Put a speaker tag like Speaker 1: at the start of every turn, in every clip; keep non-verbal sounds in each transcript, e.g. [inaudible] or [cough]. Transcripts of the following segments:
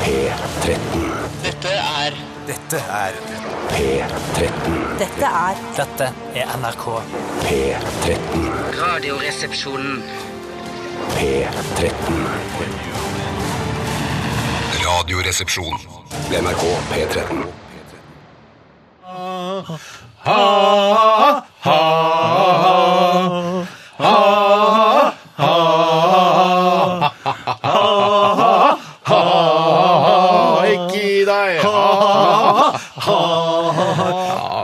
Speaker 1: P13.
Speaker 2: Dette er
Speaker 3: Dette er
Speaker 1: P13.
Speaker 4: Dette er
Speaker 5: Dette er NRK.
Speaker 1: P13.
Speaker 2: Radioresepsjonen.
Speaker 1: P13.
Speaker 6: Radioresepsjon.
Speaker 1: NRK P13.
Speaker 7: Ikke gi deg!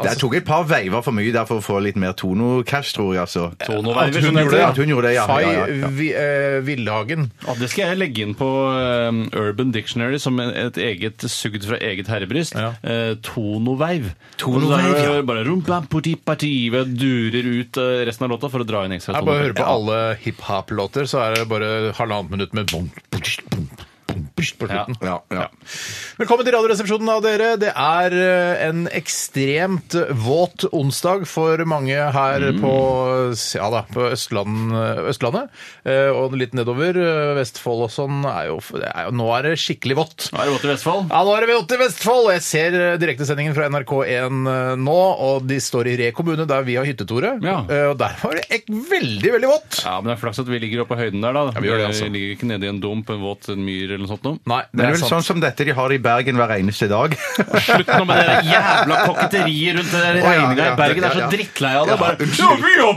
Speaker 8: Jeg
Speaker 9: Altså-
Speaker 8: tok et par veiver for mye der for å få litt mer tono-cash, tror jeg. altså.
Speaker 7: At hun
Speaker 9: sånn
Speaker 7: gjorde det,
Speaker 8: At hun gjorde det, ja.
Speaker 7: Fay
Speaker 8: ja, ja, ja.
Speaker 7: Vi, eh, Villhagen.
Speaker 9: Ja, det skal jeg legge inn på eh, Urban Dictionary som en- et eget sugd fra eget herrebryst.
Speaker 7: Ja.
Speaker 9: Eh, tonoveiv.
Speaker 8: Tonoveiv,
Speaker 9: Og så er det
Speaker 8: ja.
Speaker 9: Bare rumpampotipati, og jeg durer ut eh, resten av låta for å dra inn ekstra
Speaker 7: Jeg bare
Speaker 9: toner.
Speaker 7: hører på alle hiphop-låter, så er det bare halvannet minutt med bom, bush, bom, bom, bush på slutten.
Speaker 8: Ja, ja.
Speaker 7: Velkommen til Radioresepsjonen av dere. Det er eh, en ekstremt våt onsdag for mange her på, ja da, på Østland, Østlandet. eh, Og litt nedover. eh, Vestfold og sånn er jo, det er jo Nå er det skikkelig vått.
Speaker 9: Nå er det vått i Vestfold.
Speaker 7: Ja, nå er det vått i Vestfold! Jeg ser eh, direktesendingen fra NRK1 eh, nå, og de står i Re kommune, der vi har hytte, Tore.
Speaker 9: Ja.
Speaker 7: Eh, Og der var det ek- veldig, veldig vått!
Speaker 9: Ja, men det er flaks at vi ligger oppe på høyden der, da.
Speaker 7: vi gjør det, altså.
Speaker 9: ligger ikke nede i en dump, en våt en myr eller noe sånt noe.
Speaker 7: Nei,
Speaker 8: Men det er vel sånn som dette de har i Bergen hver eneste
Speaker 7: [laughs]
Speaker 8: dag.
Speaker 9: Slutt nå med det der jævla koketteriet rundt det der
Speaker 8: ja,
Speaker 9: regninga
Speaker 8: ja,
Speaker 9: i Bergen. Jeg er
Speaker 8: ja,
Speaker 9: så
Speaker 8: ja.
Speaker 9: drittlei av det.
Speaker 8: Ja,
Speaker 9: Bare
Speaker 8: unnskyld.
Speaker 9: Ja, vi har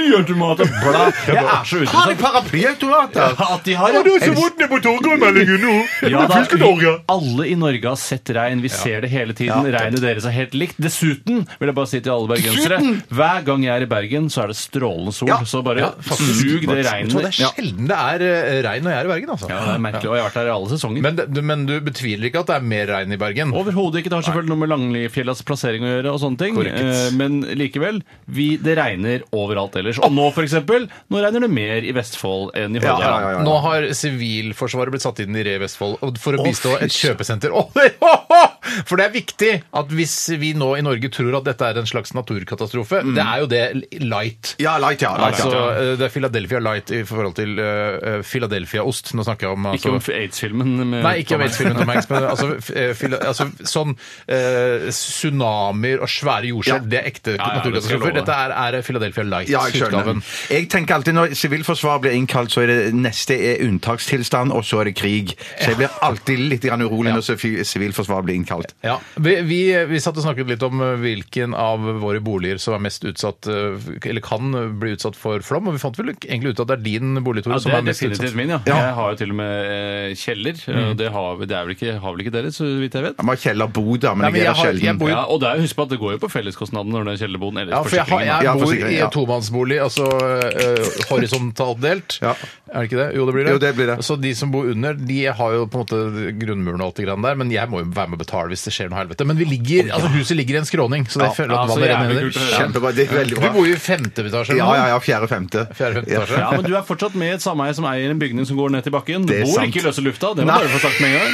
Speaker 9: paraplyautomater! Bla! Jeg er så
Speaker 8: Har
Speaker 9: utenfor.
Speaker 8: de paraplyautomater?
Speaker 9: At de har, ja.
Speaker 7: vondt på Torgallmeldingen nå!
Speaker 9: Ja, da, vi, alle i Norge har sett regn. Vi ser det hele tiden. Regnet deres er helt likt. Dessuten vil jeg bare si til alle bergensere hver gang jeg er i Bergen, så er det strålende sol. Så bare
Speaker 7: Mm.
Speaker 9: sug det
Speaker 7: Jeg tror det
Speaker 9: regnet.
Speaker 7: er
Speaker 9: Ja.
Speaker 7: sjelden det er eh, regn når jeg er i Bergen, altså.
Speaker 9: ja, det er merkelig. Og jeg har vært her i alle sesonger.
Speaker 7: Men, det- men du betviler ikke at det er mer regn i Bergen?
Speaker 9: Overhodet ikke. Det har selvfølgelig noe med Langelifjellas plassering å gjøre. og sånne ting.
Speaker 7: Korrekt.
Speaker 9: Eh, Men likevel, vi, det regner overalt ellers. Og nå for eksempel, nå regner det mer i Vestfold enn i
Speaker 7: Ja,
Speaker 9: Hordaland.
Speaker 7: Nå har Sivilforsvaret blitt satt inn i Re Vestfold og- for å bistå
Speaker 8: fy
Speaker 7: et kjøpesenter. Å, det- [laughs] ho, ho! For det er viktig at hvis vi nå i Norge tror at dette er en slags naturkatastrofe,
Speaker 9: Mm.
Speaker 7: det er jo det light.
Speaker 8: Ja, light, ja. Light,
Speaker 7: Altså,
Speaker 8: ja.
Speaker 7: eh, det er Philadelphia Light i forhold til eh, eh, Philadelphia-ost. Nå snakker jeg om
Speaker 9: Ikke
Speaker 7: altså,
Speaker 9: om aids-filmen. med-
Speaker 7: Nei, ikke om AIDS-filmen til Manx, men altså, f- eh, Phila- altså sånn eh, tsunamier og svære jordskjelv, det er ekte
Speaker 9: ja, det skal jeg
Speaker 7: naturkatastrofer.
Speaker 9: love deg.
Speaker 7: Dette er, er Philadelphia
Speaker 8: Ja, jeg skjønner.
Speaker 7: Light-utgaven.
Speaker 8: Jeg tenker alltid når Sivilforsvaret blir innkalt, så er det neste er unntakstilstand, og så er det krig. Så jeg blir alltid litt grann urolig når sivi- Sivilforsvaret blir innkalt.
Speaker 7: Ja, vi, vi, vi satt og snakket litt om eh, hvilken av våre boliger som er mest utsatt, eh, eller kan bli utsatt for flom, og vi fant vel egentlig ut at det er din bolig, Tore,
Speaker 9: Ja,
Speaker 7: som
Speaker 9: det
Speaker 7: er
Speaker 9: er
Speaker 7: mest
Speaker 9: definitivt
Speaker 7: utsatt.
Speaker 9: min, ja. Jeg har jo til og med eh, kjeller.
Speaker 8: Mm.
Speaker 9: og Det, har, vi- det er vel ikke, har vel ikke dere, så vidt jeg vet?
Speaker 8: Jeg må ha kjellerboda, men
Speaker 7: Nei, men jeg
Speaker 8: jeg er der
Speaker 7: har- jeg
Speaker 8: sjelden.
Speaker 7: bor-
Speaker 9: Ja, og det er jo, husk på at det går jo på felleskostnaden når det er kjellerboden ellers
Speaker 7: Ja, for jeg, har, jeg
Speaker 8: Ja,
Speaker 7: bor
Speaker 8: forsikringen,
Speaker 7: i
Speaker 8: ja.
Speaker 7: en tomannsbolig, altså
Speaker 8: [laughs]
Speaker 7: eh, horisontalt delt.
Speaker 8: Ja.
Speaker 7: Er det ikke det? Jo, det blir det.
Speaker 8: Jo, det blir det.
Speaker 7: Så de som bor under, de har jo på en måte grunnmuren og alt det grann der, men jeg må jo være med å betale hvis det skjer noe helvete. Men vi ligger, altså huset ligger i en skråning, så det føler
Speaker 9: Ja,
Speaker 7: at
Speaker 9: så
Speaker 7: vannet
Speaker 9: jævlig
Speaker 7: renner
Speaker 9: kult å høre.
Speaker 7: ned.
Speaker 8: Kjempebra. Det er veldig
Speaker 7: Du
Speaker 8: bra.
Speaker 7: bor jo i femte etasje?
Speaker 8: Ja,
Speaker 7: eller
Speaker 8: ja,
Speaker 7: noe?
Speaker 8: ja. Fjerde-femte.
Speaker 7: Fjerde-femte etasje.
Speaker 9: Ja, men du er fortsatt med i et sameie som eier en bygning som går ned til bakken. Du
Speaker 8: Det er
Speaker 9: bor
Speaker 8: sant.
Speaker 9: ikke i løse lufta. Det må
Speaker 8: Nei.
Speaker 9: bare få sagt med en gang.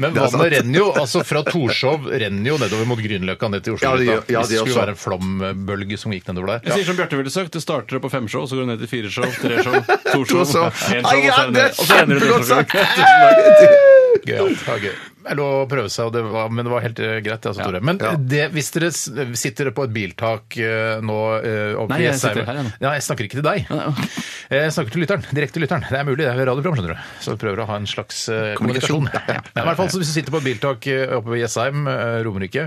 Speaker 7: Men
Speaker 8: Det er sant.
Speaker 7: vannet renner jo altså fra Torshov renner jo nedover mot Grünerløkka ned til Oslo.
Speaker 8: Ja, det gjør- ja,
Speaker 7: hvis
Speaker 8: det
Speaker 7: det
Speaker 8: gjør
Speaker 7: skulle
Speaker 8: så.
Speaker 7: være en flombølge som gikk nedover der.
Speaker 9: Jeg sier som Bjarte ville sagt, det starter på fem show, så går det ned til fire show, tre show, to show,
Speaker 8: [laughs] To show.
Speaker 9: en show, og
Speaker 8: Ai,
Speaker 9: så
Speaker 8: ja,
Speaker 9: er det
Speaker 8: det er
Speaker 9: ned. Og så ender det
Speaker 8: kjempegodt
Speaker 9: til Oslo. [laughs]
Speaker 8: sagt.
Speaker 7: Gøy, ja. Det var gøy. Det er lov å prøve seg, og det var, men det var helt eh, greit. Altså, Tore. Men
Speaker 8: Ja.
Speaker 7: det, hvis dere s- sitter på et biltak eh, nå eh, oppe
Speaker 9: Nei,
Speaker 7: i
Speaker 9: jeg
Speaker 7: Jessheim-
Speaker 9: sitter her, jeg, nå.
Speaker 7: Ja, jeg snakker ikke til deg. Eh, Jeg snakker til lytteren. Direkte til lytteren. Det er mulig, det er radioprogram, skjønner du. Så vi prøver å ha en slags eh,
Speaker 8: Kommunikasjon.
Speaker 7: kommunikasjon. Ja. Men I hvert fall så Hvis du sitter på et biltak eh, oppe ved Jessheim, eh, Romerike,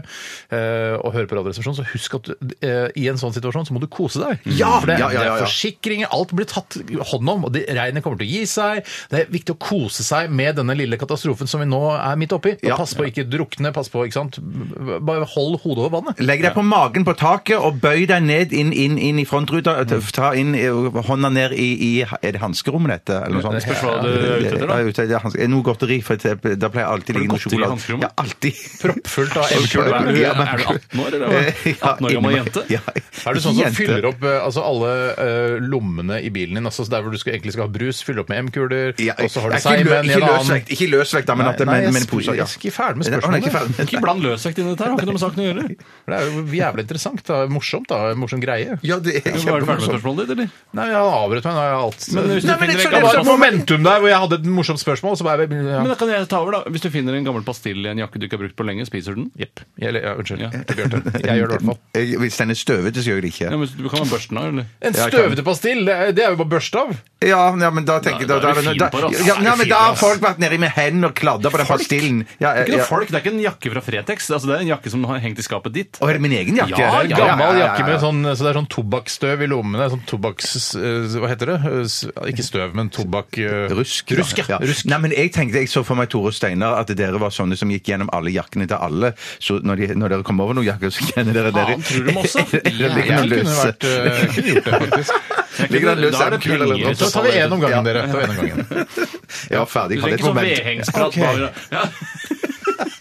Speaker 7: eh, og hører på Radioresepsjonen, så husk at du, eh, i en sånn situasjon så må du kose deg.
Speaker 8: Ja!
Speaker 7: For det,
Speaker 8: Ja, ja, ja, ja.
Speaker 7: det er forsikringer, alt blir tatt hånd om, og det, regnet kommer til å gi seg. Det er viktig å kose seg med denne lille katastrofen som vi nå er midt oppi. Og
Speaker 8: Ja.
Speaker 7: Pass på å ikke drukne, pass på, ikke sant. Bare hold hodet over vannet.
Speaker 8: Legg deg på magen på taket og bøy deg ned inn, inn, inn i frontruta.
Speaker 7: Mm.
Speaker 8: Ta inn eh, hånda ned i, i Er det hanskerommet dette? Eller noe sånt?
Speaker 9: Spørs hva du er ute etter, da.
Speaker 8: Ja, jeg er ute etter hansker- Noe godteri, for det- da pleier jeg alltid å ligge
Speaker 9: godteri
Speaker 8: noe
Speaker 9: i
Speaker 8: sjokolade.
Speaker 9: hanskerommet?
Speaker 8: Ja, alltid.
Speaker 7: Proppfullt av
Speaker 9: Så kult,
Speaker 7: eventuell
Speaker 9: hva er du?
Speaker 8: Ja, men-
Speaker 9: Er du 18 år,
Speaker 8: [laughs]
Speaker 9: eller? hva? 18 år gammel jente?
Speaker 8: Ja,
Speaker 7: Er du sånn som
Speaker 8: jente.
Speaker 7: fyller opp eh, altså alle eh, lommene i bilen din, altså der hvor du skal, egentlig skal ha brus, fyller opp med M-kuler,
Speaker 8: Ja,
Speaker 7: og så har du
Speaker 8: ikke lø-
Speaker 7: Seimen i
Speaker 8: ikke
Speaker 7: en
Speaker 8: løsvekt,
Speaker 7: annen
Speaker 8: ikke løsvekt da, men at det
Speaker 7: Nei,
Speaker 8: men,
Speaker 7: jeg
Speaker 8: men
Speaker 7: sp-
Speaker 8: poser, ja.
Speaker 7: jeg er ikke ferdig med
Speaker 8: Nei, han er ikke
Speaker 7: spørsmålet.
Speaker 8: ferdig med-
Speaker 9: Ikke bland løsvekt inn i dette her, har ikke noe med saken å gjøre.
Speaker 7: For Det er jo jævlig interessant. da. Morsomt, da. Morsom greie.
Speaker 8: Ja, det
Speaker 9: Var
Speaker 8: er [laughs]
Speaker 9: du ferdig med
Speaker 8: kjempemorsomt.
Speaker 9: spørsmålet ditt, eller?
Speaker 7: Nei, jeg avbrøt meg. Nå har jeg alt
Speaker 9: Men
Speaker 7: Nei, men
Speaker 9: hvis du
Speaker 7: jeg
Speaker 9: finner en
Speaker 7: skjønner, det var
Speaker 9: gammel-
Speaker 7: et momentum der hvor jeg hadde et morsomt spørsmål, så bare ja.
Speaker 9: Men da kan jeg ta over, da. Hvis du finner en gammel pastill i en jakke du ikke har brukt på lenge, spiser du den?
Speaker 7: Jepp. Jeg, ja, unnskyld.
Speaker 9: Ja.
Speaker 7: Jeg gjør det Jeg gjør det i hvert fall.
Speaker 8: [laughs] Jeg- Hvis den er støvete, så gjør jeg det ikke.
Speaker 9: Ja, men Du kan ha børsten av, eller?
Speaker 7: En
Speaker 8: Jeg kan-
Speaker 7: støvete pastill, det er- det er jo bare børste av.
Speaker 8: Ja, ja, men da tenker jeg
Speaker 9: Nei,
Speaker 8: da,
Speaker 9: da er
Speaker 8: da,
Speaker 9: du
Speaker 8: da,
Speaker 9: fin
Speaker 8: da,
Speaker 9: på det, ass.
Speaker 8: ja,
Speaker 9: Da er
Speaker 8: nei,
Speaker 9: du
Speaker 8: men
Speaker 9: fin
Speaker 8: da
Speaker 9: på det,
Speaker 8: har
Speaker 9: ass.
Speaker 8: folk vært nedi med hendene og kladda på den pastillen. Ja,
Speaker 9: Det er
Speaker 8: Eh, ja,
Speaker 9: ikke noe
Speaker 8: ja.
Speaker 9: folk, det er ikke en jakke fra Fretex. Altså, det er en jakke som har hengt i skapet ditt.
Speaker 8: Å, er det min egen jakke?
Speaker 9: Ja,
Speaker 7: Det er en gammel
Speaker 8: ja, ja, ja,
Speaker 7: jakke
Speaker 8: ja.
Speaker 7: med sånn, så det er sånn tobakksstøv i lommene. Sånn tobakks... eh, Hva heter det? Eh, s- Ikke støv, men tobakk... eh,
Speaker 8: Rusk.
Speaker 7: Rusk, ja. Rusk.
Speaker 8: Nei, men jeg tenkte, jeg så for meg Tore og Steinar at dere var sånne som gikk gjennom alle jakkene til alle. Så når, de, når dere kom over noen jakker, så kjenner dere dere.
Speaker 9: Faen,
Speaker 8: [laughs]
Speaker 9: tror du dem også?
Speaker 8: Eller ligger
Speaker 7: Jeg kunne
Speaker 8: den løse?
Speaker 7: vært, eh, jeg kunne gjort det, faktisk.
Speaker 8: [laughs] Ligger den løse?
Speaker 9: [laughs] Da er det
Speaker 8: en kul eller
Speaker 9: penger
Speaker 8: en
Speaker 9: i
Speaker 8: dropp?
Speaker 7: Så tar vi én om gangen, dere. Ta en om gangen.
Speaker 8: [laughs] Ja, ferdig.
Speaker 9: Du trenger
Speaker 8: Kan
Speaker 9: ikke
Speaker 8: det et
Speaker 9: sånn
Speaker 8: moment?
Speaker 9: vedhengsprat.
Speaker 7: Ok.
Speaker 9: bare- Ja.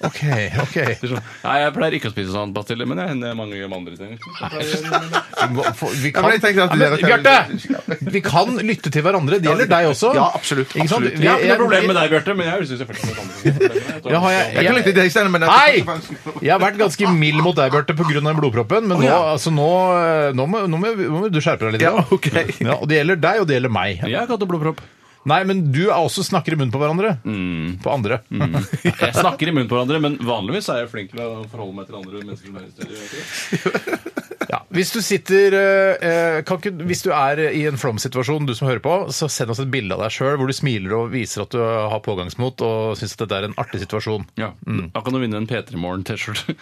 Speaker 7: Ok, ok.
Speaker 9: Det er sånn, Nei, jeg pleier ikke å spise sånn pastiller, men det hender mange gjør med andre ting. Så pleier jeg-
Speaker 7: Vi må- for- Vi
Speaker 8: [laughs] Ja, men
Speaker 7: kan,
Speaker 8: jeg tenkte at
Speaker 7: Ja, men,
Speaker 8: dere-
Speaker 7: Bjarte! Vi kan lytte til hverandre. Det gjelder deg også.
Speaker 8: Ja, absolutt,
Speaker 7: Ikke sant?
Speaker 8: absolutt.
Speaker 7: Vi-
Speaker 9: Jeg har ikke noe problem med
Speaker 7: jeg-
Speaker 9: deg, Bjarte, men jeg syns selvfølgelig at andre ting.
Speaker 7: Ja, har jeg-
Speaker 8: Jeg kan lytte til deg, Steinar, men
Speaker 7: Hei! Jeg har vært ganske mild mot deg, Bjarte, pga. blodproppen, men nå,
Speaker 8: ja.
Speaker 7: altså, nå, eh, nå, må, nå, må, nå må du skjerpe deg litt.
Speaker 8: Ja,
Speaker 7: da.
Speaker 8: ok.
Speaker 7: Ja, og det gjelder deg, og det gjelder meg.
Speaker 9: Jeg har ikke hatt noe blodpropp.
Speaker 7: Nei, men du er også snakker i munnen på hverandre.
Speaker 9: Mm.
Speaker 7: På andre.
Speaker 9: Jeg snakker i munnen på hverandre, men vanligvis er jeg flink til å forholde meg til andre mennesker. som er i studio.
Speaker 7: [laughs] Ja. Hvis du sitter eh, eh, kan ikke, Hvis du er i en flom-situasjon, du som hører på, så send oss et bilde av deg sjøl hvor du smiler og viser at du har pågangsmot og syns at dette er en artig situasjon.
Speaker 9: Ja. Da kan du vinne en P3 Morgen-T-skjorte.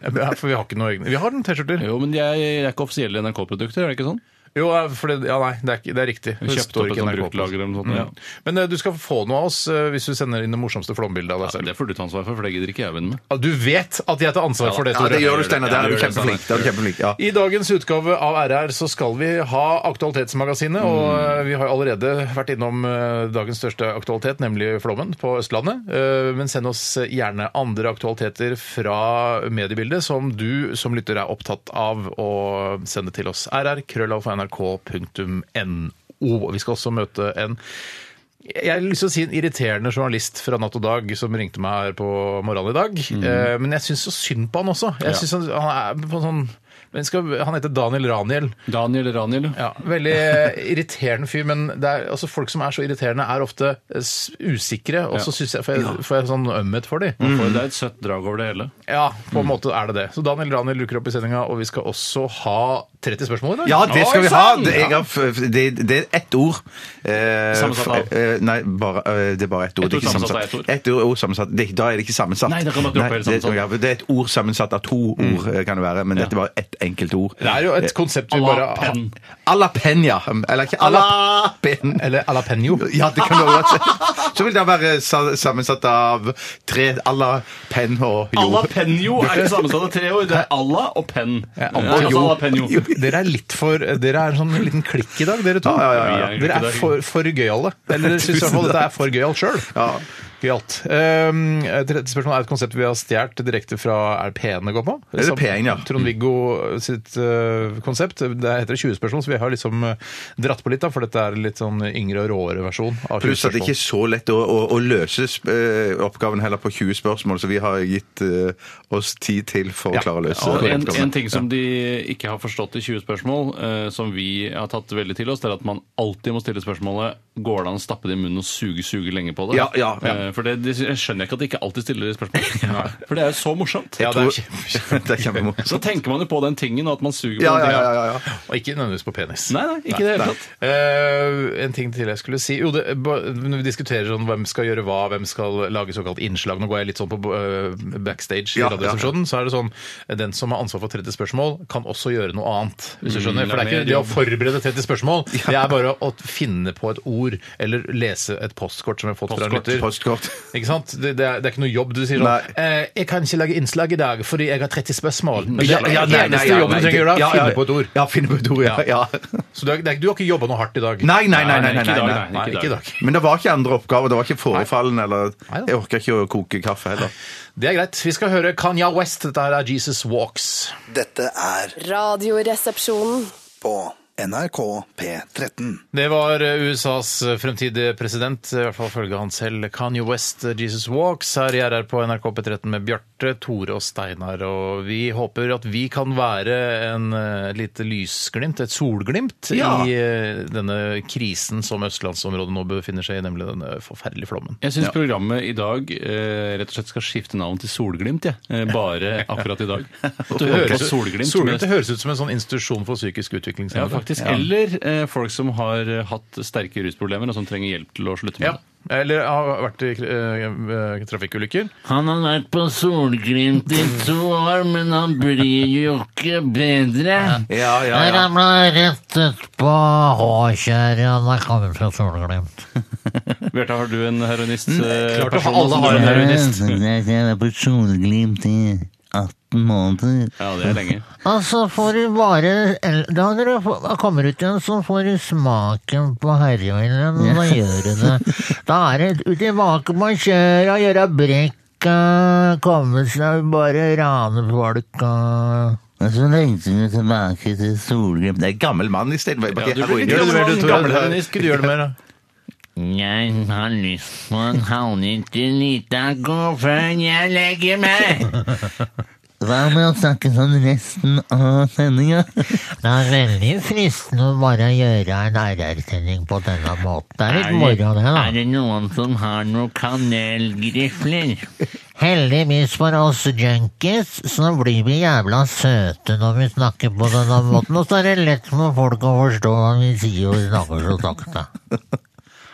Speaker 7: Ja, For vi har ikke noe egne Vi har noen T-skjorter.
Speaker 9: [laughs] Jo, men de er, er ikke offisielle NRK-produkter, er det ikke sånn?
Speaker 7: Jo, eh, for det, ja, nei, det er, ikke- det er riktig.
Speaker 9: Vi
Speaker 7: Det
Speaker 9: kjøpte
Speaker 7: står
Speaker 9: opp et
Speaker 7: ikke
Speaker 9: sånt
Speaker 7: NRK på.
Speaker 9: bruktlager eller noe sånt. Ja.
Speaker 7: Men eh, du skal få noe av oss eh, hvis du sender inn det morsomste flombildet av deg
Speaker 9: Ja,
Speaker 7: selv.
Speaker 9: det får du ta ansvar for, for det gidder ikke jeg vinne med.
Speaker 7: Ja, Du vet at jeg tar ansvar for det,
Speaker 8: Ja,
Speaker 7: Tore.
Speaker 8: det gjør du, Steinar. Der er
Speaker 9: Ja, det gjør
Speaker 8: du
Speaker 9: det,
Speaker 8: kjempeflink. Der er du kjempeflink, ja.
Speaker 7: I dagens utgave av RR så skal vi ha Aktualitetsmagasinet, og eh, vi har allerede vært innom eh, dagens største aktualitet, nemlig flommen på Østlandet. Eh, Men send oss gjerne andre aktualiteter fra mediebildet som du som lytter er opptatt av, og send det til oss. rr.krøllalfa.nrk.no. Vi skal også møte en jeg har lyst til å si en irriterende journalist fra Natt og Dag som ringte meg her på morgenen i dag.
Speaker 8: Mm.
Speaker 7: Eh, men jeg syns så synd på han også. Jeg synes han, han er på en sånn men skal, Han heter Daniel Raniel.
Speaker 9: Daniel Raniel.
Speaker 7: Ja,
Speaker 8: [laughs]
Speaker 7: Veldig eh, irriterende fyr, men det er, altså, folk som er så irriterende, er ofte eh, s- usikre, og så synes jeg, får jeg, får jeg sånn ømhet for
Speaker 8: Mm.
Speaker 7: dem.
Speaker 9: For det er et søtt drag over det hele.
Speaker 7: Ja, på en måte er det det. Så Daniel Raniel dukker opp i sendinga, og vi skal også ha 30 spørsmål i dag.
Speaker 8: Ja, det skal vi ha!
Speaker 9: Oi, sann!
Speaker 8: Det, jeg har, f- det, det er ett ord. Eh,
Speaker 9: Sammensatt av?
Speaker 8: eh, nei, bare, eh, det er bare ett ord.
Speaker 9: Ett
Speaker 8: det er
Speaker 9: ord
Speaker 8: ikke
Speaker 9: sammensatt av
Speaker 8: sammensatt.
Speaker 9: ett ord.
Speaker 8: Ett ord, ord sammensatt. Det, da er det ikke sammensatt.
Speaker 9: Nei, da kan man droppe hele
Speaker 8: det,
Speaker 9: sammensatt. Mm.
Speaker 8: ja, det er et ord sammensatt av to ord, eh, kan det være. Men dette var ett enkelt ord.
Speaker 7: Det er jo et konsept vi bare
Speaker 9: Pen.
Speaker 8: A la peña. Eller ikke a la pen...
Speaker 7: Eller alapeño.
Speaker 8: Ja, det kan det være. Så vil det være sa- sammensatt av tre à la pen og
Speaker 9: Alla
Speaker 8: jord.
Speaker 9: penjo er det sammensatt av tre ord. Det er alla og penn.
Speaker 7: Ja,
Speaker 9: Det er
Speaker 7: og
Speaker 9: altså
Speaker 7: jo.
Speaker 9: alla penjo.
Speaker 7: Dere er litt for Dere er en sånn liten klikk i dag, dere to.
Speaker 8: Ja, ja, ja,
Speaker 9: ja.
Speaker 7: Dere er for, for gøyale. Eller dere syns i hvert fall dette er for gøyalt sjøl.
Speaker 8: Ja.
Speaker 7: Gøyalt. Um, Tredje spørsmål er et konsept vi har stjålet direkte fra Er det P-en det går på?
Speaker 8: Er det
Speaker 7: Som-
Speaker 8: P-en, ja.
Speaker 7: Trond-Viggo sitt uh, konsept. Det heter 20 spørsmål, så vi har liksom uh, dratt på litt, da, for dette er litt sånn yngre og råere versjon. av 20
Speaker 8: Pluss at det ikke er så lett å, å, å løse sp- eh, oppgaven heller på 20 spørsmål, så vi har gitt eh, oss tid til for å
Speaker 7: Ja.
Speaker 8: klare å løse
Speaker 9: Og en,
Speaker 8: oppgaven.
Speaker 9: en ting som de ikke har forstått i 20 spørsmål, eh, som vi har tatt veldig til oss, det er at man alltid må stille spørsmålet går det an å stappe det i munnen og suge suge lenge på det.
Speaker 8: Ja, ja, ja.
Speaker 9: Eh, For det, det jeg skjønner jeg ikke at de ikke alltid stiller det spørsmålet. For det er jo så morsomt.
Speaker 7: Ja, det er kjempe,
Speaker 8: Tror- [laughs] det er kjempemorsomt.
Speaker 9: Så tenker man jo på den tingen, og at man suger på
Speaker 8: Ja, ja,
Speaker 9: den tingen.
Speaker 8: ja, ja, ja.
Speaker 7: [laughs] Og ikke nødvendigvis på penis.
Speaker 9: Nei, nei, ikke i det hele tatt.
Speaker 7: Eh, en ting til jeg skulle si Jo, det, ba- Når vi diskuterer sånn hvem skal gjøre hva, hvem skal lage såkalt innslag Nå går jeg litt sånn på eh, backstage i
Speaker 8: Ja,
Speaker 7: Radioresepsjonen. Så er det sånn eh, den som har ansvar for 30 spørsmål, kan også gjøre noe annet. Hvis du
Speaker 8: Mm,
Speaker 7: skjønner. For det er ikke det å forberede 30
Speaker 8: [laughs]
Speaker 7: spørsmål, det er bare å finne på et ord eller lese et postkort som jeg har fått fra en
Speaker 9: Postkort,
Speaker 7: lytter.
Speaker 8: Postkort.
Speaker 7: Ikke sant? Det, det, er, det er ikke noe jobb. Du sier
Speaker 8: Nei.
Speaker 7: sånn eh, 'Jeg kan ikke lage innslag i dag fordi jeg har 30 spørsmål'. Men det
Speaker 8: Ja,
Speaker 7: er
Speaker 8: ja,
Speaker 7: den
Speaker 8: nei, nei,
Speaker 7: eneste
Speaker 8: ja,
Speaker 7: jobben du
Speaker 8: nei,
Speaker 7: trenger å gjøre,
Speaker 8: ja,
Speaker 7: da.
Speaker 8: ja.
Speaker 7: Finne på et ord.
Speaker 8: Ja, finne på et ord, [laughs] ja. ja.
Speaker 7: Så du, har- det er, du har ikke jobba noe hardt i dag?
Speaker 8: Nei, nei, nei. nei, nei,
Speaker 9: Nei,
Speaker 8: nei,
Speaker 9: ikke i dag,
Speaker 8: nei.
Speaker 7: Nei, ikke i dag.
Speaker 8: Men det var ikke andre oppgaver. Det var ikke forefallen eller
Speaker 7: Nei da.
Speaker 8: Jeg orker ikke å koke kaffe heller.
Speaker 7: Det er greit. Vi skal høre Kanya West. Dette her er Jesus Walks.
Speaker 3: Dette er
Speaker 4: Radioresepsjonen.
Speaker 3: på NRK P13.
Speaker 7: Det var eh, USAs fremtidige president, i hvert fall følge han selv, Kanye West, eh, Jesus Walks, her i RR på NRK P13 med Bjarte, Tore og Steinar. Og vi håper at vi kan være en eh, lite lysglimt, et solglimt,
Speaker 8: Ja.
Speaker 7: i eh, denne krisen som østlandsområdet nå befinner seg i, nemlig denne forferdelige flommen.
Speaker 9: Jeg syns programmet i dag eh, rett og slett skal skifte navn til Solglimt. jeg. Eh, bare akkurat i dag. Du hører på Solglimt.
Speaker 7: Solglimt, det
Speaker 9: men-
Speaker 7: høres ut som en sånn institusjon for psykisk utvikling.
Speaker 9: Ja, faktisk. Eller eh, folk som har eh, hatt sterke rusproblemer, og som trenger hjelp til å slutte med
Speaker 7: Ja.
Speaker 9: det.
Speaker 7: Eller har vært i eh, trafikkulykker.
Speaker 4: Han har vært på Solglimt i to år, men han blir jo ikke bedre.
Speaker 8: Ja, ja, ja.
Speaker 4: Jeg ramla rett utpå Håkjerra da jeg kom fra Solglimt.
Speaker 9: Bjarte, har du en heroinist? eh,
Speaker 7: Klart å ha
Speaker 9: person
Speaker 7: alle
Speaker 9: som
Speaker 7: har
Speaker 9: du-
Speaker 7: en heroinist.
Speaker 4: Jeg var på Solglimt i 18 måneder.
Speaker 9: Ja, det er [laughs] lenge.
Speaker 4: Og så får du bare el- Da, når du får- da kommer du til en som får du smaken på heroinen, og da gjør du det. Da er det ut i vakuum og kjøre og gjøre brekk og komme seg og bare rane folk og Og så lengter du tilbake til Solglimt.
Speaker 8: Det er gammel mann i stedet.
Speaker 9: Ja, du blir litt
Speaker 7: Gjør det mer, du, Tore.
Speaker 9: Gammel heroinist.
Speaker 7: Ikke du gjør det mer, da.
Speaker 4: Jeg har lyst på en halvnyttig lita god før jeg legger meg. Hva med å snakke sånn resten av sendinga? Det er veldig fristende å bare gjøre en RR-sending på denne måten. Det er litt moro, det, da. Er det noen som har noen kanelgrifler? Heldigvis for oss junkies, så blir vi jævla søte når vi snakker på denne måten. Og så er det lett for folk å forstå hva vi sier og vi snakker så sakte.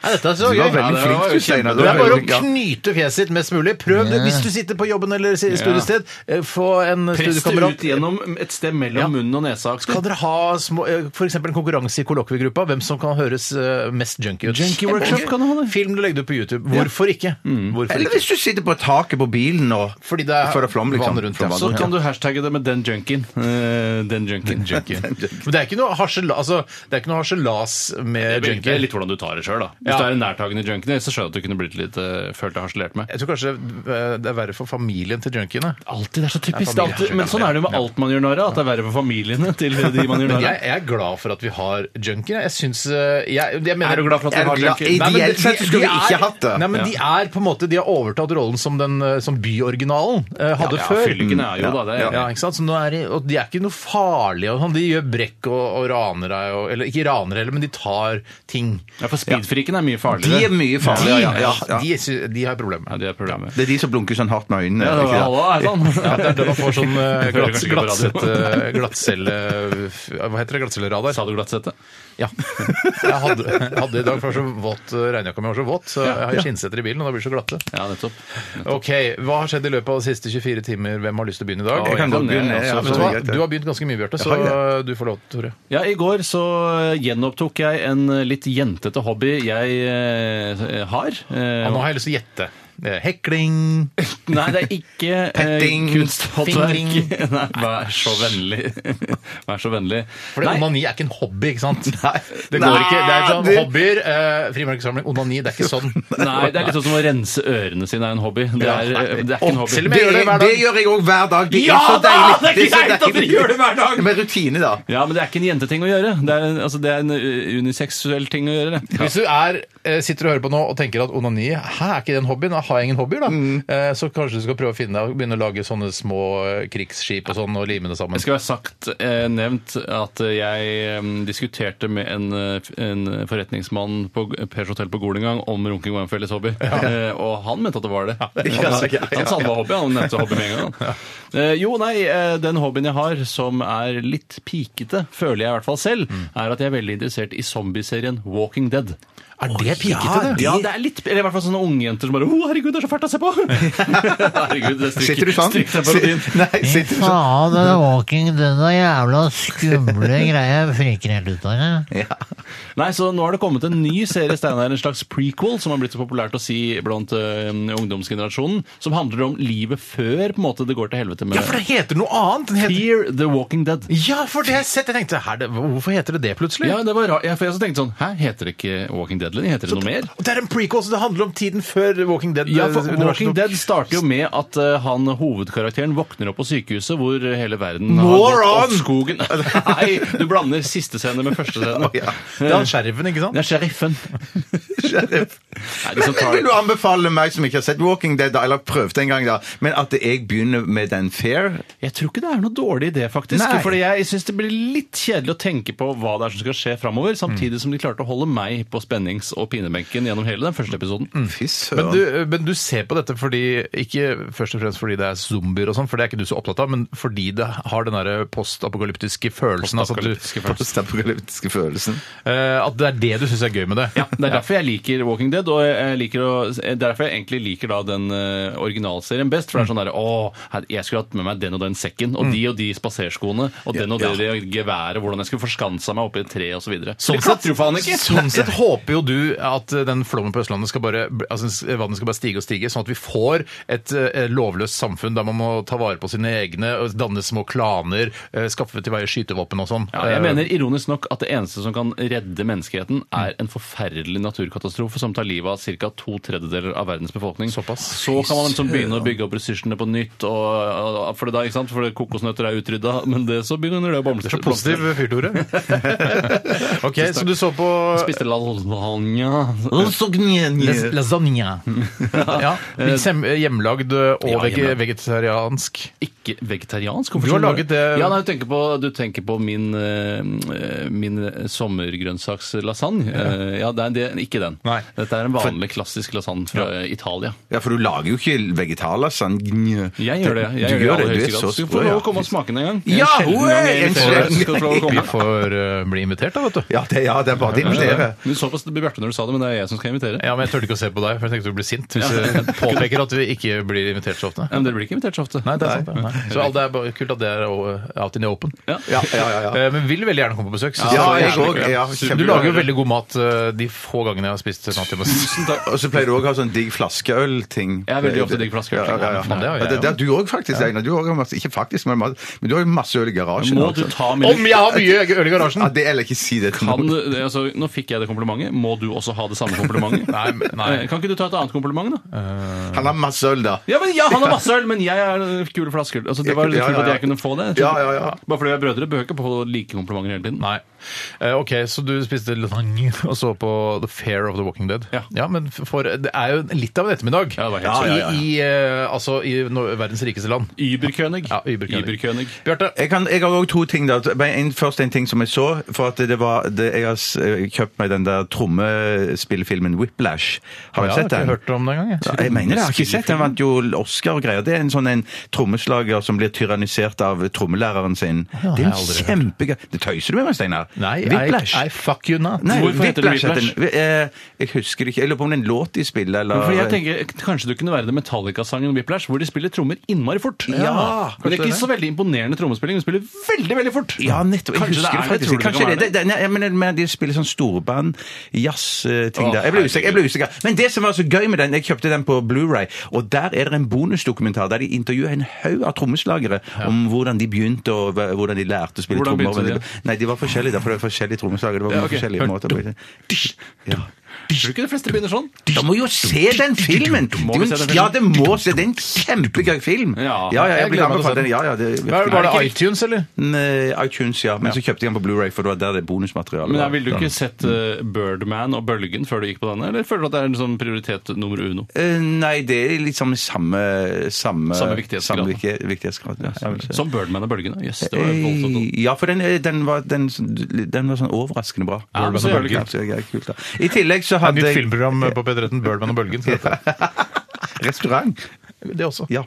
Speaker 7: Nei, dette er så
Speaker 8: Du
Speaker 7: gøy.
Speaker 8: var veldig
Speaker 7: det
Speaker 8: flink,
Speaker 7: var jo
Speaker 8: du, Steinar.
Speaker 7: kjempe-
Speaker 8: Du
Speaker 7: Det
Speaker 8: var
Speaker 7: er bare
Speaker 8: veldig- ja.
Speaker 7: å knyte fjeset ditt mest mulig. Prøv det hvis du sitter på jobben eller i studiested. eh, Få en
Speaker 9: Press det
Speaker 7: studiekamerat.
Speaker 9: ut gjennom et sted mellom
Speaker 7: Ja.
Speaker 9: munnen og nesa. aktig.
Speaker 7: Kan dere ha små, eh, for eksempel en konkurranse i kollokviegruppa? Hvem som kan høres eh, mest junkie ut?
Speaker 9: Junkie workshop
Speaker 7: Kjempegøy.
Speaker 9: kan du ha det.
Speaker 7: Film du legger det ut på YouTube. Hvorfor ikke? Hvorfor
Speaker 8: Eller
Speaker 7: ikke?
Speaker 8: hvis du sitter på taket på bilen og
Speaker 7: Fordi det er
Speaker 8: For å flomme, liksom.
Speaker 7: vann rundt
Speaker 8: For å
Speaker 7: deg.
Speaker 8: vann
Speaker 9: Så kan du hashtagge det med 'den junkien'. Eh, [laughs] den junkien.
Speaker 7: Men det er ikke noe harsela- altså, det er ikke noe harselas med
Speaker 9: Det er
Speaker 7: junkie.
Speaker 9: litt hvordan du tar det sjøl, da.
Speaker 7: Ja.
Speaker 9: Hvis du er en nærtagende junkie, så skjønner jeg at du kunne blitt litt eh, følt deg harselert med.
Speaker 7: Jeg tror kanskje eh, det er verre for familien til junkiene.
Speaker 9: Alltid, det er så typisk.
Speaker 7: Det er familie.
Speaker 9: alltid, men sånn er det jo med alt man gjør narr av. At det er verre for familiene til [laughs] de man
Speaker 7: Men
Speaker 9: gjør narr
Speaker 7: jeg,
Speaker 9: av.
Speaker 7: jeg er glad for at vi har junkier. Jeg syns eh, jeg, jeg mener,
Speaker 9: Er du glad for at vi
Speaker 8: Jeg er
Speaker 9: har
Speaker 8: glad-
Speaker 9: junkier?
Speaker 8: Nei, men Ideelt sett så skulle vi ikke hatt det.
Speaker 7: Nei, men De er på en måte, de har overtatt rollen som, den, eh, som byoriginalen eh, hadde
Speaker 9: Ja,
Speaker 7: før.
Speaker 9: fyllikene er jo
Speaker 8: Mm,
Speaker 9: da det.
Speaker 7: Ja, ikke sant? Så nå er de, og de er ikke noe farlige. og sånn. De gjør brekk og, og raner deg. Og, eller ikke raner heller, men de tar ting.
Speaker 9: Ja, for speedfreaken er mye
Speaker 8: De er
Speaker 9: farligere.
Speaker 8: mye farligere. Ja, ja, ja.
Speaker 7: De, sy- de har problemer.
Speaker 9: Ja, det er problemet.
Speaker 8: Det er de som blunker sånn hardt med øynene.
Speaker 9: Ja,
Speaker 8: ikke sant?
Speaker 9: halla, er sånn.
Speaker 7: Ja, det er da man får
Speaker 9: [laughs]
Speaker 7: sånn eh,
Speaker 9: Det hører
Speaker 7: glatt,
Speaker 9: kanskje ikke på radio.
Speaker 7: glattcelle glattcelle... Hva heter det? Glattcelleradar?
Speaker 9: Sa du glattsette?
Speaker 7: Ja. Jeg hadde, jeg hadde i dag, for så våt eh, regnjakka mi var så våt, så jeg har skinnseter i bilen, og da blir det så glatte.
Speaker 9: Ja, nettopp.
Speaker 7: Ok, Hva har skjedd i løpet av de siste 24 timer? Hvem har lyst til å begynne i dag?
Speaker 9: Jeg kan godt begynne,
Speaker 7: Ja,
Speaker 9: jeg,
Speaker 7: vet
Speaker 8: altså.
Speaker 7: du, hva? du har begynt ganske mye, Bjarte, så eh, du får lov, Tore.
Speaker 9: Ja, I går så eh, gjenopptok jeg en eh, litt jentete hobby jeg eh, har. Eh,
Speaker 7: Ja, nå har jeg lyst til å gjette. Eh, Hekling
Speaker 9: [laughs] Nei, det er ikke
Speaker 8: Petting,
Speaker 9: kunsthåndverk.
Speaker 7: fingring.
Speaker 9: [laughs] Nei, vær så vennlig. [laughs] Vær så vennlig.
Speaker 7: For det-
Speaker 9: Nei.
Speaker 7: onani er ikke en hobby, ikke sant?
Speaker 8: Nei.
Speaker 7: Det går
Speaker 8: Nei,
Speaker 7: ikke. Det er sånn
Speaker 8: det-
Speaker 7: hobbyer, eh, frimerkesamling, onani. Det er ikke sånn.
Speaker 9: [laughs] Nei, det er litt sånn som å rense ørene sine er en hobby. Det er, eh, det er ikke en hobby.
Speaker 7: Selv om jeg gjør det hver dag.
Speaker 8: Det gjør jeg òg hver dag. Det
Speaker 9: Ja
Speaker 8: er så
Speaker 9: da,
Speaker 8: deilig.
Speaker 9: det er
Speaker 8: så
Speaker 9: greit at dere
Speaker 8: deilig.
Speaker 9: gjør det hver dag.
Speaker 8: Med rutine, da.
Speaker 9: Ja, men det er ikke en jenteting å gjøre. Det er en, altså, det er en ø, uniseksuell ting å gjøre. det.
Speaker 7: Hvis du er, eh, sitter og hører på nå og tenker at onani hæ, er ikke den hobbyen, da har jeg ingen hobbyer, da. Eh, Så kanskje du skal prøve å finne deg og begynne å lage sånne små eh, krigsskip og sånn og lime det sammen.
Speaker 9: Det skal være sagt, eh, nevnt, at jeg em, diskuterte med en, eh, f- en forretningsmann på G- Pers Hotel på Gol en gang om runking var en felles hobby. [laughs] Eh, og han mente at det var det. han,
Speaker 7: ja, ja,
Speaker 9: [laughs] han sa det var hobby, han nevnte hobby med en gang. han. Eh, jo, nei, eh, den hobbyen jeg har som er litt pikete, føler jeg i hvert fall selv,
Speaker 7: Mm.
Speaker 9: er at jeg er veldig interessert i zombieserien Walking Dead.
Speaker 7: Er det pikete, det?
Speaker 9: Ja, det er litt Eller i hvert fall sånne unge jenter som bare 'Å, herregud, det er så fælt å
Speaker 7: [laughs]
Speaker 9: se på'. herregud, det stryker,
Speaker 8: Sitter du sånn?
Speaker 9: stryker seg på
Speaker 8: Sit-
Speaker 9: rutinen.
Speaker 8: [laughs] Nei,
Speaker 4: Fy
Speaker 8: sitter du sånn?
Speaker 4: faen, den walking, den er jævla skumle greia. Jeg friker helt ut av det.
Speaker 8: Ja.
Speaker 9: Nei, så nå har det kommet en ny serie, Steinar, en slags prequel, som har blitt så populært å si blant eh, ungdomsgenerasjonen, som handler om livet før på en måte det går til helvete med
Speaker 7: Ja, for det heter noe annet! Den heter...
Speaker 9: Fear the Walking Dead.
Speaker 7: Ja, for det har jeg sett! Jeg tenkte, her, det- Hvorfor heter det det plutselig?
Speaker 9: Ja, det var rart. Ja, for jeg også tenkte sånn, hæ, heter det ikke Walking Dead lenger? Heter det noe mer?
Speaker 7: Det er en prequel, så det handler om tiden før Walking Dead.
Speaker 9: Ja, for
Speaker 7: eh,
Speaker 9: Walking
Speaker 7: universet.
Speaker 9: Dead starter jo med at eh, han hovedkarakteren våkner opp på sykehuset hvor hele verden har gått
Speaker 7: Moron!
Speaker 9: opp skogen. [laughs] Nei, du blander siste scene med første scene.
Speaker 8: ja.
Speaker 7: Det er han sheriffen, ikke sant?
Speaker 9: Det
Speaker 7: [laughs]
Speaker 9: er sheriffen. Nei, de som
Speaker 8: Men
Speaker 9: tar
Speaker 8: vil du anbefale meg som ikke har sett Walking Dead, da, eller prøvd en gang, da, men at jeg begynner med den fair?
Speaker 9: Jeg tror ikke det er noe dårlig idé, faktisk.
Speaker 8: Nei.
Speaker 9: Fordi jeg syns det blir litt kjedelig å tenke på hva det er som skal skje framover, samtidig som de klarte å holde meg på spennings- og pinebenken gjennom hele den første episoden.
Speaker 8: Fy
Speaker 7: Men
Speaker 8: søren.
Speaker 7: du, eh, men du ser på dette fordi, ikke først og fremst fordi det er zombier og sånn, for det er ikke du så opptatt av, men fordi det har den derre postapokalyptiske følelsen. Altså at, du,
Speaker 9: Postapokalyptiske følelsen.
Speaker 8: Postapokalyptiske følelsen.
Speaker 7: eh, at det er det du syns er gøy med det.
Speaker 9: Ja, Det er derfor jeg liker Walking Dead, og jeg liker å, eh, derfor jeg egentlig liker da den eh, originalserien best. For det er sånn derre Å, her- jeg skulle hatt med meg den og den sekken, og de og de spaserskoene, og den og det geværet, hvordan jeg skulle forskansa meg oppi et tre, osv. Sånn sett tror faen ikke!
Speaker 7: Sånn sett håper jo du at eh, den flommen på Østlandet skal bare, altså, vannet skal bare stige og stige, sånn at vi får et eh, lovløst samfunn der man må ta vare på sine egne, og danne små klaner, eh, skaffe til veie skytevåpen og sånn.
Speaker 9: Ja, jeg mener ironisk nok at det eneste som kan redde menneskeheten, er en forferdelig naturkatastrofe som tar livet av ca. to tredjedeler av verdens befolkning. Såpass. Så kan man liksom begynne å bygge opp ressursene på nytt, og, og- for, det da, ikke sant? for det- kokosnøtter er utrydda, men det, så begynner det å blomstre.
Speaker 7: Positiv fyr, Tore. Eh, [laughs] ok, så du så på
Speaker 9: Spiste lasagne [laughs]
Speaker 7: Lasagna. ja, liksom hjemmelagd og
Speaker 9: Ja,
Speaker 7: vege-
Speaker 9: hjemmelagd.
Speaker 7: vegetariansk.
Speaker 9: Ikke vegetariansk?
Speaker 7: Du har laget det-
Speaker 9: Ja, nei, du tenker på, du tenker på min, eh, min sommergrønnsakslasagne. Eh, Ja, det er det, ikke den.
Speaker 7: Nei.
Speaker 9: Dette er en vanlig klassisk lasagne fra eh, Italia.
Speaker 8: Ja, for du lager jo ikke vegetarlasagne.
Speaker 9: Jeg gjør det. jeg
Speaker 8: du
Speaker 9: gjør det, i aller
Speaker 8: Du
Speaker 9: høyeste grad.
Speaker 8: er så
Speaker 9: Du
Speaker 8: sprø,
Speaker 9: får lov å
Speaker 8: ja.
Speaker 9: komme og smake den en gang.
Speaker 8: Ja,
Speaker 9: En sjelden gang jeg
Speaker 8: hoi, en
Speaker 9: inviterer,
Speaker 8: sjelden
Speaker 9: skal du få lov å
Speaker 7: Vi
Speaker 9: komme.
Speaker 7: får eh, bli invitert, da, vet du.
Speaker 8: Ja, det, ja, det er bare å invitere.
Speaker 9: Du så på Bjarte når du sa det, men det er jeg som skal invitere.
Speaker 7: Ja, men Jeg turte ikke å se på deg, for jeg tenkte du ble sint hvis du påpeker at vi ikke blir invitert så ofte.
Speaker 9: Ja, Men dere blir ikke invitert så ofte.
Speaker 7: Nei, det er sant. ja. Nei. Så alt det er bare kult at det er o- out in the open.
Speaker 9: Ja.
Speaker 8: Ja, ja, ja, ja.
Speaker 7: Eh, Men vil veldig gjerne komme på besøk. synes
Speaker 8: Ja,
Speaker 7: det er
Speaker 8: jeg
Speaker 7: jævlig
Speaker 8: også,
Speaker 7: gøy.
Speaker 8: ja,
Speaker 7: du
Speaker 8: kjempebra.
Speaker 7: lager jo veldig god mat eh, de få gangene jeg har spist mat hjemme.
Speaker 9: [laughs]
Speaker 8: Og så pleier du òg å ha sånn digg flaskeøl-ting.
Speaker 9: Jeg er veldig ofte digg flaskeøl.
Speaker 8: Ja, ja, ja.
Speaker 7: Faen, det har jeg
Speaker 8: Ja, det, det er du òg, faktisk. Einar. Du også har masse, ikke faktisk, men, masse, men du har jo masse øl i garasjen.
Speaker 9: Må du
Speaker 8: altså.
Speaker 9: ta
Speaker 7: Om
Speaker 9: min...
Speaker 7: jeg har mye øl i garasjen!
Speaker 8: ja, det, eller ikke si det til
Speaker 9: Kan,
Speaker 8: noen.
Speaker 9: altså, nå fikk jeg det komplimentet. Må du også ha det samme [laughs] komplimentet?
Speaker 7: Nei, men- nei.
Speaker 9: Eh, Kan ikke du ta et annet kompliment, da?
Speaker 8: Han har masse øl, da.
Speaker 9: Ja, men ja, han har masse øl, men jeg er kule flasker. Altså, det var litt
Speaker 8: Ja, ja,
Speaker 9: kult at
Speaker 8: ja.
Speaker 9: jeg kunne få det.
Speaker 8: Ja, ja, ja.
Speaker 9: Bare fordi vi er brødre, behøver ikke på like komplimenter hele tiden.
Speaker 7: Nei. Eh, OK, så du spiste lasagne og så på The Fair of the Walking Dead.
Speaker 9: Ja.
Speaker 7: men for det er jo litt av en ettermiddag
Speaker 9: Ja, det var helt sant.
Speaker 7: I, i, eh, altså, i no verdens rikeste land.
Speaker 9: Überkönig.
Speaker 7: Ja, Überkönig.
Speaker 9: Überkönig.
Speaker 7: Bjarte,
Speaker 8: Jeg, kan, jeg har òg to ting. da Men en, Først en ting som jeg så. For at det var det, Jeg har s- kjøpt meg den der trommespillfilmen Whiplash. Har
Speaker 7: Ja,
Speaker 8: jeg sett
Speaker 7: jeg har
Speaker 8: den?
Speaker 7: ikke hørt om den engang, jeg.
Speaker 8: Ja, jeg mener det, jeg har ikke sett den. Vant jo Oscar og greier. Det er en sånn en trommeslager som blir tyrannisert av trommelæreren sin. det er
Speaker 7: har jeg
Speaker 8: en
Speaker 7: aldri
Speaker 8: kjempegøy Det tøyser du med meg, Steinar?
Speaker 7: nei,
Speaker 8: Whiplash.
Speaker 7: I, I fuck you not.
Speaker 8: Nei,
Speaker 9: Hvorfor heter det
Speaker 8: Whiplash heter den. Eh, Jeg husker det ikke. Jeg lurer på om det er en låt de spiller, eller
Speaker 9: Fordi jeg tenker, Kanskje du kunne være det Metallica-sangen Whiplash, hvor de spiller trommer innmari fort.
Speaker 8: Ja,
Speaker 9: Men det er
Speaker 7: kanskje
Speaker 9: ikke så veldig imponerende trommespilling. De spiller veldig veldig fort.
Speaker 8: Ja, nettopp. Jeg
Speaker 9: Kanskje
Speaker 8: husker det
Speaker 9: er
Speaker 8: faktisk.
Speaker 9: Tror du
Speaker 8: Kanskje
Speaker 9: kan
Speaker 8: det,
Speaker 9: være
Speaker 8: det, det, nei, jeg mener, men de spiller sånn storband, jazz-ting
Speaker 9: Å,
Speaker 8: der. Jeg ble, usikker, jeg ble usikker. Men det som var så gøy med den, jeg kjøpte den på Blu-ray, og der er det en bonusdokumentar der de intervjuer en haug av trommeslagere om hvordan de begynte og hva- hvordan de lærte å spille
Speaker 9: Hvordan
Speaker 8: trommer.
Speaker 9: begynte de?
Speaker 8: Hvordan Nei, de var forskjellige, derfor det var forskjellige trommeslagere. Det var
Speaker 9: Ja,
Speaker 8: mange
Speaker 9: ok.
Speaker 8: forskjellige måter. å bli- Ja.
Speaker 9: Tror du ikke de fleste begynner sånn?
Speaker 8: Da må jo se den filmen!
Speaker 9: Må vi
Speaker 8: Det er jo en-
Speaker 9: se den filmen?
Speaker 8: Ja, det må se! Det er en kjempegøy film!
Speaker 9: Ja,
Speaker 8: ja,
Speaker 7: jeg
Speaker 8: jeg blir
Speaker 7: gleder meg til å se
Speaker 8: anbefalt den. Ja, ja, det,
Speaker 7: Hva- Var det iTunes, eller?
Speaker 8: Nei, iTunes, ja. Men så kjøpte eh, jeg den på Blu-ray, for det var der det bonusmaterialet
Speaker 9: Men
Speaker 8: var.
Speaker 9: jeg Ville du ikke sett eh, Birdman og Bølgen før du gikk på denne? Eller føler du at det er en sånn prioritet nummer uno?
Speaker 8: Eh, nei, det er liksom samme Samme,
Speaker 9: Samme viktighetsgrad.
Speaker 8: samme viktig- viktighetsgrad, ja, jeg vil si.
Speaker 9: Som Birdman og Bølgen, da. Jøss, det var voldsomt.
Speaker 8: Eh, ja, for den, eh, den, var, den, den var sånn overraskende bra. Altså,
Speaker 9: Ja, men så gjør det
Speaker 8: Ja,
Speaker 9: kult.
Speaker 8: så er det kult, da. I tillegg så hadde
Speaker 7: Nytt
Speaker 8: jeg
Speaker 7: filmprogram på P13, Birdman og Bølgen. [laughs] skal det hete.
Speaker 8: restaurant.
Speaker 7: Det også.
Speaker 8: Ja.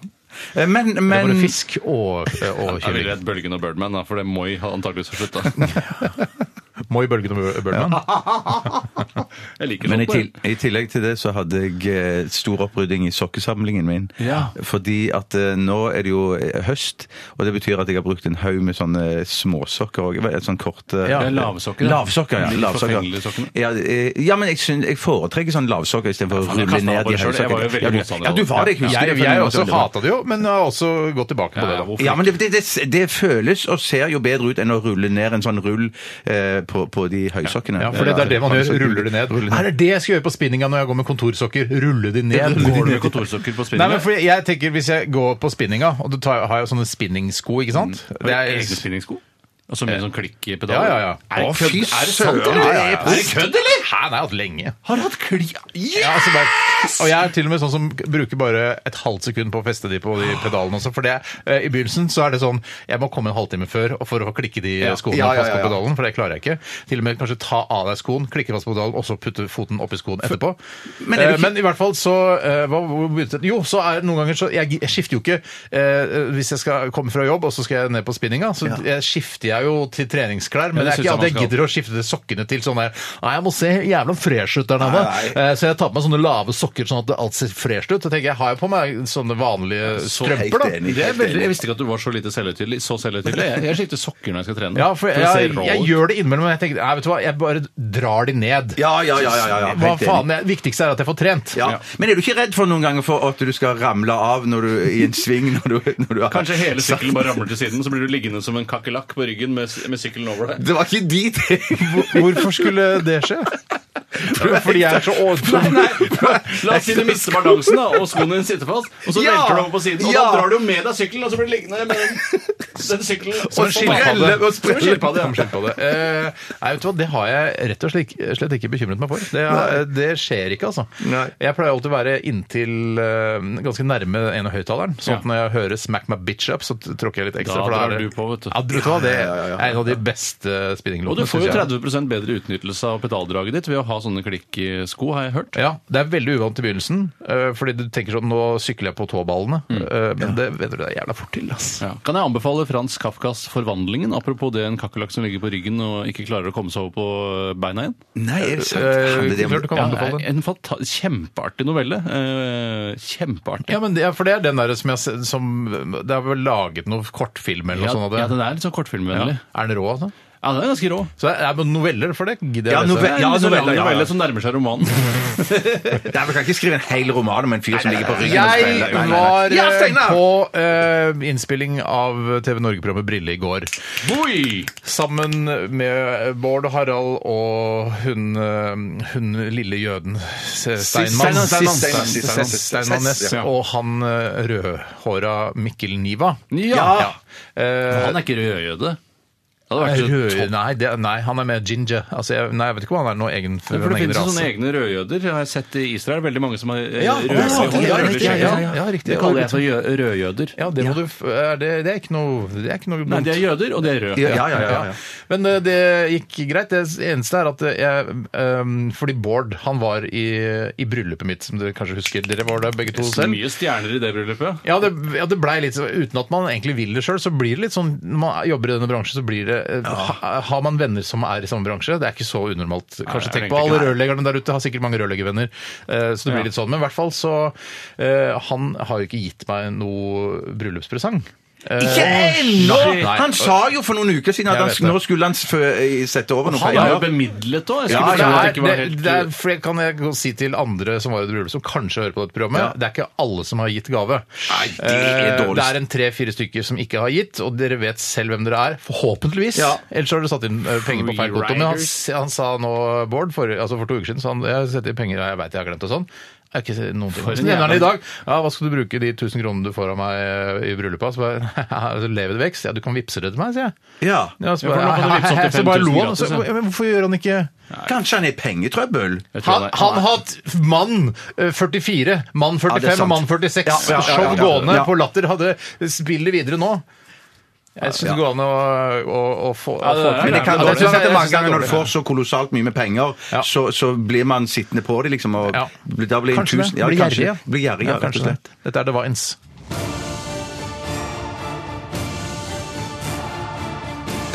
Speaker 8: Eh, Men,
Speaker 7: Det er
Speaker 8: men
Speaker 7: Bare fisk og, eh, og
Speaker 9: Jeg ville
Speaker 7: kylling.
Speaker 9: redd Bølgen og Birdman, da, for det Moi har antakeligvis slutta.
Speaker 7: Moi, Bølgen og Birdman.
Speaker 9: Jeg liker
Speaker 8: Men i,
Speaker 9: låten.
Speaker 8: til, i tillegg til det så hadde jeg eh, stor opprydding i sokkesamlingen min.
Speaker 9: Ja.
Speaker 8: Fordi at eh, nå er det jo eh, høst, og det betyr at jeg har brukt en haug med sånne småsokker òg. Sånn korte
Speaker 9: Ja, lavsokker, da.
Speaker 8: Lavsokker, ja.
Speaker 9: De forfengelige
Speaker 8: Lavsokker.
Speaker 9: sokkene.
Speaker 8: Ja, eh, ja, men jeg, syn- jeg foretrekker sånn lavsokker istedenfor å
Speaker 9: faen, jeg
Speaker 8: rulle
Speaker 9: kastet
Speaker 8: ned
Speaker 9: meg
Speaker 8: de
Speaker 9: på det selv. Jeg var jo
Speaker 8: høysokkene.
Speaker 9: veldig
Speaker 8: Ja, du-
Speaker 9: motstander
Speaker 8: ja,
Speaker 9: av
Speaker 8: du
Speaker 9: det.
Speaker 8: var det, jeg husker
Speaker 7: Jeg,
Speaker 8: det. for
Speaker 7: jeg
Speaker 8: det var
Speaker 7: også
Speaker 8: veldig bra.
Speaker 7: hata det jo, men har også gått tilbake på det. da.
Speaker 8: Ja, men det, det, det, det føles og ser jo bedre ut enn å rulle ned en sånn rull eh, på, på de høysokkene.
Speaker 7: Ja, for det, det er det man gjør. Ruller de ned.
Speaker 8: ned.
Speaker 7: Er det det jeg skal gjøre på spinninga når jeg går med kontorsokker? Rulle de ned?
Speaker 9: Går du med kontorsokker på
Speaker 7: Nei, men
Speaker 9: spinninga?
Speaker 7: for jeg, jeg tenker Hvis jeg går på spinninga, og du tar, har jo sånne spinningsko, ikke sant
Speaker 9: Har du egne spinningsko? Altså med sånn klikkpedal?
Speaker 7: Ja, ja, ja.
Speaker 9: Er det
Speaker 7: Mm. Å,
Speaker 9: kødd?
Speaker 7: fy
Speaker 9: Er det
Speaker 7: søren,
Speaker 9: sant, eller?
Speaker 7: ja, ja, ja.
Speaker 9: Er det kødd, eller?
Speaker 7: Hæ, nei, hatt lenge.
Speaker 9: Har du hatt klikk?
Speaker 7: Ja, altså bare, og jeg er til og med sånn som bruker bare et halvt sekund på å feste de på de
Speaker 8: Ah.
Speaker 7: pedalene også. For det, eh, i begynnelsen så er det sånn Jeg må komme en halvtime før og for å klikke de eh, skoene
Speaker 8: Ja, ja,
Speaker 7: fast
Speaker 8: ja,
Speaker 7: på
Speaker 8: ja.
Speaker 7: pedalen, for det klarer jeg ikke. Til og med kanskje ta av deg skoen, klikke fast på pedalen, og så putte foten oppi skoen etterpå.
Speaker 8: Men
Speaker 7: Men,
Speaker 8: er det ikke-
Speaker 7: men i hvert fall så eh, hva, hvor begynte det? Jo, så er det noen ganger så jeg, jeg skifter jo ikke eh, Hvis jeg skal komme fra jobb, og så skal jeg ned på spinninga, så jeg skifter jeg jo til treningsklær. Men
Speaker 9: det
Speaker 7: det er
Speaker 9: synes jeg
Speaker 7: ikke at
Speaker 9: man
Speaker 7: jeg
Speaker 9: skal.
Speaker 7: gidder å skifte sokkene til sånn der Nei, jeg må se jævla fresh ut der nede.
Speaker 8: Nei,
Speaker 7: Eh, Så jeg tar på meg sånne lave sokker sånn at det alt ser fresh ut. Så tenker jeg, har jeg på meg sånne vanlige strømper,
Speaker 8: helt
Speaker 7: da?
Speaker 8: enig.
Speaker 9: Det er veldig, jeg visste ikke at du var så lite selvhøytidelig. Så selvhøytidelig. Jeg, [laughs] jeg skifter sokker når jeg skal trene.
Speaker 7: Ja, for jeg,
Speaker 9: det ser
Speaker 7: jeg,
Speaker 9: rå ut.
Speaker 7: gjør det innimellom, men jeg tenker, nei, vet du hva, jeg bare drar de ned.
Speaker 8: Ja, ja, ja, ja, ja, ja.
Speaker 7: Hva
Speaker 8: Helt enig.
Speaker 7: faen, det viktigste er at jeg får trent.
Speaker 8: Ja. Men er du ikke redd for noen ganger for at du skal ramle av når du, i en sving? Når du, når du har,
Speaker 9: Kanskje hele sykkelen bare ramler til siden, så blir du liggende som en kakerlakk på ryggen med, med sykkelen over deg.
Speaker 8: Det var ikke de ting!
Speaker 7: Hvor- Hvorfor skulle det skje? Fordi jeg er så
Speaker 9: La oss si du mister balansen, da, og skoene dine sitter fast, og så
Speaker 8: Ja!
Speaker 9: velter du over på siden. Og
Speaker 8: Ja!
Speaker 9: da drar du jo med deg sykkelen, og så blir du liggende med [laughs] den, den sykkelen.
Speaker 7: Som en
Speaker 9: på bakken.
Speaker 7: skilpadde.
Speaker 8: Eller å sprelle.
Speaker 7: Som en skilpadde, ja. Eh, nei, vet du hva, det har jeg rett og slett, slett ikke bekymret meg for. Det, er- det skjer ikke, altså.
Speaker 8: Nei.
Speaker 7: Jeg pleier alltid å være inntil eh, ganske nærme den ene høyttaleren. Sånn at når jeg hører 'Smack my bitch up', så tråkker jeg litt ekstra.
Speaker 9: Da
Speaker 7: for
Speaker 9: drar
Speaker 7: er det-
Speaker 9: du på, vet du.
Speaker 7: Ja, vet du hva, det er en av de beste
Speaker 9: Og
Speaker 7: spinninglåtene.
Speaker 9: du får jo
Speaker 7: synes jeg.
Speaker 9: 30 bedre utnyttelse av pedaldraget ditt ved å ha sånne klikksko, har jeg hørt.
Speaker 7: Ja, Det er veldig uvant i begynnelsen, eh, fordi du tenker sånn Nå sykler jeg på tåballene. Eh, Men det vet du, det er jævla fort til, ass.
Speaker 9: Ja. Kan jeg anbefale Frans Kafkas 'Forvandlingen'? Apropos det en kakerlakk som ligger på ryggen og ikke klarer å komme seg over på beina igjen.
Speaker 8: Nei, er det sant?
Speaker 7: Eh,
Speaker 8: Handler det om-
Speaker 7: klart du kan
Speaker 9: Ja,
Speaker 7: anbefale den.
Speaker 9: en fanta kjempeartig novelle. Eh, kjempeartig.
Speaker 7: Ja, men det, er- for det er den der som jeg ser- som, Det er vel laget noen kortfilm eller noe sånt av det.
Speaker 9: ja, den er litt sånn kortfilmvennlig. Ja.
Speaker 7: Er den rå, altså?
Speaker 9: den er ganske rå.
Speaker 7: Så det er bare noveller for det? Gidder
Speaker 8: Ja,
Speaker 7: jeg å lese.
Speaker 9: Ja,
Speaker 8: novell- ja,
Speaker 9: en novelle,
Speaker 8: novelle, ja, ja.
Speaker 9: novelle som nærmer
Speaker 7: [laughs]
Speaker 9: seg romanen.
Speaker 8: Nei, vi kan ikke skrive en hel roman om en fyr som ligger på ryggen og
Speaker 7: Jeg
Speaker 8: spreller. Nei, nei, nei.
Speaker 7: var
Speaker 8: Ja,
Speaker 7: eh,
Speaker 8: Steinar!
Speaker 7: på eh, innspilling av TV Norge-programmet Brille i går.
Speaker 9: Oi!
Speaker 7: Sammen med Bård og Harald og hun, eh, hun lille jøden Se- Steinmann.
Speaker 8: Steinmann, Steinmann, Steinmann,
Speaker 7: Steinmann, Steinmann Næss
Speaker 9: Ja.
Speaker 7: og han eh, rødhåra Mikkel Niva.
Speaker 9: Ja!
Speaker 7: Ja. Eh,
Speaker 9: Han er ikke rødjøde. Det hadde vært så
Speaker 7: Rød,
Speaker 9: topp.
Speaker 7: nei, det, nei, han er mer ginger. Altså, jeg, nei, jeg vet ikke om han er noe egen,
Speaker 9: Ja, For
Speaker 7: en
Speaker 9: det
Speaker 7: egen
Speaker 9: finnes jo
Speaker 7: rase.
Speaker 9: sånne egne rødjøder. Jeg har sett i Israel veldig mange som har eh,
Speaker 7: Ja,
Speaker 9: rødlig
Speaker 7: ja,
Speaker 9: hår,
Speaker 7: ja,
Speaker 9: rødlig
Speaker 7: ja,
Speaker 9: skjegg.
Speaker 7: ja, ja, ja, riktig.
Speaker 9: Det kaller jeg for jø- rødjøder.
Speaker 7: Ja, det, må du, f- er det, det er ikke noe Det er ikke noe
Speaker 9: Nei,
Speaker 7: dumt.
Speaker 9: de er jøder, og de er røde.
Speaker 8: Ja, ja, ja, ja, ja.
Speaker 7: Men eh, det gikk greit. Det eneste er at jeg ehm, Fordi Bård, han var i, i bryllupet mitt, som dere kanskje husker. Dere var der begge to
Speaker 9: Det er
Speaker 7: selv.
Speaker 9: mye stjerner i det bryllupet.
Speaker 7: Ja, det, ja, det blei litt så- Uten at man egentlig vil det sjøl, så blir det litt sånn Når man jobber i denne bransjen, så blir det eh, ha, Har man venner som er i samme bransje? Det er ikke så unormalt. Kanskje
Speaker 9: det er
Speaker 7: tenk på
Speaker 9: egentlig
Speaker 7: alle
Speaker 9: ikke-
Speaker 7: rørleggerne der ute, har sikkert mange rørleggervenner. eh, Så det blir
Speaker 9: Ja.
Speaker 7: litt sånn. Men i hvert fall så eh, Han har jo ikke gitt meg noe bryllupspresang. Eh,
Speaker 8: Ikke ennå!
Speaker 7: Nei.
Speaker 8: Han sa jo for noen uker siden at
Speaker 7: Jeg
Speaker 8: han,
Speaker 7: vet det.
Speaker 8: nå skulle han fø- sette over noe.
Speaker 9: Han
Speaker 8: penger.
Speaker 9: er jo bemidlet òg.
Speaker 7: Ah, Ja, det,
Speaker 9: Jeg skulle tro at
Speaker 7: er,
Speaker 9: det ikke var
Speaker 7: det,
Speaker 9: helt
Speaker 7: det er, for det kan jeg si til andre som var i et bryllup, som kanskje hører på dette programmet.
Speaker 8: Ja.
Speaker 7: Det er ikke alle som har gitt gave.
Speaker 8: Nei, det er
Speaker 7: Eh,
Speaker 8: dårlig.
Speaker 7: det er en tre-fire stykker som ikke har gitt, og dere vet selv hvem dere er. Forhåpentligvis.
Speaker 8: Ja.
Speaker 7: Ellers har dere satt inn eh, penger på feil konto. Men han, s- han sa nå, Bård, for, altså for to uker siden, så han, jeg setter inn penger, jeg veit jeg har glemt det og sånn. Jeg har ikke noen ting. Så nevner han det i dag. Ja, hva skal du bruke de 1000 kronene du får av meg eh, i bryllupet? Så bare, [laughs] altså, lever det vekst? Ja, du kan vippse det til meg, sier jeg.
Speaker 8: Ja.
Speaker 7: Ja, så
Speaker 9: Ja, for
Speaker 7: bare,
Speaker 9: nå kan du vippse opp
Speaker 7: [laughs]
Speaker 9: til
Speaker 7: så bare
Speaker 9: 5000
Speaker 7: lo han.
Speaker 9: gratis,
Speaker 7: Så,
Speaker 9: ja.
Speaker 7: men hvorfor gjør han ikke
Speaker 8: Kanskje han er i pengetrøbbel?
Speaker 9: Jeg tror
Speaker 7: han, han har hatt mann eh, 44, mann
Speaker 8: Ja, det er
Speaker 7: 45 og
Speaker 8: sant.
Speaker 7: mann 46.
Speaker 8: Ja, ja, ja, ja,
Speaker 7: Show
Speaker 8: ja.
Speaker 7: gående
Speaker 8: Ja.
Speaker 7: på Latter. Hadde spillet videre nå. Jeg syns det går an å, å, å få å få
Speaker 9: det er-
Speaker 7: til
Speaker 8: Men det kan
Speaker 9: Ja,
Speaker 8: godt
Speaker 9: det synes
Speaker 7: jeg-
Speaker 8: være at det er
Speaker 7: jeg
Speaker 8: mange
Speaker 7: synes
Speaker 8: ganger når du
Speaker 7: dårlig.
Speaker 8: får så kolossalt mye med penger,
Speaker 7: Ja.
Speaker 8: så, så blir man sittende på det, liksom. Og
Speaker 7: Ja.
Speaker 8: blir- da blir en
Speaker 7: Kanskje det.
Speaker 8: tusen ja,
Speaker 7: Blir
Speaker 8: kanskje
Speaker 7: gjerrig,
Speaker 8: det. Blir gjerrig, ja,
Speaker 7: Ja,
Speaker 8: rett og
Speaker 7: kanskje
Speaker 8: slett.
Speaker 7: det. Dette er The Vines.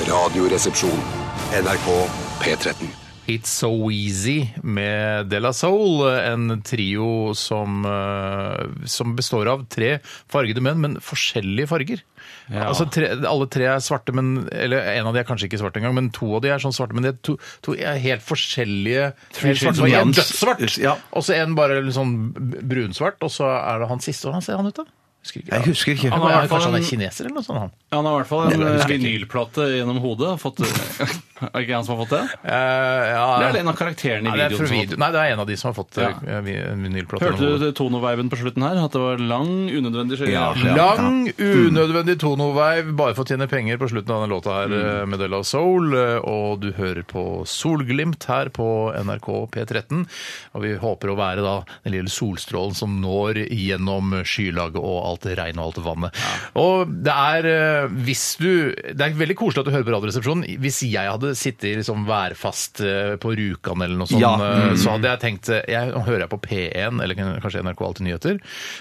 Speaker 6: Radioresepsjon. NRK P13.
Speaker 7: It's So Easy med De La Soul, en trio som, eh, som består av tre fargede menn, men forskjellige farger. Altså tre, Alle tre er svarte, men eller en av de er kanskje ikke svart engang, men to av de er sånn svarte, men de er, to, to er helt forskjellige helt
Speaker 8: shades
Speaker 7: svarte, og
Speaker 8: of
Speaker 7: En
Speaker 8: Jans.
Speaker 7: dødssvart,
Speaker 8: Sånn Ja.
Speaker 7: og så en bare litt sånn brunsvart, og så er det han siste. Hvordan ser han ut, da? Husker ikke.
Speaker 8: Jeg husker ikke.
Speaker 7: Han
Speaker 9: Han er i
Speaker 7: er,
Speaker 9: hvert fall
Speaker 7: kanskje han er
Speaker 9: en-
Speaker 7: kineser eller noe sånt? han.
Speaker 9: Han har i hvert fall en eh,
Speaker 7: Nei, jeg husker ikke.
Speaker 9: vinylplate gjennom hodet. Fått, eh, [laughs] er det ikke han som har fått det?
Speaker 7: Eh, ja,
Speaker 9: Det er vel en av karakterene
Speaker 7: Nei,
Speaker 9: i
Speaker 7: det er fra
Speaker 9: videoen. som har
Speaker 7: video. Nei, det er en av de som har fått
Speaker 9: Ja.
Speaker 7: eh, vi- en vinylplate.
Speaker 9: fått det. Hørte du tonoveiben på slutten her? At det var lang, unødvendig skjøring?
Speaker 8: Ja. Mm.
Speaker 7: Lang, unødvendig tonoveiv bare for å tjene penger på slutten av denne låta her
Speaker 8: Mm.
Speaker 7: eh, med Della Soul. eh, Og du hører på Solglimt her på NRK P13. Og vi håper å være da den lille solstrålen som når gjennom skylaget og alt regnet og alt vannet. Og det er eh, hvis du Det er veldig koselig at du hører på Radioresepsjonen. Hvis jeg hadde sittet liksom værfast eh, på Rjukan eller noe sånt,
Speaker 8: Ja.
Speaker 7: eh, så hadde jeg tenkt eh, jeg, Nå hører jeg på P1 eller kanskje NRK Alltid Nyheter.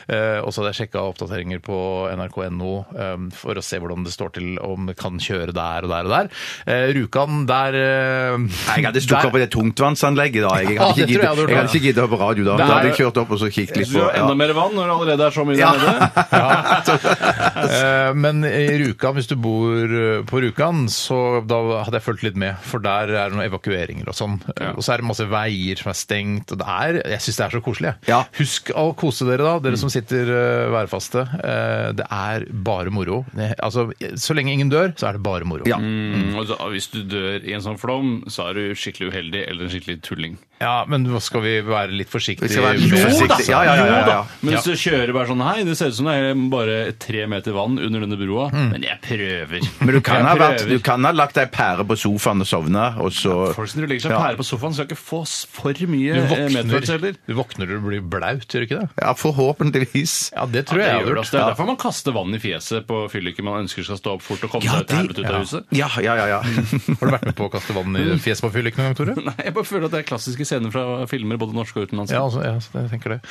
Speaker 7: eh, Og så hadde jeg sjekka oppdateringer på nrk.no eh, for å se hvordan det står til, om det kan kjøre der og der og der. Eh, Rjukan, der eh,
Speaker 8: Nei, jeg hadde
Speaker 7: [laughs]
Speaker 8: stukket
Speaker 7: der-
Speaker 8: opp i det tungtvannsanlegget da. Jeg
Speaker 7: Ja,
Speaker 8: hadde
Speaker 7: det tror jeg hadde
Speaker 8: ikke giddet-
Speaker 7: gjort,
Speaker 8: jeg
Speaker 7: ja.
Speaker 8: hadde ikke giddet å høre på radio da.
Speaker 7: Det
Speaker 8: Da hadde
Speaker 7: er-
Speaker 8: jeg kjørt opp og så kikket litt
Speaker 9: Du
Speaker 8: på.
Speaker 9: har enda
Speaker 8: Ja.
Speaker 9: mer vann når det allerede er så mye der nede.
Speaker 8: [laughs]
Speaker 7: Eh, Men i Rjukan, hvis du bor eh, på Rjukan, så da hadde jeg fulgt litt med. For der er det noen evakueringer og sånn. Eh, Og så er det masse veier som er stengt. Og det er, jeg syns det er så koselig. jeg.
Speaker 8: Ja.
Speaker 7: Husk å kose dere, da,
Speaker 9: Mm.
Speaker 7: dere som sitter eh, værfaste. Eh, Det er bare moro. Det- Altså, så lenge ingen dør, så er det bare moro.
Speaker 8: Ja.
Speaker 9: Mm, og så, hvis du dør i en sånn flom, så er du skikkelig uheldig eller en skikkelig tulling.
Speaker 7: Ja, men nå skal vi være litt forsiktige?
Speaker 8: Vi skal være litt
Speaker 7: med- Jo
Speaker 8: forsiktige.
Speaker 7: da!
Speaker 8: Ja, ja, ja, ja, ja.
Speaker 9: Jo da, Men hvis du kjører bare sånn Hei, det ser ut som det er bare tre meter vann under denne broa, men jeg prøver.
Speaker 8: Mm. Men du kan,
Speaker 9: Jeg
Speaker 8: ha vært,
Speaker 9: prøver.
Speaker 8: du kan ha lagt deg pære på sofaen og sovna, og så
Speaker 9: Folk som legger seg
Speaker 8: Ja.
Speaker 9: pære på sofaen, skal ikke få s- for mye
Speaker 7: Du
Speaker 9: eh, medfølelse
Speaker 7: våkner,
Speaker 9: heller.
Speaker 7: du våkner og du blir blaut, gjør du ikke det?
Speaker 8: Ja, forhåpentligvis.
Speaker 7: Ja, det tror
Speaker 9: Ja, det
Speaker 7: jeg jeg
Speaker 9: gjør
Speaker 7: har gjort.
Speaker 9: det, altså. Det er derfor man kaster vann i fjeset på fylliker man ønsker skal stå opp fort og komme seg ut, helvete ut av huset. [laughs]
Speaker 8: Ja, ja, ja. ja.
Speaker 7: Har du vært med på å kaste vann
Speaker 9: Mm.
Speaker 7: i fjeset på fyllik noen gang, Tore?
Speaker 9: Nei, jeg bare føler at det er klassiske scener fra filmer, både norske og utenlandske.
Speaker 7: Ja, altså, ja, så jeg tenker det.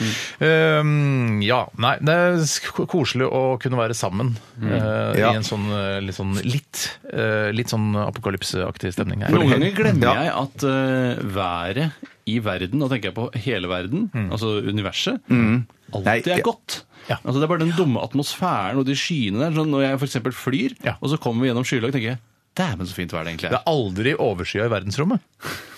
Speaker 7: Ehm, ja, nei, det er sk- koselig å kunne være sammen eh,
Speaker 8: Ja.
Speaker 7: i en sånn eh, litt sånn litt, eh, litt sånn apokalypseaktig stemning. her.
Speaker 9: Noen ganger glemmer
Speaker 8: Ja.
Speaker 9: jeg at eh, været i verden, da tenker jeg på hele verden, altså universet,
Speaker 8: Mm. Nei,
Speaker 9: alltid
Speaker 8: ja.
Speaker 9: er godt.
Speaker 7: Mm. Ja.
Speaker 9: Altså Det er bare den dumme atmosfæren og de skyene der. Sånn når jeg f.eks. flyr,
Speaker 7: Ja.
Speaker 9: og så kommer vi gjennom skylag, tenker jeg Dæven, så fint vær det egentlig
Speaker 7: Det
Speaker 9: er.
Speaker 7: er aldri overskya i verdensrommet.
Speaker 9: [laughs]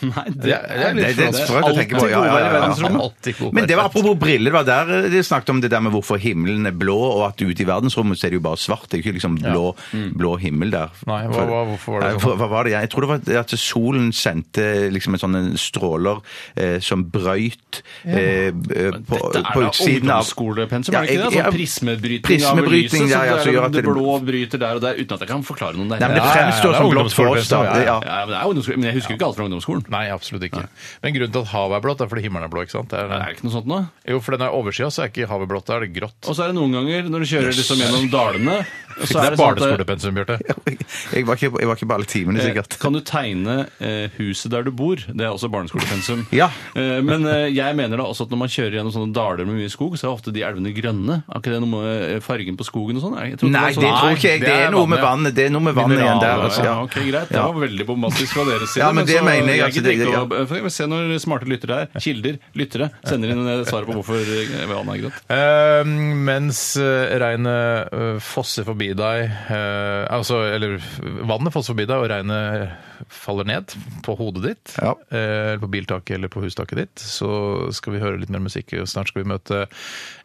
Speaker 9: Nei,
Speaker 7: Det er- det er litt
Speaker 8: Det, det er
Speaker 7: flott.
Speaker 8: sprøtt å tenke på.
Speaker 9: alltid
Speaker 8: Ja, ja,
Speaker 9: godvær i
Speaker 8: ja, ja.
Speaker 9: verdensrommet.
Speaker 7: Alltid god
Speaker 8: Men det var
Speaker 7: verden.
Speaker 8: apropos briller, det var der eh, de snakket om det der med hvorfor himmelen er blå, og at ute i verdensrommet så er det jo bare svart. Det er jo ikke liksom blå,
Speaker 9: Mm.
Speaker 8: blå himmel der.
Speaker 7: Nei, hva-
Speaker 8: For-
Speaker 7: hva- hvorfor var det
Speaker 8: Nei,
Speaker 7: sånn?
Speaker 8: hva- hva var det? Jeg tror det var at solen sendte liksom en sånn stråler eh, som brøyt eh, på,
Speaker 9: Dette er
Speaker 8: på
Speaker 9: da
Speaker 8: utsiden av
Speaker 9: ungdomsskolepensum,
Speaker 8: Ja,
Speaker 9: er det ikke det?
Speaker 8: jeg-
Speaker 9: Sånn
Speaker 8: jeg-
Speaker 9: prismebryting,
Speaker 8: prismebryting,
Speaker 9: av lyset,
Speaker 8: ja,
Speaker 9: så
Speaker 8: ja, som
Speaker 9: det,
Speaker 8: gjør
Speaker 9: er
Speaker 8: at
Speaker 9: det
Speaker 8: det-
Speaker 9: blå bryter der og der, uten at jeg kan forklare noen der.
Speaker 8: Nei, men det
Speaker 7: Ja, ja, ja, det
Speaker 8: fremstår
Speaker 7: er
Speaker 8: som blått for oss, da.
Speaker 7: ungdomsskolepensum, ja,
Speaker 8: Ja.
Speaker 7: ja.
Speaker 9: ja, men, det er ungdomsskole, men jeg husker jo ikke alt fra ungdomsskolen.
Speaker 7: Nei, absolutt ikke. Men grunnen til at havet er blått, er fordi himmelen er blå. ikke sant? Det
Speaker 9: Er
Speaker 7: er,
Speaker 9: det ikke noe sånt nå?
Speaker 7: jo, for den er overskya, så er ikke havet blått, da er det grått.
Speaker 9: Og så er det noen ganger når du kjører liksom gjennom dalene så er det sånn at,
Speaker 7: barneskolepensum, Bjarte.
Speaker 8: [laughs] Jeg var, ikke, jeg var ikke på alle timene,
Speaker 9: eh,
Speaker 8: sikkert.
Speaker 9: Kan du tegne eh, huset der du bor? Det er også barneskolepensum.
Speaker 8: Ja.
Speaker 9: Eh, men eh, jeg mener da også at når man kjører gjennom sånne daler med mye skog, så er ofte de elvene grønne. Er ikke det noe med eh, fargen på skogen og sånn? Jeg tror ikke
Speaker 8: Nei,
Speaker 9: er
Speaker 8: det
Speaker 9: sånn-
Speaker 8: tror ikke jeg.
Speaker 7: det
Speaker 8: Det
Speaker 7: er
Speaker 8: er noe med
Speaker 7: vannet.
Speaker 8: vannet Det er noe med vannet igjen der.
Speaker 9: Ja,
Speaker 8: Altså,
Speaker 9: ja,
Speaker 8: ja.
Speaker 9: ok, greit. Det var veldig bombastisk fra deres side.
Speaker 8: Ja, men det
Speaker 9: så-
Speaker 8: mener jeg, altså,
Speaker 9: gidder
Speaker 8: det-
Speaker 9: ikke
Speaker 8: ja.
Speaker 9: å- for jeg vil se når smarte lyttere her, kilder, lyttere, sender inn eh, svaret på hvorfor eh, vannet er grått.
Speaker 7: Eh, mens eh, regnet eh, fosser forbi deg eh, Altså, eller vannet fosser forbi deg, og regnet faller ned på hodet ditt,
Speaker 8: Ja.
Speaker 7: eh, eller på biltaket eller på hustaket ditt, så skal vi høre litt mer musikk. og Snart skal vi møte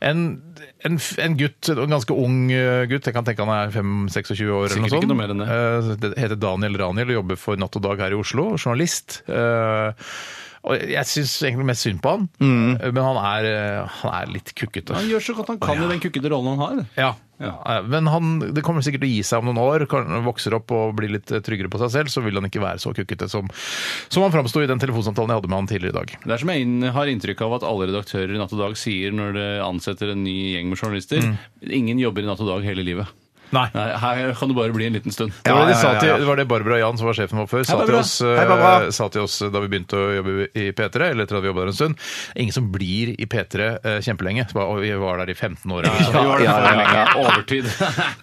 Speaker 7: en, en, f- en gutt, en ganske ung eh, gutt, jeg kan tenke han er 5-26 år eller
Speaker 9: Sikkert
Speaker 7: noe sånt.
Speaker 9: ikke noe mer enn det.
Speaker 7: Eh, det heter Daniel Raniel og jobber for Natt og Dag her i Oslo, journalist. Eh, og jeg syns egentlig mest synd på han,
Speaker 9: Mm.
Speaker 7: men han er, eh, han er litt kukkete.
Speaker 9: Han gjør så godt han kan i den kukkete rollen han har.
Speaker 7: Ja. Eh, Men han, det kommer sikkert til å gi seg om noen år. Kan- Vokser opp og blir litt eh, tryggere på seg selv, så vil han ikke være så kukkete som, som han framsto i den telefonsamtalen jeg hadde med han tidligere i dag.
Speaker 9: Det er som jeg inn, har inntrykk av at alle redaktører Mm. i Natt og Dag sier når de ansetter en ny gjeng med journalister. Ingen jobber i Natt og Dag hele livet.
Speaker 7: Nei.
Speaker 9: Her kan du bare bli en liten stund.
Speaker 7: Det var det, de sa
Speaker 8: ja, ja,
Speaker 7: til,
Speaker 8: ja.
Speaker 7: det var det Barbara Jan, som var sjefen vår før, sa til,
Speaker 8: Barbara.
Speaker 7: oss,
Speaker 8: Hei, Barbara.
Speaker 7: eh, sa til oss da vi begynte å jobbe i P3, eller etter at vi jobba der en stund. Ingen som blir i P3 eh, kjempelenge. Så bare, «Å, vi var der i 15 år. eller noe sånt».
Speaker 9: Vi var der
Speaker 8: ja,
Speaker 9: for lenge. Overtid.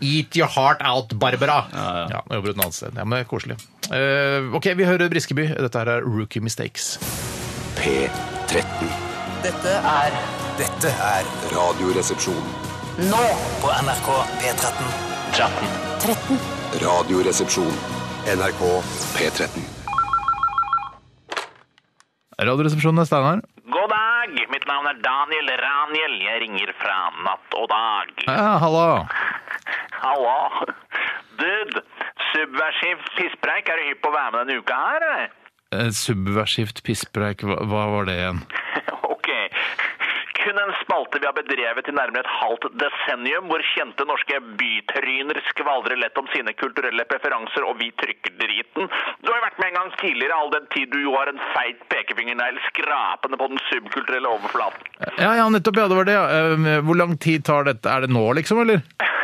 Speaker 7: Eat your heart out, Barbara! Ja, nå jobber hun et annet sted. Ja, men det er koselig. Eh, ok, vi hører Briskeby. Dette her er Rookie Mistakes.
Speaker 1: P13.
Speaker 2: Dette er
Speaker 1: Dette er
Speaker 6: Radioresepsjon.
Speaker 2: nå på NRK P13.
Speaker 6: Radioresepsjon.
Speaker 1: NRK P13.
Speaker 7: Radioresepsjonen er Steinar.
Speaker 5: God dag, mitt navn er Daniel Raniel. Jeg ringer fra natt og dag.
Speaker 7: Ja, halla.
Speaker 5: Hallo. Dude, subversiv pisspreik, er du hypp på å være med denne uka her? eller?
Speaker 7: Eh, Subversivt pisspreik, hva, hva var det igjen?
Speaker 5: Ok. [laughs] Kun en spalte vi har bedrevet i nærmere et halvt desennium, hvor kjente norske bytryner skvaldrer lett om sine kulturelle preferanser, og vi trykker driten. Du har jo vært med en gang tidligere, all den tid du jo har en feit pekefingernegl skrapende på den subkulturelle overflaten. [laughs]
Speaker 7: Ja, ja, nettopp, ja, det var det. ja. Eh, Hvor lang tid tar dette? Er det nå, liksom, eller?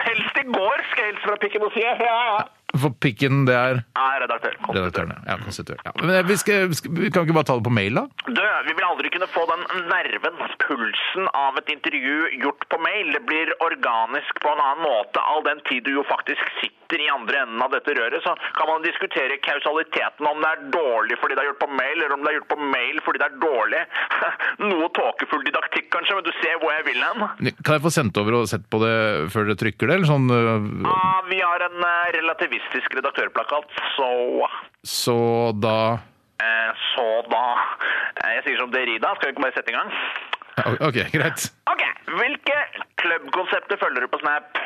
Speaker 5: Helst i går, skal jeg hilse fra Pikke Bossier. Ja, ja.
Speaker 7: For pikken, det er
Speaker 5: Ja, redaktør. Kom.
Speaker 7: Redaktøren, ja. ja. konstituert. Ja. Men eh, vi, skal, skal, vi kan ikke bare ta det på mail, da?
Speaker 5: Du, vi vil aldri kunne få den nerven, pulsen av et intervju gjort på mail. Det blir organisk på en annen måte. All den tid du jo faktisk sitter i andre enden av dette røret, så kan man diskutere kausaliteten om det er dårlig fordi det er gjort på mail, eller om det er gjort på mail fordi det er dårlig. [laughs] Noe tåkefull didaktikk, kanskje, men du ser hvor jeg vil hen.
Speaker 7: Kan jeg få sendt over og sett på det før dere trykker det? Eller sånn øh,
Speaker 5: Ah, vi har en eh, relativistisk redaktørplakat, så
Speaker 7: Så da
Speaker 5: eh, Så da Eh, Jeg sier som Derrida, skal vi ikke bare sette i gang?
Speaker 7: OK, greit.
Speaker 5: Ok, hvilke klubbkonsepter følger du på Snap?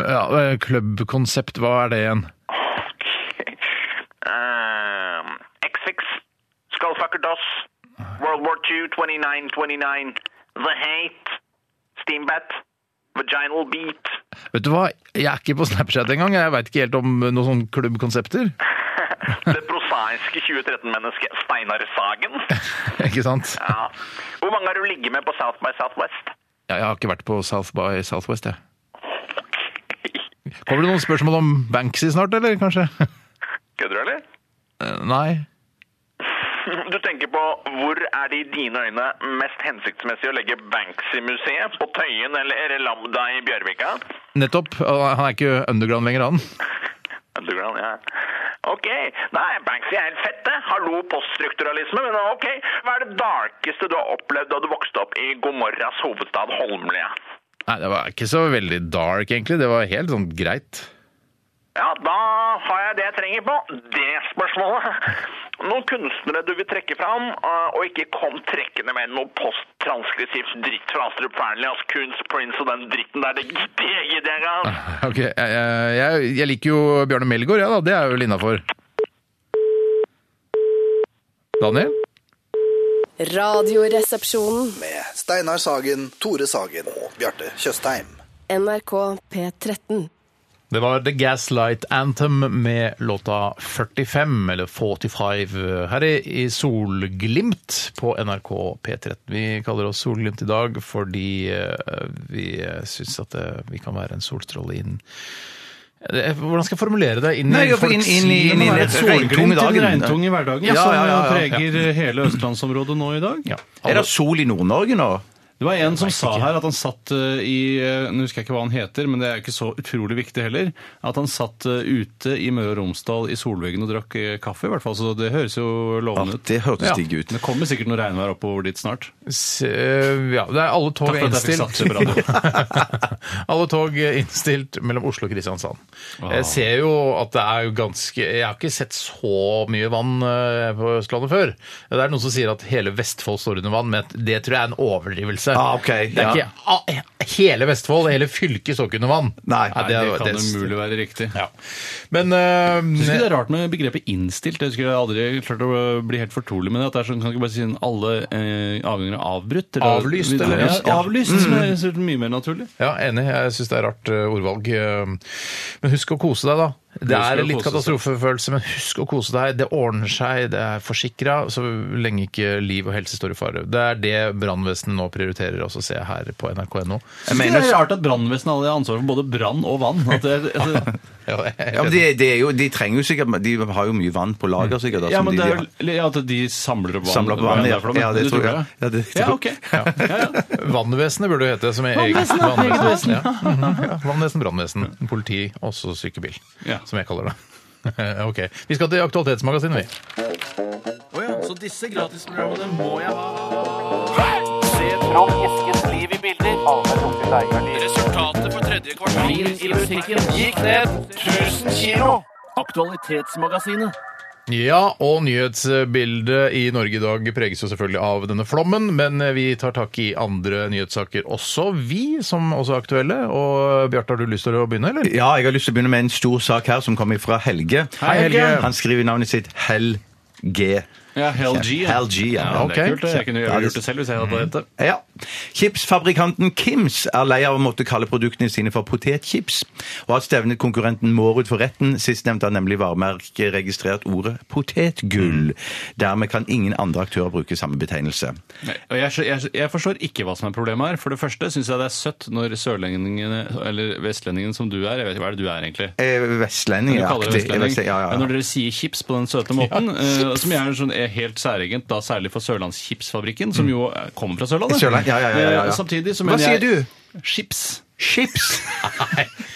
Speaker 7: Ja, eh, Klubbkonsept, hva er det igjen?
Speaker 5: Ok. Ehm, X-Fix, Skullfucker DOS, World War II 2929, The Hate, Steambat, Vaginal Beat.
Speaker 7: Vet du hva, jeg er ikke på Snapchat engang. Jeg veit ikke helt om noen sånne klubbkonsepter. [laughs]
Speaker 5: Det prosaiske 2013-mennesket Steinar Sagen.
Speaker 7: ikke sant?
Speaker 5: Ja. Hvor mange har du ligget med på South by Southwest? [laughs]
Speaker 7: Ja, Jeg har ikke vært på South by Southwest, jeg. Kommer det noen spørsmål om Banksy snart, eller kanskje? [laughs]
Speaker 5: Kødder du, eller?
Speaker 7: Eh, Nei.
Speaker 5: [laughs] Du tenker på hvor er det i dine øyne mest hensiktsmessig å legge Banksy-museet? På Tøyen eller Lambda i Bjørvika?
Speaker 7: Nettopp. Han er ikke underground lenger, han.
Speaker 5: Underground, ja. Ok, nei, Banksy er helt fett, det. Hallo poststrukturalisme, men ok. Hva er det darkeste du har opplevd da du vokste opp i Gomorras hovedstad Holmlia?
Speaker 7: Nei, det var ikke så veldig dark, egentlig. Det var helt sånn greit.
Speaker 5: Ja, da har jeg det jeg trenger på. Det spørsmålet. Noen kunstnere du vil trekke fram, eh, og ikke kom trekkende med noe posttranskriptivt dritt fra Astrup Fearnley, altså Kunst, Prince og den dritten der. Det gidder jeg ikke.
Speaker 7: Ok, jeg, jeg, jeg liker jo Bjarne Melgaard, ja da. Det er jeg vel innafor. Daniel?
Speaker 10: Radioresepsjonen.
Speaker 3: Med Steinar Sagen, Tore Sagen og Bjarte Tjøstheim.
Speaker 10: NRK P13.
Speaker 7: Det var The Gaslight Anthem med låta 45, eller 45, her i, i Solglimt på NRK P13. Vi kaller oss Solglimt i dag fordi eh, vi syns at det, vi kan være en solstråle inn Eh, Hvordan skal jeg formulere det? Inn
Speaker 8: Nei, ja, for inn- inn i- inn i-
Speaker 7: Være et solglimt
Speaker 8: regntung i dagen.
Speaker 7: inn i regn-
Speaker 9: Regntung i hverdagen
Speaker 7: Ja,
Speaker 9: som
Speaker 7: ja, ja, ja.
Speaker 9: preger hele østlandsområdet nå i dag.
Speaker 7: Ja.
Speaker 8: Er det sol i Nord-Norge nå?
Speaker 9: Det var en som sa her at han satt eh, i eh, Nå husker jeg ikke hva han heter, men det er ikke så utrolig viktig heller. At han satt eh, ute i Møre og Romsdal i solveggen og drakk eh, kaffe, i hvert fall. Så det høres jo lovende
Speaker 8: Ja, det hørtes digg ut.
Speaker 9: Det kommer sikkert noe regnvær oppover dit snart.
Speaker 7: S- eh, Ja, det er alle tog
Speaker 9: Takk for at jeg fikk
Speaker 7: innstilt.
Speaker 9: satse på radio.
Speaker 7: [laughs] alle tog innstilt mellom Oslo og Kristiansand.
Speaker 9: Ah.
Speaker 7: Jeg ser jo at det er jo ganske Jeg har ikke sett så mye vann eh, på Østlandet før. Det er noen som sier at hele Vestfold står under vann, men det tror jeg er en overdrivelse.
Speaker 8: Ah, ok,
Speaker 7: Det er
Speaker 8: ja.
Speaker 7: ikke ah, hele Vestfold, hele fylket står ikke under vann.
Speaker 8: Nei,
Speaker 7: Ja,
Speaker 9: Det
Speaker 7: er-
Speaker 9: kan umulig være riktig.
Speaker 7: ja. Men eh,
Speaker 9: Jeg synes ikke det er rart med begrepet innstilt. Jeg husker jeg aldri klarte å eh, bli helt fortrolig med det. At det er sånn, kan ikke bare si en alle eh, avganger er avbrutt?
Speaker 7: Avlyst, eller?
Speaker 9: Ja, avlyst, som er sikkert mye mer naturlig.
Speaker 7: Ja, enig. Jeg syns det er rart eh, ordvalg. Eh, Men husk å kose deg, da. Det
Speaker 9: Husk
Speaker 7: er
Speaker 9: å
Speaker 7: litt
Speaker 9: kose seg.
Speaker 7: katastrofefølelse, men husk å kose deg. Det ordner seg, det er forsikra, så lenge ikke liv og helse står i fare. Det er det brannvesenet nå prioriterer, også ser jeg her på nrk.no.
Speaker 9: Men det
Speaker 8: Jeg mener,
Speaker 9: er rart at brannvesenet hadde ansvar for både brann og vann. At det, altså,
Speaker 7: Ja, jeg er helt
Speaker 8: ja, men
Speaker 7: enig.
Speaker 8: de, de, er jo, de trenger jo sikkert De har jo mye vann på lager, sikkert. da,
Speaker 9: ja,
Speaker 8: som
Speaker 9: men det er
Speaker 8: Altså, de- de har-
Speaker 9: vel ja, at de samler opp vann.
Speaker 8: Samler opp vann,
Speaker 9: Ja,
Speaker 8: ja.
Speaker 9: derfor de-
Speaker 8: Ja, det
Speaker 9: du
Speaker 8: tror
Speaker 9: tror
Speaker 8: jeg. Ja, det tror
Speaker 9: Ja,
Speaker 8: jeg.
Speaker 9: ok. Ja, ja.
Speaker 7: Vannvesenet burde det hete. Som jeg,
Speaker 9: Vannvesen, ja.
Speaker 7: vannvesen, ja. Mhm, [laughs] ja. Vannvesen, brannvesen, politi, også sykebil.
Speaker 9: Ja.
Speaker 7: Som jeg kaller det. [laughs] ok. Vi skal til Aktualitetsmagasinet, vi.
Speaker 9: Så disse gratisprogrammene må jeg ha. Resultatet på tredje kvartal i musikken gikk ned 1000 kilo. Aktualitetsmagasinet.
Speaker 7: Ja, og nyhetsbildet i Norge i dag preges jo selvfølgelig av denne flommen, men eh, vi tar tak i andre nyhetssaker også, vi som også er aktuelle. Og Bjarte, har du lyst til å begynne, eller?
Speaker 8: Ja, jeg har lyst til å begynne med en stor sak her som kommer fra Helge.
Speaker 7: Hei, Helge.
Speaker 8: Han skriver navnet sitt Helge.
Speaker 9: Ja, Hell G.
Speaker 8: Hell G, ja.
Speaker 9: Ja, det er
Speaker 7: Ok.
Speaker 9: kult. det. Jeg kunne jo gjort det selv hvis jeg hadde hett det.
Speaker 8: Ja. Chipsfabrikanten Kims er lei av å måtte kalle produktene sine for potetchips, og har stevnet konkurrenten Mårud for retten. Sistnevnte har nemlig varemerket registrert ordet potetgull. Dermed kan ingen andre aktører bruke samme betegnelse.
Speaker 9: Nei, Og jeg, skjø- jeg, skjø- jeg forstår ikke hva som er problemet her. For det første syns jeg det er søtt når sørlendingene, eller vestlendingen som du er Jeg vet ikke hva er det du er, egentlig?
Speaker 8: Eh, Vestlending,
Speaker 9: Du
Speaker 8: ja.
Speaker 9: kaller det
Speaker 8: aktig.
Speaker 9: vestlending.
Speaker 8: Vestlending, Ja, ja,
Speaker 9: Men Når
Speaker 8: ja.
Speaker 9: dere sier chips på den søte måten, eh, som er, sånn, er helt særegent, da særlig for Sørlandschipsfabrikken, som jo eh, kommer fra Sørlandet.
Speaker 8: Mm. Sørland, ja, ja, ja, ja, ja.
Speaker 9: Eh, Samtidig så
Speaker 8: Hva
Speaker 9: mener jeg
Speaker 8: sier du?
Speaker 9: Chips.
Speaker 8: Chips!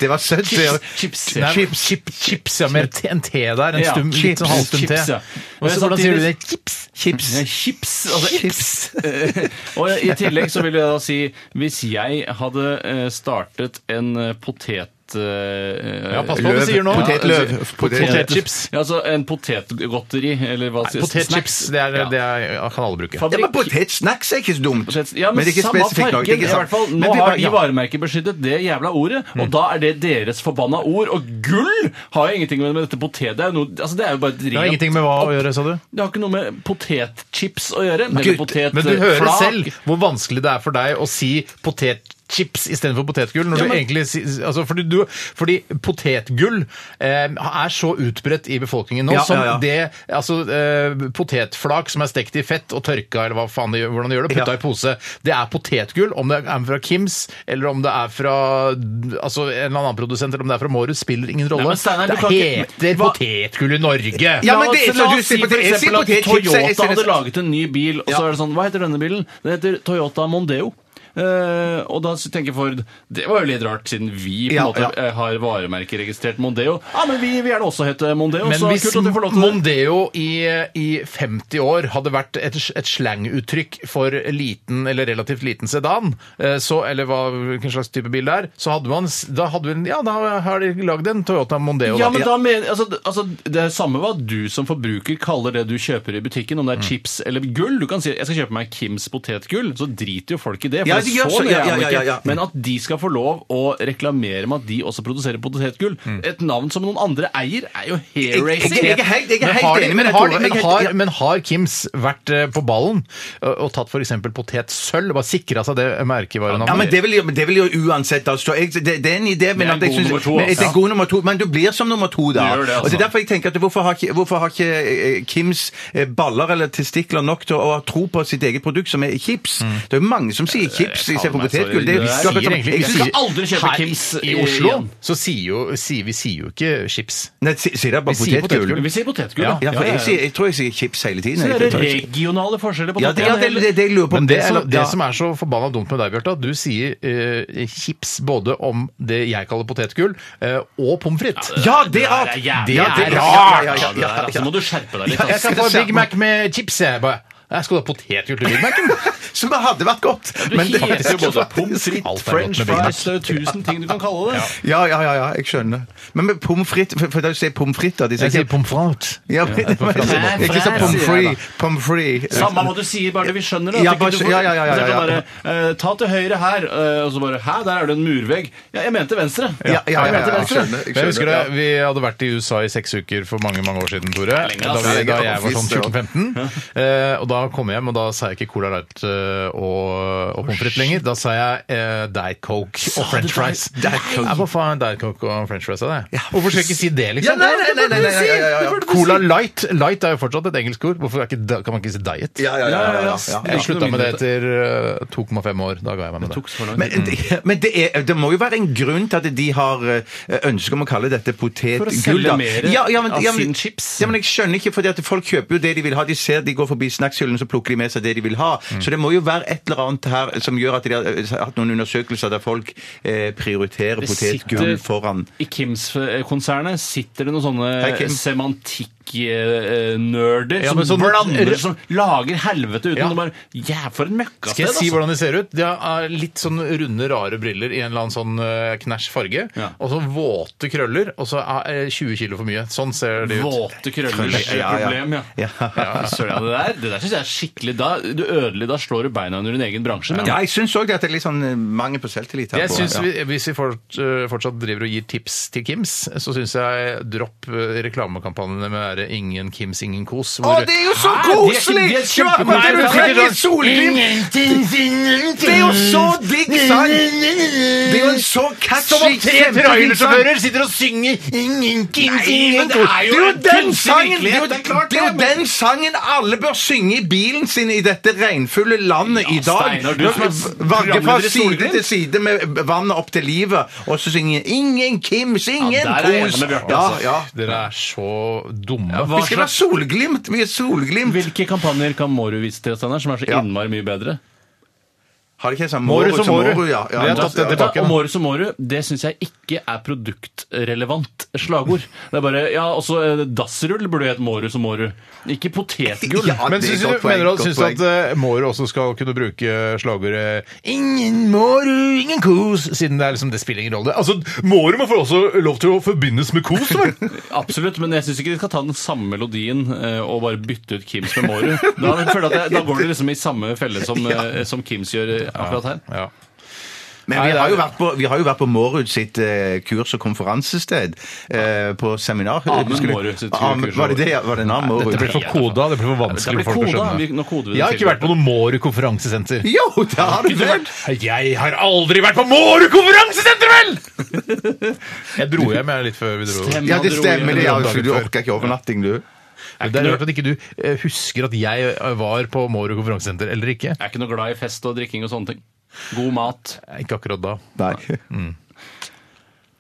Speaker 8: Det var søtt. det.
Speaker 9: Chips.
Speaker 7: Nei,
Speaker 9: Chips.
Speaker 7: chip, chips, ja, med en te der. En
Speaker 9: Ja,
Speaker 7: stum, litt
Speaker 8: chips,
Speaker 7: sånn halvstum te.
Speaker 9: chips, ja.
Speaker 7: Og så, hvordan sier du det?
Speaker 8: Chips. Chips.
Speaker 9: Ja, chips, altså
Speaker 8: Chips.
Speaker 9: Eh, [laughs] og i tillegg så vil jeg da si, hvis jeg hadde eh, startet en eh, potet... eh,
Speaker 7: Ja, pass på hva du sier nå.
Speaker 9: Ja,
Speaker 8: Potetløv.
Speaker 9: altså,
Speaker 8: Potet-
Speaker 7: Potetchips.
Speaker 9: Ja, altså en potetgodteri, eller hva sier
Speaker 7: Potetchips. Det, er,
Speaker 9: Ja.
Speaker 7: det er, kan alle bruke.
Speaker 8: Ja, men
Speaker 9: Fabrikk-
Speaker 8: Potetsnacks er ikke så dumt.
Speaker 9: Ja, men,
Speaker 8: det er ikke
Speaker 9: samme
Speaker 8: spesifikt nok.
Speaker 9: fargen,
Speaker 8: Det er ikke
Speaker 9: i
Speaker 8: samme-
Speaker 9: hvert fall.
Speaker 8: Men
Speaker 9: Nå
Speaker 8: vi
Speaker 9: har
Speaker 8: bare-
Speaker 9: de
Speaker 8: ja.
Speaker 9: varemerkebeskyttet det jævla ordet, og da er det deres forbanna ord. Og gull har jo ingenting med dette potet... Det er jo, noe, altså, det er jo bare et
Speaker 7: Det har
Speaker 9: rent-
Speaker 7: ingenting med hva å gjøre, sa du?
Speaker 9: Det har ikke noe med potetchips å gjøre.
Speaker 8: Gutt,
Speaker 9: Eller potetflak.
Speaker 7: Men du hører selv hvor vanskelig det er for deg å si potetchips istedenfor potetgull. Når
Speaker 9: Ja, men-
Speaker 7: du egentlig, si- altså fordi, du, fordi potetgull eh, er så utbredt i befolkningen nå
Speaker 8: Ja,
Speaker 7: som
Speaker 8: ja, ja.
Speaker 7: det altså, eh, Potetflak som er stekt i fett og tørka, eller hva faen de, hvordan de gjør det, putta
Speaker 8: Ja.
Speaker 7: i pose, det er potetgull. Om det er fra Kims, eller om det er fra altså, en eller annen produsent, eller om det er fra Mårud, spiller ingen rolle.
Speaker 9: Nei, men Steinar, du
Speaker 7: det
Speaker 9: kan ikke-
Speaker 7: heter
Speaker 9: Hva-
Speaker 7: potetgull i Norge!
Speaker 8: Ja, men
Speaker 9: La
Speaker 8: det er
Speaker 9: oss-
Speaker 8: ikke
Speaker 9: la
Speaker 8: du
Speaker 9: oss
Speaker 8: sier
Speaker 9: for
Speaker 8: potet- jeg sier
Speaker 9: eksempel at
Speaker 8: potetchips, jeg- jeg
Speaker 9: Toyota
Speaker 8: sier-
Speaker 9: hadde laget en ny bil, og så
Speaker 8: Ja.
Speaker 9: er det sånn Hva heter denne bilen? Den heter Toyota Mondeo. Eh, og da tenker Ford det var jo litt rart, siden vi på en
Speaker 8: Ja,
Speaker 9: måte
Speaker 8: ja.
Speaker 9: eh, har varemerkeregistrert Mondeo. Ja, men vi vil gjerne også hete Mondeo,
Speaker 7: Men
Speaker 9: så
Speaker 7: hvis
Speaker 9: kult at vi får lov til det.
Speaker 7: Mondeo i, i 50 år hadde vært et, et slanguttrykk for liten eller relativt liten sedan, eh, så, eller hva hvilken slags type bil det er, så hadde man s- da hadde vi en, ja, da har de lagd en Toyota Mondeo. da.
Speaker 9: Ja, men da mener, altså, d- altså, Det er samme hva du som forbruker kaller det du kjøper i butikken, om det er
Speaker 8: Mm.
Speaker 9: chips eller gull. Du kan si 'jeg skal kjøpe meg Kims potetgull', så driter jo folk i det. For
Speaker 8: Ja,
Speaker 9: det
Speaker 8: de
Speaker 9: så
Speaker 8: gjør så,
Speaker 9: mye
Speaker 8: ja,
Speaker 9: er det
Speaker 8: ja, ja,
Speaker 9: ikke.
Speaker 8: ja.
Speaker 9: Men at de skal få lov å reklamere med at de også produserer potetgull,
Speaker 8: Mm.
Speaker 9: et navn som noen andre eier, er jo
Speaker 8: Jeg- jeg-
Speaker 9: hair-raising.
Speaker 8: jeg er helt- jeg er
Speaker 7: Men
Speaker 8: helt
Speaker 7: har, de-
Speaker 8: enig med
Speaker 7: men,
Speaker 8: deg,
Speaker 7: har,
Speaker 8: Tore. Jeg
Speaker 7: men,
Speaker 8: er helt-
Speaker 7: har, men har Kims vært eh, på ballen eh, og tatt f.eks. potetsølv? Bare sikra seg det merkevarenavnet?
Speaker 8: Ja, men det vil jo, men det vil jo uansett da stå jeg, det, det er en idé, men
Speaker 9: er
Speaker 8: at jeg
Speaker 9: god
Speaker 8: synes,
Speaker 9: nummer to,
Speaker 8: men jeg-
Speaker 9: altså.
Speaker 8: det er god nummer to, men du blir som nummer to da.
Speaker 9: Du gjør det,
Speaker 8: Og det
Speaker 9: altså.
Speaker 8: er derfor jeg tenker at hvorfor har ikke, hvorfor har ikke eh, Kims eh, baller eller testikler nok til å ha tro på sitt eget produkt som er chips? Det er jo mange som sier chips i stedet for
Speaker 9: Mm. Eh, faen altså, meg, sorry.
Speaker 8: potetgull. Det er jo-
Speaker 9: Det er-
Speaker 8: det er-
Speaker 7: sier egentlig-
Speaker 8: jeg
Speaker 7: vi
Speaker 8: synes-
Speaker 9: skal aldri kjøpe
Speaker 7: her
Speaker 9: Kims
Speaker 7: i Oslo.
Speaker 9: igjen.
Speaker 7: Så sier jo, sier, vi sier jo ikke chips.
Speaker 8: Nei, si- sier jeg
Speaker 7: Vi
Speaker 8: bare
Speaker 7: sier
Speaker 8: potetgull?
Speaker 7: potetgull.
Speaker 9: Vi sier potetgull,
Speaker 8: Ja, for jeg, sier, jeg tror jeg sier chips hele tiden.
Speaker 9: Så
Speaker 8: jeg.
Speaker 9: det er regionale forskjeller på
Speaker 8: Ja, det, ja, det, det, det jeg lurer på om
Speaker 7: Men det, som,
Speaker 8: eller-
Speaker 7: det
Speaker 8: ja.
Speaker 7: som er så forbanna dumt med deg, Bjarte, at du sier eh, chips både om det jeg kaller potetgull, eh, og pommes frites.
Speaker 8: Ja,
Speaker 9: Det
Speaker 8: det er
Speaker 9: er jævlig
Speaker 8: Ja, det er
Speaker 7: rart.
Speaker 8: Ja, ja, ja,
Speaker 9: Ja, det
Speaker 8: ja,
Speaker 9: der, altså,
Speaker 8: ja.
Speaker 9: må du skjerpe deg litt.
Speaker 8: Ja,
Speaker 9: Altså.
Speaker 7: jeg skal
Speaker 8: skal
Speaker 7: få
Speaker 8: se-
Speaker 7: Big Mac med chips, jeg. Bare. Jeg skal ha potetgull til Big Mac-en.
Speaker 8: [laughs] Som hadde vært godt.
Speaker 9: Du heter
Speaker 8: [laughs]
Speaker 9: jo både pommes
Speaker 7: Alt er godt
Speaker 9: frites, french
Speaker 7: med Big Mac.
Speaker 9: fries, det er jo tusen ting du kan kalle det.
Speaker 8: Ja, ja, ja, ja, jeg skjønner. Men med pommes frites For, for da sier pommes frites da, de sier
Speaker 7: Jeg sier
Speaker 8: ikke-
Speaker 7: pommes frites.
Speaker 8: ja, men-
Speaker 7: det er på fransk.
Speaker 8: men- Ikke så pommes frites. Pommes frites.
Speaker 9: Samme hva du sier, bare vi skjønner det.
Speaker 8: Ja,
Speaker 9: At ikke du
Speaker 8: bare-
Speaker 9: får-
Speaker 8: ja, ja, ja, ja,
Speaker 9: at jeg kan
Speaker 8: ja.
Speaker 9: bare, eh, ta til høyre her, eh, og så bare Hæ, der er det en murvegg. Ja, jeg mente venstre.
Speaker 8: Ja, ja, ja,
Speaker 9: jeg mente
Speaker 8: ja, jeg
Speaker 9: venstre.
Speaker 8: skjønner. Jeg
Speaker 7: Men jeg husker det,
Speaker 8: skjønner.
Speaker 7: Vi hadde vært i USA i seks uker for mange mange år siden, Tore. Da,
Speaker 9: ass.
Speaker 7: vi, da jeg var sånn
Speaker 8: Ja,
Speaker 7: 14-15. [laughs] Eh, og da da kom jeg hjem, og da sa jeg ikke Cola Light eh, og, og pommes frites lenger. Da sa jeg eh, Diet Coke og French fries. Ja, hva faen Diet Coke og French fries er det? Hvorfor skal jeg ikke si det, liksom?
Speaker 8: nei, nei, nei, nei, nei, nei, ja, ja, ja.
Speaker 7: Cola Light Light er jo fortsatt et engelsk ord. Hvorfor er ikke, da- kan man ikke si diet?
Speaker 8: Ja, ja, ja. ja, ja, ja.
Speaker 7: Jeg slutta med det etter eh, 2,5 år. Da ga jeg meg med det.
Speaker 8: Men, det, men det, er, det må jo være en grunn til at de har eh, ønske om å kalle dette
Speaker 9: For å
Speaker 8: potetgull.
Speaker 9: selge
Speaker 8: da.
Speaker 9: mer av sin chips.
Speaker 8: Ja, men jeg skjønner ikke, fordi at folk kjøper jo det de vil ha. De ser, de går forbi snackshyllen, så plukker de med seg det de vil ha.
Speaker 9: Mm.
Speaker 8: Så det må jo være et eller annet her som gjør at de har eh, hatt noen undersøkelser der folk eh, prioriterer
Speaker 9: Det sitter-
Speaker 8: potetgull foran.
Speaker 9: I Kims-konsernet sitter det noen sånne
Speaker 8: Hei, Kim.
Speaker 9: semantikk-nerder
Speaker 7: Ja,
Speaker 9: som
Speaker 7: men sånn-
Speaker 9: blander, som lager helvete uten
Speaker 7: Ja.
Speaker 9: ja. bare Ja, for en møkkasted!
Speaker 7: Skal jeg si
Speaker 9: altså.
Speaker 7: hvordan de ser ut? De har litt sånn runde, rare briller i en eller annen sånn eh, knæsj farge.
Speaker 9: Ja.
Speaker 7: Og så våte krøller, og så er 20 kilo for mye. Sånn ser de ut.
Speaker 9: Våte krøller
Speaker 8: Krøller,
Speaker 9: er et
Speaker 8: ja, ja.
Speaker 9: problem, ja.
Speaker 8: Ja.
Speaker 9: Søren, ja, det der, det der synes jeg er skikkelig da, Du ødelegger, da slår du beina under din egen bransje. Men
Speaker 8: Ja, jeg syns òg at det er litt sånn eh, mangel på selvtillit. her
Speaker 7: Jeg
Speaker 8: på-
Speaker 7: synes
Speaker 8: ja.
Speaker 7: vi, Hvis vi fort, eh, fortsatt driver og gir tips til Kims, så syns jeg dropp eh, reklamekampanjene med ære Ingen Kims, ingen kos.
Speaker 8: Å, det er jo så koselig!
Speaker 9: de Ah, er
Speaker 8: Hva
Speaker 9: kjempekoselig.
Speaker 8: er det du
Speaker 9: Det er sånn-
Speaker 8: trenger
Speaker 9: sikkert
Speaker 8: solglimt? Det er jo så digg sang! Det er jo en så catchy kjempefin sang.
Speaker 7: sitter og synger Ingen Kims,
Speaker 8: Men Det er jo den sangen det er jo- det er jo den sangen alle bør synge i bilen sin i dette regnfulle landet i dag.
Speaker 9: Steinar, du som er
Speaker 8: Vagge fra
Speaker 9: programleder i
Speaker 8: side
Speaker 9: Solglimt.
Speaker 8: til side med vannet opp til livet, og så synge 'Ingen Kims, ingen
Speaker 9: der er jeg enig
Speaker 8: kos'.
Speaker 9: med Bjarte,
Speaker 8: Ja,
Speaker 9: altså.
Speaker 8: ja.
Speaker 7: Dere er så dumme.
Speaker 8: Vi skal være solglimt! Vi er solglimt.
Speaker 9: hvilke kampanjer kan må du vise til, Steinar, som er så
Speaker 8: Ja.
Speaker 9: innmari mye bedre?
Speaker 8: Har det ikke sånn
Speaker 7: Måru som måru.
Speaker 8: Ja, ja,
Speaker 7: Vi har tatt det
Speaker 8: ja.
Speaker 7: tilbake.
Speaker 9: Og Måru som Måru, det syns jeg ikke er produktrelevant slagord. Det er bare Ja, også eh, dassrull burde hete Måru som Måru. Ikke potetgull.
Speaker 8: [laughs] Ja,
Speaker 7: Men
Speaker 8: det er
Speaker 7: syns
Speaker 8: et godt
Speaker 7: du,
Speaker 8: poeng,
Speaker 7: mener du at,
Speaker 8: godt
Speaker 7: syns du at eh, Mårud også skal kunne bruke slagordet 'Ingen Mårud, ingen kos', siden det, er liksom, det spiller ingen rolle? Altså, Mårud må få også lov til å forbindes med kos,
Speaker 9: [laughs]
Speaker 7: vel?
Speaker 9: Absolutt, men jeg syns ikke de skal ta den samme melodien eh, og bare bytte ut Kims med Måru. Da, føler jeg at jeg, da går det liksom i samme felle
Speaker 8: [laughs]
Speaker 9: som, eh, som Kims gjør eh, akkurat her.
Speaker 7: ja.
Speaker 8: Men
Speaker 7: Nei,
Speaker 8: vi
Speaker 7: det
Speaker 8: har,
Speaker 7: er-
Speaker 8: jo vært på, vi har jo vært på Mårud sitt eh, kurs- og konferansested eh, på seminar.
Speaker 9: Amund
Speaker 8: Husker du?
Speaker 9: Mårud sitt
Speaker 8: Am-
Speaker 9: kurs-
Speaker 8: Var det det? ja? Var det navn Mårud?
Speaker 7: Det blir for koda, det blir for vanskelig
Speaker 9: Det blir
Speaker 7: for folk å
Speaker 9: koda.
Speaker 7: skjønne.
Speaker 9: Vi- nå koder vi det
Speaker 7: Jeg har ikke
Speaker 9: til.
Speaker 7: vært på noe Mårud konferansesenter.
Speaker 8: Jo, det har du vel!
Speaker 7: Jeg har aldri vært på Mårud konferansesenter, vel!
Speaker 9: [laughs]
Speaker 7: Jeg dro hjem jeg litt før vi dro.
Speaker 9: Stemmer.
Speaker 8: Ja, det stemmer. det, ja,
Speaker 7: Dagen
Speaker 8: for Du
Speaker 7: før.
Speaker 8: orka ikke overnatting, du.
Speaker 7: Det er rart at ikke du eh, husker at jeg eh, var på Mårud konferansesenter, eller ikke.
Speaker 9: Jeg er ikke noe glad i fest og drikking og sånne ting. God mat.
Speaker 7: Ikke akkurat da.
Speaker 8: Nei.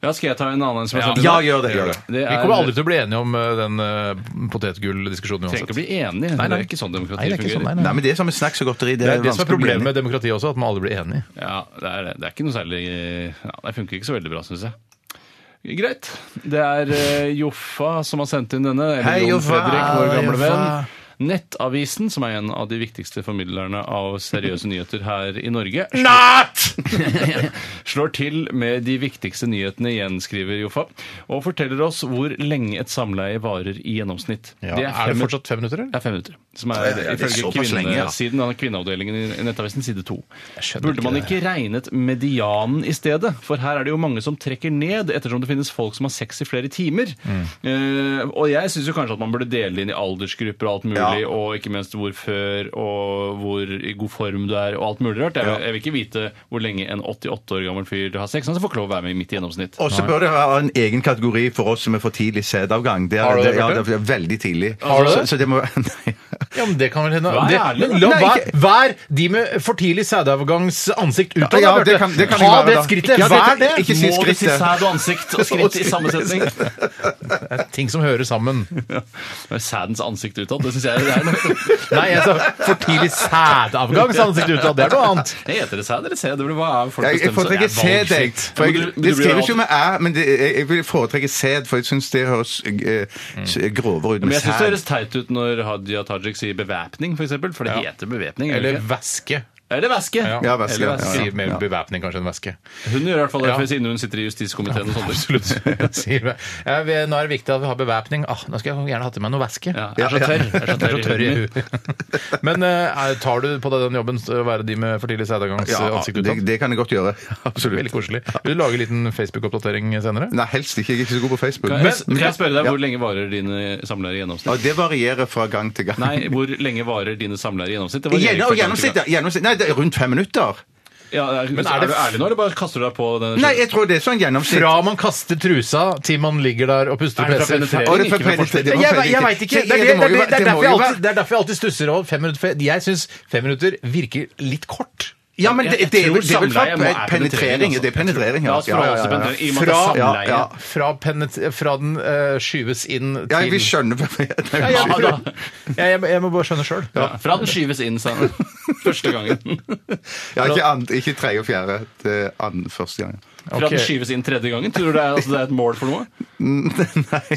Speaker 9: Ja, skal jeg ta en annen en som er sendt inn?
Speaker 8: Ja, gjør det. Gjør det.
Speaker 7: Vi
Speaker 9: Det er-
Speaker 7: kommer aldri til å bli enige om eh, den eh, potetgulldiskusjonen
Speaker 9: Trenger
Speaker 7: uansett.
Speaker 9: ikke å bli enig.
Speaker 7: Nei,
Speaker 9: Det
Speaker 7: nei.
Speaker 9: er ikke sånn
Speaker 7: Nei,
Speaker 9: demokrati
Speaker 7: det er ikke sånn,
Speaker 9: fungerer.
Speaker 7: nei, nei.
Speaker 8: Nei, men det er som med snacks og godteri. Det
Speaker 7: Det
Speaker 8: er,
Speaker 7: er det som er
Speaker 8: vanskelig å bli
Speaker 7: problemet
Speaker 8: enig.
Speaker 7: med demokratiet også, at man aldri blir enige.
Speaker 9: Ja, det er det. Det er ikke noe særlig ja, Det funker ikke så veldig bra, syns jeg. Greit. Det er eh, Joffa som har sendt inn denne. Eller
Speaker 8: Hei,
Speaker 9: Jon
Speaker 8: Joffa.
Speaker 9: Fredrik, vår gamle
Speaker 8: Joffa.
Speaker 9: venn. Nettavisen, som er en av de viktigste formidlerne av seriøse nyheter her i Norge, [laughs] slår til med de viktigste nyhetene igjen, skriver Joffa, og forteller oss hvor lenge et samleie varer i gjennomsnitt.
Speaker 7: Ja. Er det
Speaker 9: fem-
Speaker 7: fortsatt fem minutter,
Speaker 9: det
Speaker 7: eller?
Speaker 9: er fem minutter. Som er,
Speaker 8: ja, det er
Speaker 9: ifølge
Speaker 8: såpass lenge, ja.
Speaker 9: kvinnesiden av kvinneavdelingen i Nettavisen side to.
Speaker 7: skjønner
Speaker 9: Burde man ikke regnet medianen i stedet? For her er det jo mange som trekker ned, ettersom det finnes folk som har sex i flere timer. Eh, og jeg syns jo kanskje at man burde dele inn i aldersgrupper og alt mulig,
Speaker 8: Ja.
Speaker 9: og ikke minst hvor før og hvor i god form du er og alt mulig rart. Jeg, jeg vil ikke vite hvor lenge en 88 år gammel fyr har sex. Han får ikke lov å være med i mitt gjennomsnitt.
Speaker 8: Og så bør det være en egen kategori for oss som er for tidlig sædavgang. Det er,
Speaker 7: Har du det,
Speaker 8: ja,
Speaker 7: Bjarte?
Speaker 8: det er veldig tidlig.
Speaker 7: Har du
Speaker 8: Så-
Speaker 7: det?
Speaker 8: Så det må [laughs] Nei.
Speaker 7: Ja, men det kan vel hende.
Speaker 9: Vær
Speaker 7: Det-
Speaker 9: ærlig, da.
Speaker 7: La
Speaker 8: Nei,
Speaker 7: vær,
Speaker 8: ikke-
Speaker 7: vær de med for tidlig sædavgangs ansikt utad,
Speaker 8: Ja,
Speaker 7: da,
Speaker 8: det
Speaker 7: Bjarte.
Speaker 8: kan- det kan jeg
Speaker 7: Ta
Speaker 8: være,
Speaker 7: det
Speaker 8: da.
Speaker 7: skrittet.
Speaker 8: Ja, det-
Speaker 7: Vær det!
Speaker 8: ikke si
Speaker 9: Må du si
Speaker 8: skrittet.
Speaker 9: sæd og ansikt [laughs] og skritt i samme setning?
Speaker 7: Det er ting som hører sammen.
Speaker 9: Men Sædens ansikt utad, det syns jeg det er noe
Speaker 7: Nei, jeg sa for tidlig sædavgangs ansikt utad. Det er noe annet.
Speaker 9: Nei, Heter det sæd eller sæd? Det blir- Hva er folk
Speaker 8: Jeg, jeg
Speaker 9: bestemmer seg?
Speaker 8: foretrekker
Speaker 9: Det er
Speaker 8: sæd, jeg.
Speaker 9: valgfritt.
Speaker 8: For
Speaker 9: Men
Speaker 8: jeg
Speaker 9: du- du
Speaker 8: det
Speaker 9: blir
Speaker 8: skrives jo
Speaker 9: alt-
Speaker 8: med æ, men det, jeg, jeg vil foretrekke sæd, for jeg syns det høres
Speaker 9: Mm.
Speaker 8: eh, s- grovere ut
Speaker 9: Men
Speaker 8: med
Speaker 9: jeg syns det
Speaker 8: sæd.
Speaker 9: høres teit ut når Hadia Tajik sier bevæpning, f.eks. For, eksempel, for det heter bevæpning. gjør det
Speaker 7: Eller
Speaker 9: ikke?
Speaker 7: væske.
Speaker 9: Eller væske.
Speaker 7: Ja,
Speaker 8: Ja, væske,
Speaker 9: Eller
Speaker 8: ja,
Speaker 9: væske.
Speaker 7: Sier mer bevæpning kanskje enn væske.
Speaker 9: Hun gjør i hvert fall det,
Speaker 7: Ja.
Speaker 9: for siden hun sitter i justiskomiteen. og sånt.
Speaker 7: Absolutt. [laughs] Sier vi. Ja, vi, nå er det viktig at vi har bevæpning. Ah, nå skal jeg gjerne ha til meg noe væske.
Speaker 9: Ja, jeg er så tørr. Jeg er så tørr i
Speaker 7: i
Speaker 9: huden.
Speaker 7: huet. [laughs] Men eh, er- tar du på deg den jobben å være de med for tidlig sædavgangs eh,
Speaker 8: Ja,
Speaker 7: ansikt
Speaker 8: det,
Speaker 7: utad?
Speaker 8: det kan jeg
Speaker 9: [laughs]
Speaker 8: godt gjøre. Absolutt.
Speaker 7: Veldig koselig. Vil du lage en liten Facebook-oppdatering senere?
Speaker 8: Nei, helst ikke. Jeg er ikke så god på Facebook.
Speaker 9: Kan jeg, kan jeg spørre deg,
Speaker 8: Ja.
Speaker 9: hvor lenge varer dine samleier i gjennomsnitt?
Speaker 8: Ja, det varierer fra gang til gang. [laughs]
Speaker 9: Nei, hvor lenge varer dine samleier i gjennomsnitt? Det varierer
Speaker 8: Gjennom,
Speaker 9: fra gang til
Speaker 8: gjennomsnitt, ja, gjennomsnitt. Nei, det er rundt fem minutter.
Speaker 9: gang. Ja, er, men er,
Speaker 7: er det-
Speaker 9: du ærlig nå, eller bare kaster du deg på den?
Speaker 8: Nei, jeg tror det er sånn gjennomsnitt.
Speaker 7: Fra man kaster trusa til man ligger der og puster
Speaker 9: Er det
Speaker 7: og
Speaker 9: fra
Speaker 7: peser.
Speaker 9: penetrering?
Speaker 8: Å, det er fra
Speaker 9: Ikke fra
Speaker 8: penetrering.
Speaker 7: Jeg,
Speaker 8: Det var
Speaker 7: jeg
Speaker 8: penetrering.
Speaker 7: veit ikke. Det
Speaker 8: Det-
Speaker 7: er, det,
Speaker 8: det må
Speaker 7: det,
Speaker 8: jo
Speaker 7: er,
Speaker 8: være-
Speaker 7: det, er
Speaker 8: det må
Speaker 7: derfor jeg
Speaker 8: jo være-
Speaker 7: alltid, det er derfor jeg alltid stusser over fem minutter. For jeg syns fem minutter virker litt kort.
Speaker 8: Ja, men det,
Speaker 9: Jeg- jeg
Speaker 8: det, er
Speaker 9: tror
Speaker 8: vel- det er vel fra
Speaker 9: samleie må er penetrering,
Speaker 8: penetrering.
Speaker 9: altså.
Speaker 8: Det er penetrering, ja.
Speaker 9: La oss
Speaker 8: Ja,
Speaker 9: forholde oss
Speaker 8: ja,
Speaker 9: til
Speaker 8: ja, ja.
Speaker 9: penetrering, i og med at det er
Speaker 8: Fra- ja,
Speaker 9: samleie.
Speaker 8: ja.
Speaker 7: Fra, penet, fra den eh, skyves inn til
Speaker 8: Ja, vi skjønner [laughs] Nei,
Speaker 7: Ja,
Speaker 8: unnskyld.
Speaker 7: ja, da. Jeg, jeg, jeg må bare skjønne sjøl.
Speaker 9: Ja, Fra den skyves inn, sa han. [laughs] Første gangen.
Speaker 8: Ja, ikke, and, ikke tredje og fjerde. Det er anden første gang.
Speaker 9: Fra den skyves inn tredje gangen. Tror du det er, altså, det er et mål for noe?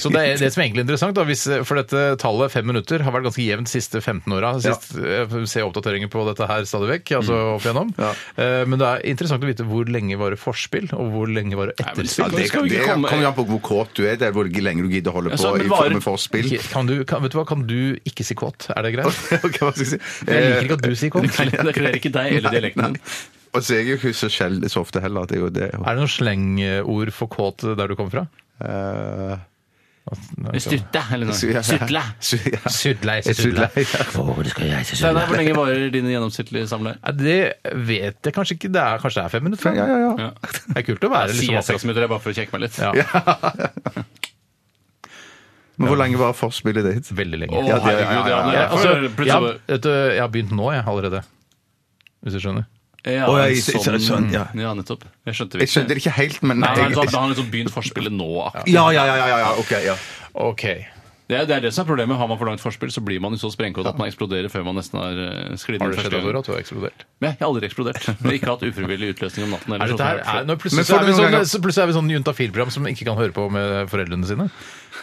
Speaker 7: Så [laughs] det, er, det som er egentlig er interessant, da, hvis, eh, for dette tallet fem minutter har vært ganske jevnt de siste 15 åra. Sist eh, ser jeg oppdateringer på dette her stadig vekk. Altså
Speaker 9: Mm.
Speaker 7: opp igjennom. Eh, Men det er interessant å vite hvor lenge varer forspill, og hvor lenge varer
Speaker 9: men
Speaker 7: etterspill.
Speaker 9: Nå
Speaker 8: Det,
Speaker 9: skal vi ikke
Speaker 8: det
Speaker 9: komme-
Speaker 8: kommer jo an på hvor kåt du er, det er hvor lenge du gidder å holde
Speaker 9: Ja,
Speaker 8: på
Speaker 9: så, men
Speaker 8: i
Speaker 9: varer-
Speaker 8: form for spill.
Speaker 7: Ikke- Kan du, kan, vet du hva, kan du ikke si kåt? Er det
Speaker 9: [laughs]
Speaker 7: greit?
Speaker 8: Ok, hva skal jeg si?
Speaker 7: Jeg liker ikke at du sier kåt.
Speaker 9: Det kler ikke deg eller
Speaker 8: Nei,
Speaker 9: dialekten din.
Speaker 8: nei. Og så er jeg jo ikke så, sjeld, så ofte heller. at Det er jo det.
Speaker 7: Er det noen slengord for kåt der du kommer fra? Altså,
Speaker 8: Eh,
Speaker 9: Styrte, eller
Speaker 8: så- ja.
Speaker 9: noe. Sutla.
Speaker 8: Så- ja.
Speaker 7: [laughs] Sydleis.
Speaker 8: Jeg sudler.
Speaker 9: Steinar, hvor lenge varer dine gjennomsnittlige samleier?
Speaker 7: Ja, det vet jeg kanskje ikke. Det er, kanskje det er fem minutter?
Speaker 8: Ja, ja, ja.
Speaker 9: Ja.
Speaker 7: Det er kult å være
Speaker 9: Sier
Speaker 7: liksom
Speaker 9: jeg seks minutter, det er bare for å kjekke meg litt.
Speaker 7: Ja.
Speaker 8: Men hvor lenge var forspillet ditt?
Speaker 7: veldig lenge.
Speaker 9: Å,
Speaker 8: Ja, det- ja, ja,
Speaker 9: herregud, ja,
Speaker 8: ja,
Speaker 9: det-
Speaker 8: ja.
Speaker 9: altså,
Speaker 7: jeg,
Speaker 9: plutselig bare-
Speaker 7: vet du, jeg har begynt nå, jeg, allerede. Hvis du skjønner.
Speaker 9: Ja,
Speaker 8: Å, jeg-
Speaker 9: sånn,
Speaker 8: så- sånn,
Speaker 9: ja.
Speaker 8: ja.
Speaker 9: nettopp. Jeg skjønte
Speaker 8: Jeg skjønte det ikke helt, men
Speaker 9: Nei,
Speaker 8: jeg,
Speaker 9: han har han liksom begynt forspillet nå. akkurat.
Speaker 8: ja, ja, ja, ja, ja, ok, ja.
Speaker 7: Ok.
Speaker 9: Det er, det er det som er problemet. Har man for langt forspill, så blir man jo så sprengkåt at man eksploderer før man nesten har eh, sklidd
Speaker 7: Har det
Speaker 9: inn
Speaker 7: skjedd
Speaker 9: første
Speaker 7: at
Speaker 9: gang.
Speaker 7: du har eksplodert?
Speaker 9: Nei, jeg har aldri eksplodert. Jeg har ikke hatt ufrivillig utløsning om natten.
Speaker 7: Er
Speaker 9: Eller
Speaker 7: dette her,
Speaker 9: sånn.
Speaker 7: er, nå plutselig,
Speaker 8: Men
Speaker 7: så
Speaker 8: får
Speaker 7: er
Speaker 8: du
Speaker 7: vi
Speaker 8: noen
Speaker 7: sånn,
Speaker 8: ganger-
Speaker 7: så plutselig er vi sånn juntafil-program som ikke kan høre på med foreldrene sine.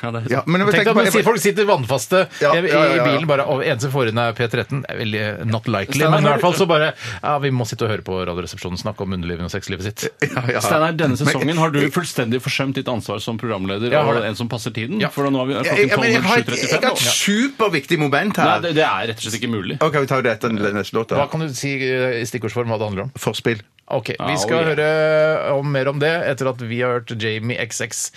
Speaker 9: Ja, det er-
Speaker 8: ja men jeg
Speaker 7: Tenk
Speaker 8: tenker
Speaker 7: deg,
Speaker 8: på-
Speaker 7: men si- Folk sitter vannfaste
Speaker 8: Ja,
Speaker 7: i, i
Speaker 8: ja, ja, ja.
Speaker 7: bilen, bare, og eneste får inn er P13. Det er Veldig eh, not likely,
Speaker 9: Steinar,
Speaker 7: men i
Speaker 9: har
Speaker 7: hvert fall så bare ja, Vi må sitte og høre på Radioresepsjonen snakke om underlivet og sexlivet sitt.
Speaker 8: Ja, ja.
Speaker 9: Steinar, denne sesongen har du fullstendig forsømt ditt ansvar som programleder
Speaker 7: Jeg har
Speaker 9: og
Speaker 7: det.
Speaker 9: en som passer tiden.
Speaker 7: Ja.
Speaker 9: For nå har vi
Speaker 8: Jeg, jeg,
Speaker 9: klokken
Speaker 8: men jeg, har et,
Speaker 9: 12.07.35
Speaker 8: jeg har
Speaker 9: nå.
Speaker 8: et superviktig moment
Speaker 9: Nei,
Speaker 8: her.
Speaker 9: det, det er rett og slett ikke mulig.
Speaker 8: Ok, vi tar det etter den neste låta.
Speaker 7: Hva kan du si eh, i stikkordsform hva det handler om?
Speaker 8: Forspill.
Speaker 7: Ok,
Speaker 9: Ah,
Speaker 7: Vi skal
Speaker 9: oh, yeah.
Speaker 7: høre om mer om det etter at vi har hørt Jamie XX,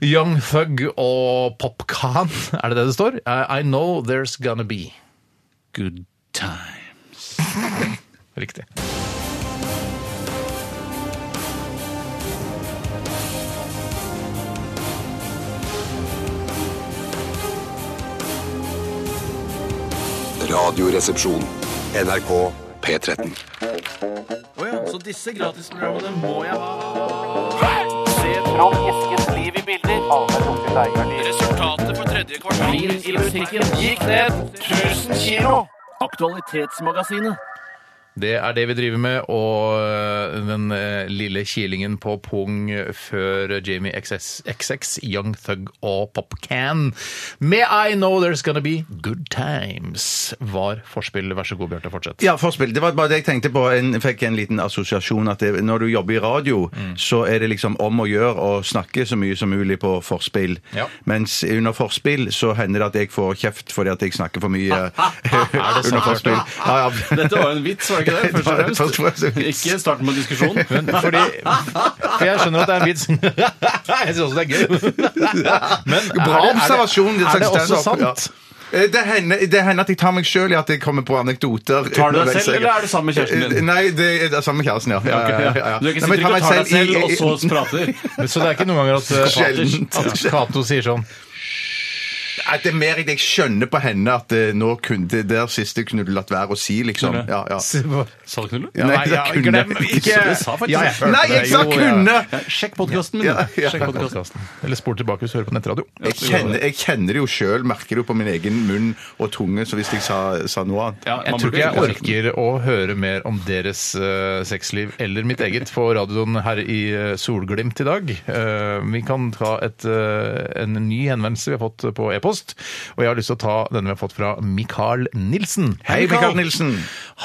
Speaker 7: Young Thug og Popkan. [laughs] Er det det det står? I I know there's gonna be.
Speaker 9: Good time.
Speaker 7: [laughs] Riktig.
Speaker 6: Radioresepsjon. NRK P13.
Speaker 9: Så disse gratisprogrammene må jeg ha. Resultatet for tredje kvartal i musikken gikk ned 1000 kilo. Aktualitetsmagasinet.
Speaker 7: Det er det vi driver med, og øh, den øh, lille kilingen på pung før Jamie XX, XX Young Thug og Popcan med I Know There's Gonna Be Good Times var forspill. Vær så god, Bjarte,
Speaker 8: [laughs]
Speaker 7: fortsett.
Speaker 8: Ja, forspill. Det var bare det jeg tenkte på. Jeg fikk en liten assosiasjon at det, når du jobber i radio,
Speaker 9: Mm.
Speaker 8: så er det liksom om å gjøre å snakke så mye som mulig på forspill.
Speaker 7: Ja.
Speaker 8: Mens under forspill så hender det at jeg får kjeft fordi at jeg
Speaker 9: [laughs]
Speaker 8: snakker for mye [laughs] under forspill. Ja, ja.
Speaker 9: Dette var jo en vits, var det
Speaker 7: [laughs]
Speaker 8: [laughs]
Speaker 9: ikke det? Først og
Speaker 8: Først og fremst en
Speaker 9: fremst.
Speaker 8: vits.
Speaker 9: Ikke starten på en diskusjon.
Speaker 7: Men fordi, for jeg skjønner at det er en vits. Jeg syns også det er gøy. Men er
Speaker 8: Bra
Speaker 7: det- er det-
Speaker 8: observasjon.
Speaker 7: Er det også
Speaker 8: slags stand-up.
Speaker 7: sant?
Speaker 8: Ja. Eh, Det hender, det hender at jeg tar meg sjøl i at jeg kommer på anekdoter.
Speaker 9: Tar du deg
Speaker 8: underveis.
Speaker 9: selv, eller er du sammen med kjæresten din?
Speaker 8: Eh, Nei, det er det er sammen med kjæresten, ja. ja, ja, ja, ja.
Speaker 9: Du er ikke
Speaker 8: Nei,
Speaker 9: sikker
Speaker 8: men jeg
Speaker 9: på å ta deg
Speaker 8: meg
Speaker 9: selv, og
Speaker 8: i- i-
Speaker 9: så prater.
Speaker 7: Men Så det er ikke noen ganger at,
Speaker 8: Sjeldent.
Speaker 7: uh, at Cato sier sånn
Speaker 8: Nei, Det er mer at jeg skjønner på henne at eh, nå kunne det der siste kunne du latt være å si, liksom.
Speaker 9: Kunne.
Speaker 8: Ja, ja.
Speaker 9: [laughs] Sa du knulle?
Speaker 8: Nei,
Speaker 7: Nei, ja,
Speaker 8: jeg
Speaker 7: glem
Speaker 8: kunne
Speaker 7: ikke
Speaker 8: Du
Speaker 9: sa faktisk-
Speaker 7: Ja, jeg hørte
Speaker 8: Nei, jeg
Speaker 7: det.
Speaker 8: sa
Speaker 7: Jo, ja.
Speaker 8: kunne!
Speaker 9: Ja, sjekk podkasten min.
Speaker 8: Ja,
Speaker 9: da.
Speaker 8: ja.
Speaker 9: Sjekk podcasten.
Speaker 7: Eller spol tilbake hvis du hører på nettradio.
Speaker 8: Jeg kjenner, jeg kjenner det jo sjøl, merker det jo på min egen munn og tunge, så hvis jeg sa, sa noe annet
Speaker 9: Ja, man
Speaker 7: Jeg tror
Speaker 9: burde
Speaker 7: ikke jeg
Speaker 9: ikke-
Speaker 7: orker å høre mer om deres eh, sexliv eller mitt eget på radioen her i eh, Solglimt i dag. Eh, vi kan ta et, eh, en ny henvendelse vi har fått på e-post. e-post. Og jeg har lyst til å ta denne vi har fått fra Mikael Nilsen.
Speaker 8: Hei, Mikael Nilsen.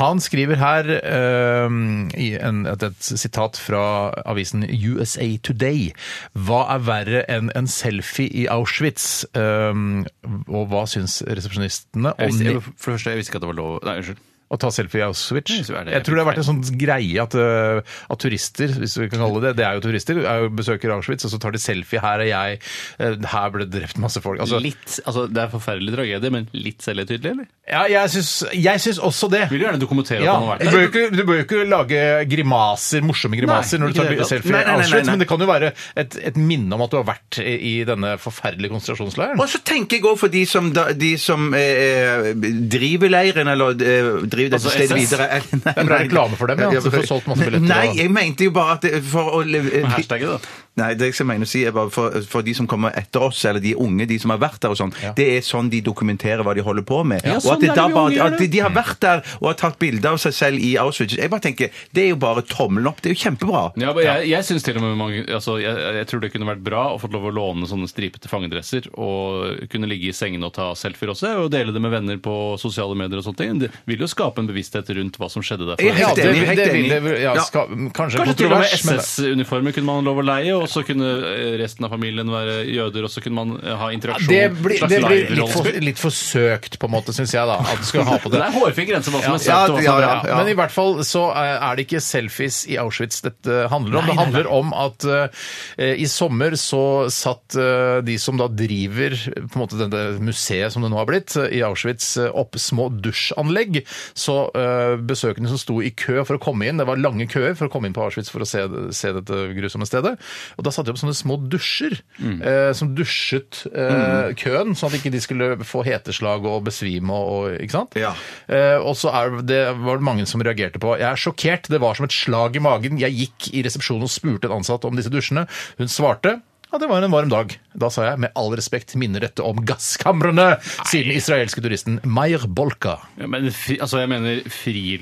Speaker 7: Han skriver her ehm, i en, et, et sitat fra avisen USA Today. Hva er verre enn en selfie i Auschwitz? Ehm, og hva syns resepsjonistene
Speaker 9: Jeg
Speaker 7: om
Speaker 9: visste,
Speaker 7: det?
Speaker 9: jeg, for det første, jeg visste ikke at det var lov Nei, unnskyld.
Speaker 7: Å ta selfie i Auschwitz?
Speaker 9: Jeg synes det er det.
Speaker 7: Jeg tror det har vært en sånn greie at, eh, at turister, hvis vi kan kalle det det, det er jo turister, er jo besøker Auschwitz, og så tar de selfie. Her er jeg, eh, her ble det drept masse folk. Altså,
Speaker 9: litt, altså, det er forferdelig tragedie, men litt selvhøytidelig, eller?
Speaker 7: ja, jeg syns, jeg syns også det.
Speaker 9: Vil du gjerne dokumentere
Speaker 7: Ja,
Speaker 9: at han har
Speaker 7: du
Speaker 9: vært
Speaker 7: bør
Speaker 9: der?
Speaker 7: jo ikke, du bør jo ikke lage grimaser, morsomme grimaser
Speaker 9: Nei,
Speaker 7: når du
Speaker 9: ikke
Speaker 7: tar
Speaker 9: det.
Speaker 7: selfie
Speaker 8: Nei, nei,
Speaker 7: i
Speaker 8: nei, nei,
Speaker 7: Auschwitz,
Speaker 8: nei.
Speaker 7: men det kan jo være et, et minne om at du har vært i, i denne forferdelige konsentrasjonsleiren.
Speaker 8: Og så tenker jeg òg for de som, da, de som eh, driver leiren, eller eh, driver dette
Speaker 9: Altså
Speaker 8: stedet
Speaker 9: SS?
Speaker 8: videre [laughs] eller- nei,
Speaker 7: er bra reklame for dem, ja, så du får solgt masse billetter,
Speaker 8: Nei,
Speaker 7: og-
Speaker 8: jeg mente jo bare at det- for å leve-
Speaker 9: Med hashtagget, da.
Speaker 8: Nei, det jeg mener å si er bare for, for de som kommer etter oss, eller de unge, de som har vært der og sånn, det er sånn de dokumenterer hva de holder på med.
Speaker 9: Ja,
Speaker 8: og
Speaker 9: sånn
Speaker 8: at, det
Speaker 9: er det
Speaker 8: da
Speaker 9: vi
Speaker 8: bare,
Speaker 9: unge gjør
Speaker 8: at de,
Speaker 9: det.
Speaker 8: de har vært der og har tatt bilder av seg selv i Auschwitz. Jeg bare tenker, det er jo bare tommelen opp. Det er jo kjempebra.
Speaker 9: Ja, men jeg, jeg synes til og med mange altså, jeg, jeg tror det kunne vært bra å få lov å låne sånne stripete fangedresser og kunne ligge i sengene og ta selfier også, og dele det med venner på sosiale medier og sånne ting. Det vil jo skape en bevissthet rundt hva som skjedde der.
Speaker 8: Jeg er
Speaker 7: Ja,
Speaker 8: helt
Speaker 7: det,
Speaker 8: enig, helt
Speaker 7: det
Speaker 8: enig.
Speaker 7: ville, ja,
Speaker 8: Ja.
Speaker 7: ska, kanskje,
Speaker 9: Kanskje til og med
Speaker 7: kontrovers, men-
Speaker 9: SS-uniformer kunne man ha lov å leie, og så kunne eh, resten av familien være jøder, og så kunne man eh, ha interaksjon.
Speaker 7: Det blir,
Speaker 9: slags
Speaker 7: det blir litt, for,
Speaker 9: live-rollespill.
Speaker 7: litt forsøkt, på en måte, syns jeg, da. At du skal ha på
Speaker 9: Det
Speaker 7: det.
Speaker 9: er hårfin grense hva som
Speaker 7: sånn
Speaker 9: er
Speaker 8: Ja,
Speaker 9: søtt og hva som
Speaker 8: ja,
Speaker 9: sånn er
Speaker 8: ja.
Speaker 9: bra.
Speaker 7: Men i hvert fall så eh, er det ikke selfies i Auschwitz dette handler om. det handler om at eh, i sommer så satt eh, de som da driver eh, på en måte dette museet som det nå har blitt, eh, i Auschwitz eh, opp små dusjanlegg. Så eh, besøkende som sto i kø for å komme inn, det var lange køer for å komme inn på Auschwitz for å se, se dette grusomme stedet, og da satte de opp sånne små dusjer
Speaker 8: Mm.
Speaker 7: eh, som dusjet eh, køen, sånn at ikke de skulle få heteslag og besvime og, og ikke sant?
Speaker 8: Ja.
Speaker 7: Eh, og så er det, var det mange som reagerte på. Jeg er sjokkert. Det var som et slag i magen. Jeg gikk i resepsjonen og spurte en ansatt om disse dusjene. Hun svarte ja, det var en varm dag. Da sa jeg med all respekt minner dette om gasskamrene, sier den israelske turisten Meir Bolka.
Speaker 9: Ja, men fri, altså jeg mener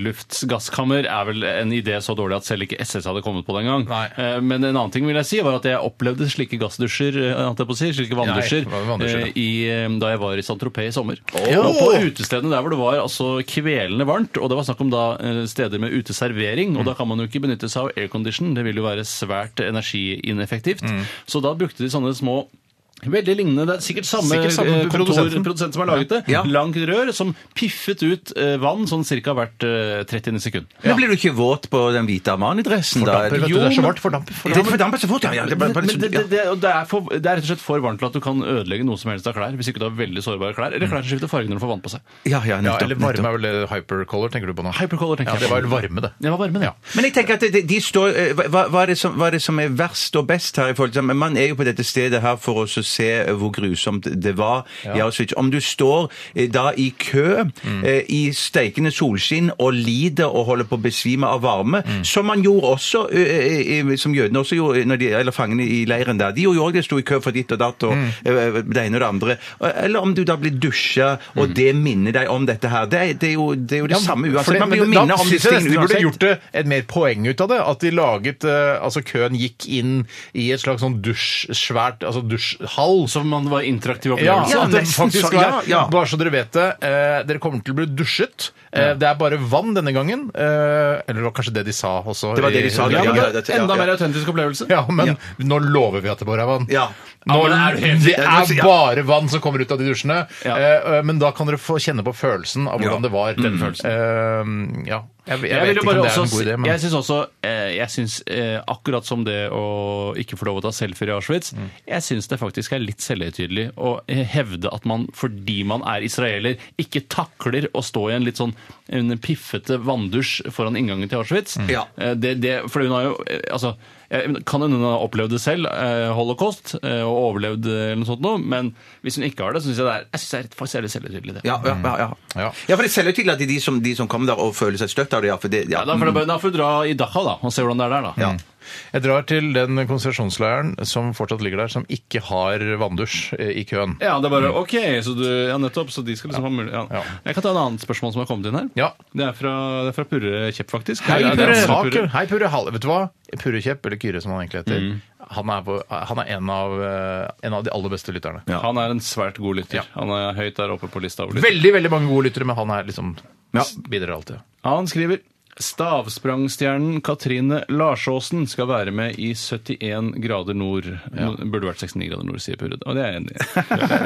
Speaker 9: Friluftsgasskammer er vel en idé så dårlig at selv ikke SS hadde kommet på det engang.
Speaker 7: Nei.
Speaker 9: Eh, Men en annen ting vil jeg si var at jeg opplevde slike gassdusjer, eh, holdt jeg på å si, slike vanndusjer,
Speaker 7: det var vanndusjer,
Speaker 9: eh,
Speaker 7: ja.
Speaker 9: i, eh, da jeg var i Saint-Tropez i sommer.
Speaker 7: Ja.
Speaker 9: Og på utestedene der hvor det var altså kvelende varmt, og det var snakk om da eh, steder med uteservering,
Speaker 7: Mm.
Speaker 9: og da kan man jo ikke benytte seg av aircondition, det vil jo være svært energiineffektivt.
Speaker 7: Mm.
Speaker 9: Så da brukte de sånne små Veldig lignende. Det er sikkert samme,
Speaker 7: Sikkert samme
Speaker 9: eh,
Speaker 7: produsenten.
Speaker 9: produsent som har laget det. Langt rør som piffet ut eh, vann sånn ca. hvert eh, 30. sekund.
Speaker 8: Men blir du ikke våt på den hvite Armani-dressen? da?
Speaker 7: Fordamper, vet du.
Speaker 8: Jo,
Speaker 7: Det er så
Speaker 8: men-
Speaker 7: varmt. Fordamper.
Speaker 8: Det
Speaker 7: fordamper.
Speaker 8: fordamper så fort, ja. ja. Det, er
Speaker 9: Men
Speaker 8: bare-
Speaker 9: det,
Speaker 8: bare så-
Speaker 9: det,
Speaker 8: ja.
Speaker 9: det, det, er for, det er rett og slett for varmt til at du kan ødelegge noe som helst av klær hvis ikke du har veldig sårbare klær, eller klær som skifter farge når du får vann på seg.
Speaker 8: Ja, ja,
Speaker 7: Ja,
Speaker 8: nettopp.
Speaker 7: eller varme er vel det hypercolor, tenker du på nå?
Speaker 9: Hypercolor, tenker
Speaker 7: ja,
Speaker 9: jeg.
Speaker 7: Det var vel varme, det.
Speaker 9: Det var varme, det.
Speaker 8: Men jeg tenker at de, de står, eh, hva, hva, er det som, hva er det som er verst og best her? i forhold til, men Man er jo på dette stedet her for å så se eh, hvor grusomt det var. i Auschwitz. Om du står eh, da i kø
Speaker 7: Mm.
Speaker 8: eh, i steikende solskinn og lider og holder på å besvime av varme,
Speaker 7: Mm.
Speaker 8: som man gjorde også, eh, eh, som jødene også gjorde, når de, eller fangene i leiren der. De gjorde jo også det, sto i kø for ditt og datt
Speaker 7: Mm.
Speaker 8: og eh, det ene og det andre. Eller om du da blir dusja,
Speaker 7: Mm.
Speaker 8: og det minner deg om dette her. Det er, det er jo det, er jo det samme uansett. Man blir jo minnet om disse
Speaker 7: De
Speaker 8: tingene
Speaker 7: burde gjort
Speaker 8: uansett.
Speaker 7: det et mer poeng ut av det. At de laget eh, Altså, køen gikk inn i et slags sånn dusj... Svært altså dusjhall.
Speaker 9: Som man var interaktiv
Speaker 7: Ja,
Speaker 9: opplevelse.
Speaker 8: Ja,
Speaker 7: at det
Speaker 8: nesten
Speaker 7: faktisk
Speaker 8: sånn, ja,
Speaker 7: er,
Speaker 8: ja.
Speaker 7: Bare så dere vet det, eh, dere kommer til å bli dusjet. Eh, det er bare vann denne gangen. Eh, eller det var kanskje det de sa også.
Speaker 8: Det var det de sa,
Speaker 7: Ja,
Speaker 8: ja,
Speaker 7: men,
Speaker 8: ja, det- ja,
Speaker 9: Enda
Speaker 8: ja.
Speaker 9: mer autentisk opplevelse.
Speaker 7: ja, men nå lover vi at det bare er vann.
Speaker 8: Ja.
Speaker 7: Nå,
Speaker 9: Ja, men det er
Speaker 7: det
Speaker 9: jo
Speaker 7: er,
Speaker 9: helt-
Speaker 7: bare vann som kommer ut av de dusjene.
Speaker 9: Ja.
Speaker 7: Eh, eh, men da kan dere få kjenne på følelsen av hvordan
Speaker 8: Ja.
Speaker 7: det var. Den følelsen. Eh, ja. Jeg, jeg,
Speaker 9: Jeg,
Speaker 7: vet
Speaker 9: vil jo
Speaker 7: ikke
Speaker 9: bare
Speaker 7: om det er
Speaker 9: også
Speaker 7: en god
Speaker 9: si-
Speaker 7: idé, men
Speaker 9: jeg syns også eh, jeg synes, eh, Akkurat som det å ikke få lov å ta selfier i Auschwitz,
Speaker 7: Mm.
Speaker 9: jeg syns det faktisk er litt selvhøytidelig å eh, hevde at man, fordi man er israeler, ikke takler å stå i en litt sånn en piffete vanndusj foran inngangen til Auschwitz.
Speaker 7: Mm.
Speaker 8: Ja.
Speaker 9: Eh, Det, det, for hun har jo eh, altså, jeg kan hende hun har opplevd det selv, eh, holocaust, eh, og overlevd eh, eller noe sånt noe, men hvis hun ikke har det, så syns jeg det er, jeg synes det er faktisk er litt selvhøytidelig. det.
Speaker 8: Ja, ja, ja, ja.
Speaker 7: Ja.
Speaker 8: ja. for det selger jo til at de som, de som kommer der og føler seg støtt av det, ja, for det ja.
Speaker 9: Ja, da, Mm. får du, da får du dra i Dachau da, og se hvordan det er der. da.
Speaker 8: Ja.
Speaker 7: Jeg drar til den konsentrasjonsleiren som fortsatt ligger der, som ikke har vanndusj eh, i køen.
Speaker 9: Ja, det er bare OK, så du Ja, nettopp. Så de skal liksom ha mulig ja.
Speaker 7: Ja.
Speaker 9: Jeg kan ta en annet spørsmål som har kommet inn her.
Speaker 7: Ja.
Speaker 9: Det er fra, det er fra Purre Kjepp, faktisk.
Speaker 7: Hei,
Speaker 9: Ja, det er
Speaker 7: Purre! Mm.
Speaker 9: fra Purre.
Speaker 7: Hei, Purre Hall. Vet du hva? Purre Kjepp, eller Kyrre som han egentlig heter, han er, på, han er en, av, eh, en av de aller beste lytterne.
Speaker 9: Han er en svært god lytter. Han er høyt der oppe på lista over lyttere.
Speaker 7: Veldig, veldig mange gode lyttere, men han er liksom
Speaker 8: Ja.
Speaker 7: bidrar alltid.
Speaker 9: Han skriver Stavsprangstjernen Katrine Larsåsen skal være med i 71 grader nord. Burde vært 69 grader nord, sier Purre. Og det er jeg enig i.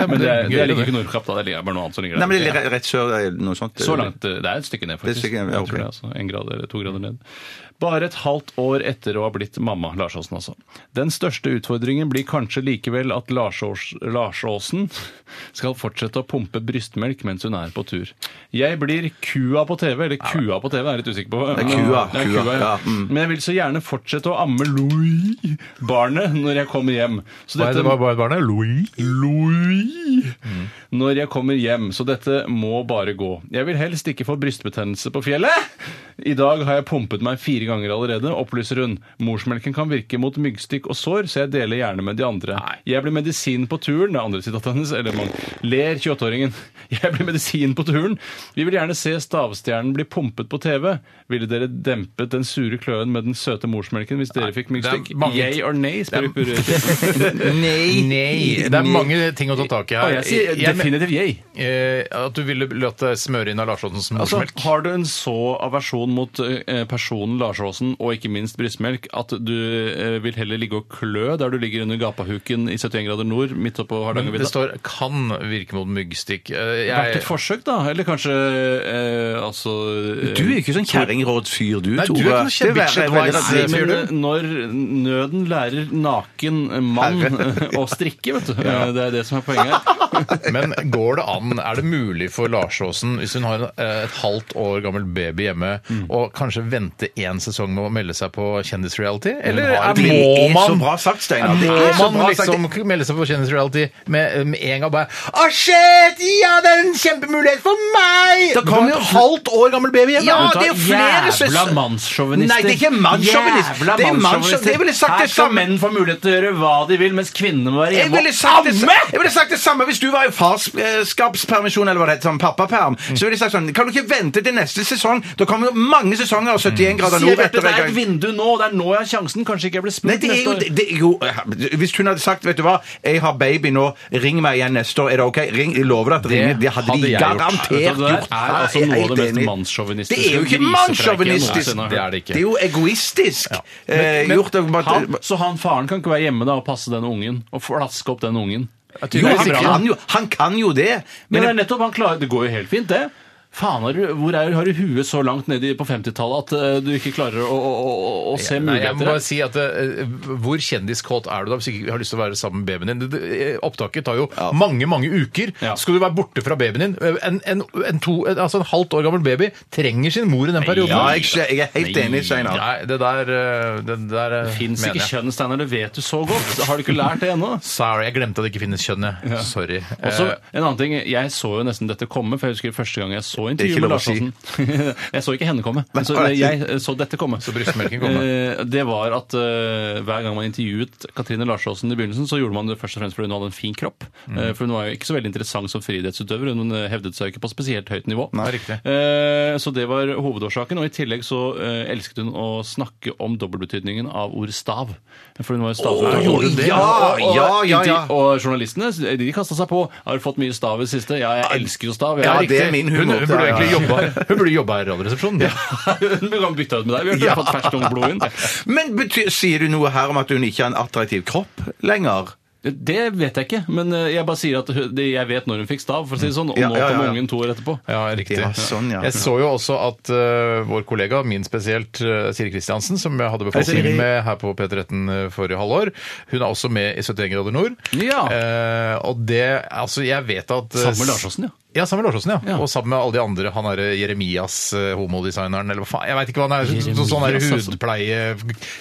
Speaker 9: Men det, er- det ligger ikke Nordkapp, da. Det ligger bare noe annet som ligger
Speaker 8: Mm. Nei, men det
Speaker 9: der.
Speaker 8: er rett- rett sør eller noe sånt.
Speaker 9: Så langt. eh, Det er et stykke ned,
Speaker 8: Det er et
Speaker 9: faktisk.
Speaker 8: stykke ned, ja,
Speaker 9: Jeg tror
Speaker 8: ok.
Speaker 9: det, altså. En grad eller to grader ned. Bare et halvt år etter å ha blitt mamma, Larsåsen altså. Den største utfordringen blir kanskje likevel at Larsås, Larsåsen skal fortsette å pumpe brystmelk mens hun er på tur. Jeg blir kua på TV, eller kua på TV, er jeg litt usikker på.
Speaker 8: Det er kua,
Speaker 9: Det er
Speaker 8: kua,
Speaker 9: ja.
Speaker 8: ja, mm.
Speaker 9: Men jeg vil så gjerne fortsette å amme Louis, barnet, når jeg kommer hjem. Så
Speaker 7: Hva
Speaker 9: dette-
Speaker 7: heter bar- bar- barnet? Louis?
Speaker 9: Louis når jeg kommer hjem, så dette må bare gå. Jeg vil helst ikke få brystbetennelse på fjellet. I dag har jeg pumpet meg fire ganger allerede, opplyser hun. Morsmelken kan virke mot myggstikk og sår, så jeg deler gjerne med de andre. Jeg blir medisin på turen, det er andre sitatet hennes, eller man ler 28-åringen. [laughs] Jeg blir medisin på turen. Vi vil gjerne se Stavstjernen bli pumpet på TV. Ville dere dempet den sure kløen med den søte morsmelken hvis dere fikk myggstikk?
Speaker 7: det er mange-
Speaker 9: Yay or nay, spør Purre.
Speaker 7: [laughs] Nei. Det er mange ting å ta tak i
Speaker 9: Og
Speaker 7: her.
Speaker 9: jeg sier
Speaker 7: Jeg-
Speaker 9: definitivt yay.
Speaker 7: eh, at du ville latt deg smøre inn av Larssons
Speaker 9: Altså,
Speaker 7: morsmelk.
Speaker 9: har du en så aversjon mot eh, personen Larsåsen og ikke minst brystmelk at du eh, vil heller ligge og klø der du ligger under gapahuken i 71 grader nord midt oppå
Speaker 7: Men det
Speaker 9: Hardangervidda?
Speaker 7: står 'kan virke mot myggstikk'. Eh,
Speaker 9: Vært
Speaker 7: Jeg,
Speaker 9: et forsøk, da? Eller kanskje eh, altså eh,
Speaker 8: Du er ikke sånn kjerringrådsfyr, du,
Speaker 7: Nei, du er
Speaker 8: Tore.
Speaker 7: ikke noe
Speaker 8: Det
Speaker 7: bitch
Speaker 8: er veldig-
Speaker 7: advice.
Speaker 9: Nei,
Speaker 7: sier
Speaker 9: men
Speaker 7: du?
Speaker 9: eh, når nøden lærer naken mann eh, [laughs] å strikke, vet du. eh, Det er det som er
Speaker 8: [laughs]
Speaker 9: poenget her.
Speaker 7: men går det an? Er det mulig for Larsåsen, hvis hun har eh, et halvt år gammel baby hjemme,
Speaker 8: Mm.
Speaker 7: å kanskje vente én sesong med å melde seg på kjendisreality? Eller
Speaker 8: har-
Speaker 7: er-
Speaker 8: Det er
Speaker 7: må
Speaker 8: så
Speaker 7: man
Speaker 8: bra sagt, Steinar. Det er så
Speaker 7: Må man
Speaker 8: bra sagt.
Speaker 7: liksom melde seg på kjendisreality med, med en gang bare Å, shit! Ja, det er en kjempemulighet for meg!
Speaker 8: Det kommer jo-
Speaker 7: et halvt år gammel baby hjemme!
Speaker 8: Ja,
Speaker 9: Men ta
Speaker 8: Ah, det er jo flere
Speaker 9: Jævla
Speaker 8: søs-
Speaker 9: mannssjåvinister.
Speaker 8: Nei, det er ikke mannssjåvinist.
Speaker 9: Jævla
Speaker 8: Det er mannssjå-
Speaker 9: mannssjåvinister.
Speaker 8: Jeg ville sagt det
Speaker 9: Her skal
Speaker 8: samme.
Speaker 9: menn få mulighet til å gjøre hva de vil, mens kvinnene må være
Speaker 8: Jeg
Speaker 9: hjemme
Speaker 8: ville, sagt det, jeg ville sagt det samme hvis du var i farskapspermisjon eller hva det heter, sånn pappaperm. Så ville jeg sagt sånn Kan du ikke vente til neste sesong? Da kommer jo mange sesonger av 71 grader
Speaker 9: Sier
Speaker 8: nord
Speaker 9: Bjarte, det
Speaker 8: etter en
Speaker 9: er et
Speaker 8: gang.
Speaker 9: vindu nå, det er nå jeg har sjansen. Kanskje ikke jeg blir
Speaker 8: Nei,
Speaker 9: spurt
Speaker 8: det er jo,
Speaker 9: neste år.
Speaker 8: det er jo eh, Hvis hun hadde sagt, vet du hva, jeg har baby nå, ring meg igjen neste år, er det OK? Ring, jeg lover deg at ringe. Det hadde de
Speaker 9: Vet
Speaker 8: garantert
Speaker 9: du, det
Speaker 8: gjort.
Speaker 9: er altså
Speaker 8: Jeg
Speaker 9: noe av
Speaker 8: helt
Speaker 9: det mest
Speaker 8: enig.
Speaker 9: mannssjåvinistiske
Speaker 8: Det er jo ikke
Speaker 9: grisepreiket
Speaker 8: mannssjåvinistisk!
Speaker 9: noensinne har hørt.
Speaker 7: Det er det ikke.
Speaker 8: Det er jo egoistisk. eh,
Speaker 7: men-
Speaker 8: gjort av
Speaker 9: Han, så han faren kan ikke være hjemme da og passe den ungen og flaske opp den ungen?
Speaker 8: jo,
Speaker 9: Det er
Speaker 8: han
Speaker 9: bra.
Speaker 8: kan jo, han kan jo det.
Speaker 9: Men
Speaker 8: Men
Speaker 9: det er nettopp, han klarer, det går jo helt fint, det. Faen, har du, hvor er, har du huet så langt ned i- på 50-tallet at eh, du ikke klarer å, å, å, å se
Speaker 7: Nei, jeg må
Speaker 9: muligheter?
Speaker 7: bare si at eh, Hvor kjendiskåt er du da hvis ikke du har lyst til å være sammen med babyen din? Det- det- eh, Opptaket tar jo mange mange uker.
Speaker 9: Ja.
Speaker 7: Skal du være borte fra babyen din? Eh, En, en, en, to, en, altså en halvt år gammel baby trenger sin mor i den perioden.
Speaker 8: ja, jeg, skj- jeg er helt enig, Steinar.
Speaker 7: Nei, det der, eh, det der eh,
Speaker 9: Fins
Speaker 7: mener
Speaker 9: ikke
Speaker 7: jeg.
Speaker 9: kjønn, Steinar. Det vet du så godt. Har du ikke lært det ennå?
Speaker 7: Sorry, jeg glemte at det ikke finnes kjønn, jeg. Sorry.
Speaker 9: [laughs] Og så
Speaker 7: Eh,
Speaker 9: en annen ting, Jeg så jo nesten dette komme, for jeg husker første gang jeg så intervjuet
Speaker 8: ikke
Speaker 9: med
Speaker 8: lov å
Speaker 9: Lars
Speaker 8: si.
Speaker 9: Aasen. [laughs] jeg så ikke henne komme, men så,
Speaker 8: Nei.
Speaker 9: jeg så dette komme.
Speaker 7: Så brystmelken komme.
Speaker 9: Eh, Det var at eh, hver gang man intervjuet Katrine Larsåsen i begynnelsen, så gjorde man det først og fremst fordi hun hadde en fin kropp.
Speaker 8: Mm.
Speaker 9: Eh, For hun var jo ikke så veldig interessant som friidrettsutøver. Hun eh, hevdet seg ikke på spesielt høyt nivå.
Speaker 7: Nei, riktig.
Speaker 9: Eh, Så det var hovedårsaken. Og i tillegg så eh, elsket hun å snakke om dobbeltbetydningen av ordet stav. For hun var jo stavutøver.
Speaker 7: gjorde hun det?
Speaker 8: Ja,
Speaker 9: Og- og-
Speaker 8: ja, ja, ja.
Speaker 9: Og journalistene de kasta seg på. Har du fått mye stav i det siste? Ja, jeg elsker jo stav. Jeg
Speaker 8: Ja,
Speaker 9: er
Speaker 8: det er min
Speaker 7: hun,
Speaker 8: humor.
Speaker 7: hun burde
Speaker 8: Ja, ja,
Speaker 7: egentlig
Speaker 8: ja.
Speaker 7: jobba Hun burde jobba i Radioresepsjonen.
Speaker 9: riktig. [laughs] Du kan bytte ut med deg. Vi har ikke fått ferskt ungt blod inn.
Speaker 8: [laughs] Men betyr, sier du noe her om at hun ikke har en attraktiv kropp lenger?
Speaker 9: Det vet jeg ikke, men eh, jeg bare sier at hun- det- jeg vet når hun fikk stav, for å si det sånn. Og
Speaker 8: Ja,
Speaker 9: nå
Speaker 8: ja, ja,
Speaker 9: kommer
Speaker 8: ja.
Speaker 9: ungen to år etterpå.
Speaker 7: Ja, riktig.
Speaker 8: Ja, sånn, ja.
Speaker 7: Jeg så jo også at eh, vår kollega, min spesielt, eh, Siri Kristiansen, som jeg hadde befolkningen med her på P13 eh, forrige halvår, hun er også med i 71 grader nord.
Speaker 9: Ja.
Speaker 7: Eh, og det Altså, jeg vet at eh,
Speaker 9: Samme Larsåsen, ja.
Speaker 7: Ja, sammen med Lårsåsen, ja.
Speaker 9: Ja.
Speaker 7: Og sammen med alle de andre. Han derre Jeremias, eh, homodesigneren, eller hva faen. Jeg veit ikke hva han er. så- så- Sånn derre
Speaker 9: Jeremias, altså.
Speaker 7: hudpleie...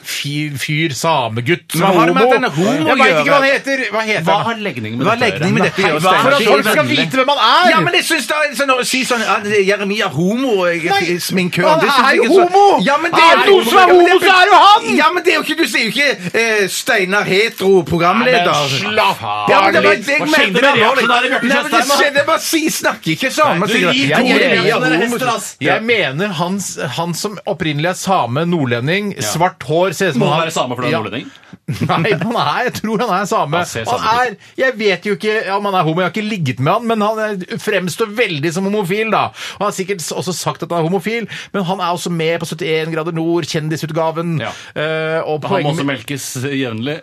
Speaker 7: Fyr, fyr samegutt som
Speaker 8: Men
Speaker 7: har
Speaker 8: homo-
Speaker 7: med denne
Speaker 8: homo
Speaker 7: Jeg veit
Speaker 8: gjør
Speaker 7: ikke hva han heter! Hva heter
Speaker 9: Hva
Speaker 7: han?
Speaker 9: har legning med
Speaker 8: Hva
Speaker 9: dette å gjøre?
Speaker 8: legning med dette å
Speaker 9: Nei,
Speaker 8: gjøre,
Speaker 7: For at
Speaker 8: Steinar?
Speaker 7: folk skal vite hvem han er!
Speaker 8: Ja, men jeg syns da sånn, Å si sånn at Jeremia er homo og jeg
Speaker 7: Nei,
Speaker 8: er sminkør
Speaker 7: han
Speaker 8: det
Speaker 7: er
Speaker 8: synes
Speaker 7: jo
Speaker 8: jeg så-
Speaker 7: homo!
Speaker 8: Ja, men det
Speaker 7: Er det noen som er homo, så er det jo han!
Speaker 8: Ja, men det er jo ikke Du sier jo ikke eh, Steinar hetero programleder.
Speaker 7: Slapp av!
Speaker 8: Ja, men det var det
Speaker 9: Hva
Speaker 8: jeg mente.
Speaker 9: skjedde med
Speaker 8: Det var
Speaker 9: reaksjonen her i Bjarte
Speaker 8: Nei, men det
Speaker 9: Tjøstheim, da?
Speaker 8: skjedde, jeg bare si, snakker ikke sånn. sammen.
Speaker 9: du gir
Speaker 8: sikkert.
Speaker 9: to
Speaker 8: Ja, Jeremia
Speaker 9: reaksjoner,
Speaker 8: er homo,
Speaker 9: hester,
Speaker 8: så-
Speaker 9: ass.
Speaker 7: Jeg mener han, han som opprinnelig er same, nordlending, svart hår ser ut som
Speaker 9: Må
Speaker 7: han-
Speaker 9: han være same for den
Speaker 7: Ja.
Speaker 9: nordlending?
Speaker 7: [laughs] Nei, men han er, jeg tror han er same.
Speaker 9: Han ser
Speaker 7: Han
Speaker 9: same
Speaker 7: er, jeg vet jo ikke om han er homo, jeg har ikke ligget med han, men han er- fremstår veldig som homofil, da. Og han har sikkert også sagt at han er homofil, men han er også med på 71 grader nord, kjendisutgaven.
Speaker 9: Ja.
Speaker 7: Eh, og
Speaker 9: Han må
Speaker 7: poenget
Speaker 9: også
Speaker 7: mitt
Speaker 9: melkes jevnlig.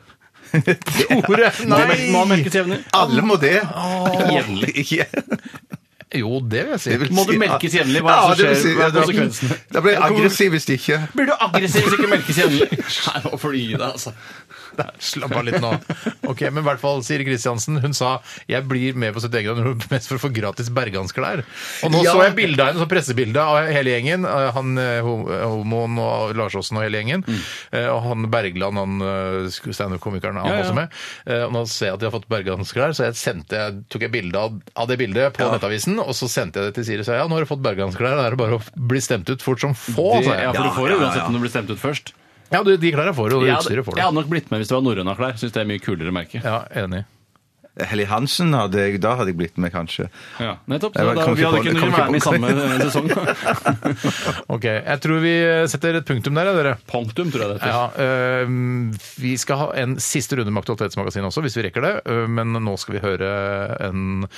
Speaker 7: Tore,
Speaker 9: [laughs] Må- Må han
Speaker 7: nei!
Speaker 9: melkes jevnlig?
Speaker 8: Alle må det.
Speaker 9: Jevnlig.
Speaker 8: Ikke-
Speaker 7: Jo, det vil jeg si.
Speaker 8: det vil
Speaker 9: Må du
Speaker 8: si-
Speaker 9: melkes jevnlig? Hva er det som
Speaker 8: det vil si-
Speaker 9: skjer? Hva er
Speaker 8: da-
Speaker 9: konsekvensene?
Speaker 8: Da blir jeg aggressiv hvis det ikke
Speaker 9: Blir du aggressiv hvis ikke melkes jevnlig? Nei, nå får du gi deg, altså.
Speaker 7: Nei, Slapp av litt nå. Ok, Men i hvert fall Siri Kristiansen hun sa jeg blir med på 71 grader nord [laughs] mest for å få gratis bergansklær. Og nå
Speaker 8: Ja.
Speaker 7: så jeg bildet av henne, så pressebildet av hele gjengen. eh, Han eh, ho- homoen og Larsåsen og hele gjengen.
Speaker 9: Mm.
Speaker 7: Eh, Og han Bergland, han eh, sk- standup-komikeren, han
Speaker 9: Ja, ja.
Speaker 7: også med. Eh, Og nå ser jeg at de har fått bergansklær, så jeg sendte, jeg tok jeg bilde av, av det bildet på Nettavisen. Og så sendte jeg det til Siri og sa ja, nå har du fått bergansklær, da er det bare å bli stemt ut fort som få.
Speaker 9: Det,
Speaker 7: sa
Speaker 9: ja,
Speaker 7: jeg.
Speaker 9: for du får det
Speaker 8: ja, ja,
Speaker 9: uansett
Speaker 8: ja.
Speaker 9: om du blir stemt ut først.
Speaker 7: Ja, du, de klærne får du, og det
Speaker 9: Jeg hadde,
Speaker 7: utstyret får
Speaker 9: jeg
Speaker 7: du.
Speaker 9: hadde nok blitt med hvis det var norrøne klær. Syns det er mye kulere merke.
Speaker 7: Ja, enig.
Speaker 8: Helly Hansen hadde jeg, da hadde jeg blitt med, kanskje.
Speaker 9: Ja, nettopp.
Speaker 8: Jeg
Speaker 9: Så
Speaker 8: var-
Speaker 9: da,
Speaker 8: kom
Speaker 9: vi
Speaker 8: ikke
Speaker 9: hadde
Speaker 8: på-
Speaker 9: ikke kunnet
Speaker 8: kom ikke
Speaker 9: være med i
Speaker 8: på-
Speaker 9: samme eh, sesong.
Speaker 7: Ok, Jeg tror vi eh, setter et punktum der, ja, dere.
Speaker 9: Punktum, tror jeg det heter.
Speaker 7: Ja, øh, Vi skal ha en siste runde med Aktualitetsmagasinet også, hvis vi rekker det. øh, Men nå skal vi høre en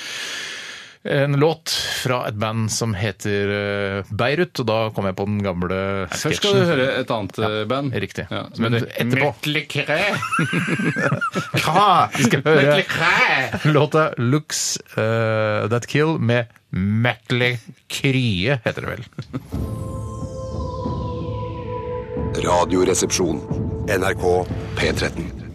Speaker 7: en låt fra et band som heter øh, Beirut, og da kom jeg på den gamle
Speaker 9: Først skal du
Speaker 7: sketsjen.
Speaker 9: høre et annet eh, band.
Speaker 7: Riktig.
Speaker 9: Ja, som
Speaker 7: Men
Speaker 9: heter
Speaker 7: etterpå
Speaker 9: Mettelig Kræ.
Speaker 7: [laughs] Kra! Vi skal høre
Speaker 9: Mettelig Kræ.
Speaker 7: låta 'Looks øh, That Kill' med Metley Krye, heter det vel.
Speaker 6: Radioresepsjon. NRK P13.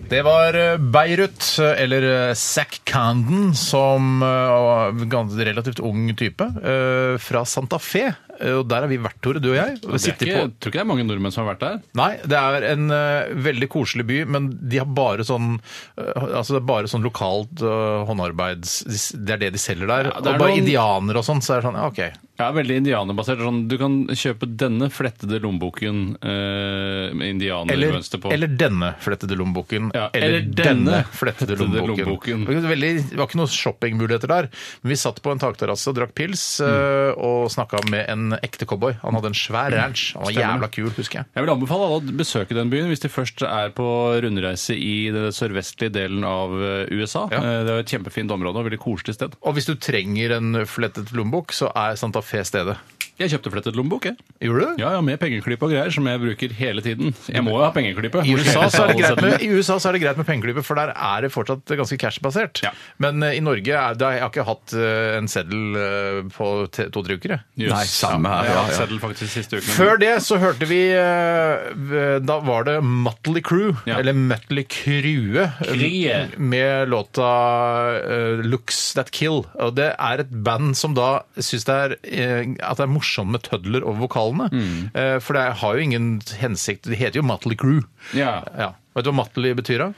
Speaker 7: Det var eh, Beirut, eh, eller eh, Zack Candon, som eh, var en gans- relativt ung type, eh, fra Santa Fe. Eh, Og der har vi vært, Tore, du og jeg. Og
Speaker 9: Det er
Speaker 7: sitter
Speaker 9: ikke,
Speaker 7: på
Speaker 9: jeg tror ikke det er mange nordmenn som har vært der.
Speaker 7: Nei, det er en eh, veldig koselig by, men de har bare sånn eh, Altså det er bare sånn lokalt eh, håndarbeids... Det er det de selger der.
Speaker 9: Ja, det er
Speaker 7: og bare
Speaker 9: noen-
Speaker 7: indianere og sånn, så er det sånn ja, OK.
Speaker 9: Ja, veldig indianerbasert. Sånn, du kan kjøpe denne flettede lommeboken eh, med
Speaker 7: Eller,
Speaker 9: indianermønster på.
Speaker 7: eller denne flettede lommeboken.
Speaker 9: Ja,
Speaker 7: eller,
Speaker 9: eller
Speaker 7: denne,
Speaker 9: denne
Speaker 7: flettede
Speaker 9: flettede
Speaker 7: lommeboken.
Speaker 9: lommeboken.
Speaker 7: Det var ikke veldig- det var ikke noen shoppingmuligheter der. Men vi satt på en takterrasse og drakk pils
Speaker 9: Mm.
Speaker 7: eh, og snakka med en ekte cowboy. Han hadde en
Speaker 9: Mm.
Speaker 7: svær ranch. Han var
Speaker 9: Stemmer.
Speaker 7: jævla kul, husker jeg.
Speaker 9: Jeg vil anbefale alle å besøke den byen hvis de først er på rundreise i den sørvestlige delen av eh, USA.
Speaker 7: Ja.
Speaker 9: Eh, Det er et kjempefint område og veldig koselig sted.
Speaker 7: Og hvis du trenger en flettet lommebok, så er Santa Fe stedet.
Speaker 9: Jeg kjøpte flettet lommebok, jeg.
Speaker 7: Gjorde du?
Speaker 9: Ja, ja, med pengeklype og greier, som jeg bruker hele tiden. Jeg må jo ha pengeklype.
Speaker 7: I
Speaker 9: Hvor skal
Speaker 7: USA,
Speaker 9: jeg
Speaker 7: så er det
Speaker 9: betale
Speaker 7: greit med,
Speaker 9: settlementen?
Speaker 7: I USA så er det greit med pengeklype, for der er det fortsatt ganske cashbasert.
Speaker 9: Ja.
Speaker 7: Men eh, i Norge er, da har jeg ikke hatt eh, en seddel eh, på te- to-tre uker. jeg.
Speaker 9: Jøss.
Speaker 8: Nei, samme her,
Speaker 9: Jeg
Speaker 8: ja,
Speaker 9: har hatt
Speaker 8: ja.
Speaker 9: seddel faktisk siste uken.
Speaker 7: Før det så hørte vi eh, Da var det Mutley Crew,
Speaker 9: Ja.
Speaker 7: eller Mutley Crue,
Speaker 9: Krye.
Speaker 7: med låta eh, 'Looks That Kill'. Og det er et band som da syns det er eh, at det er morsomt med tødler over vokalene.
Speaker 9: Mm.
Speaker 7: Eh, for det har jo ingen hensikt. Det heter jo Mutley Crew.
Speaker 9: Ja.
Speaker 7: Vet du hva Mutley betyr, da?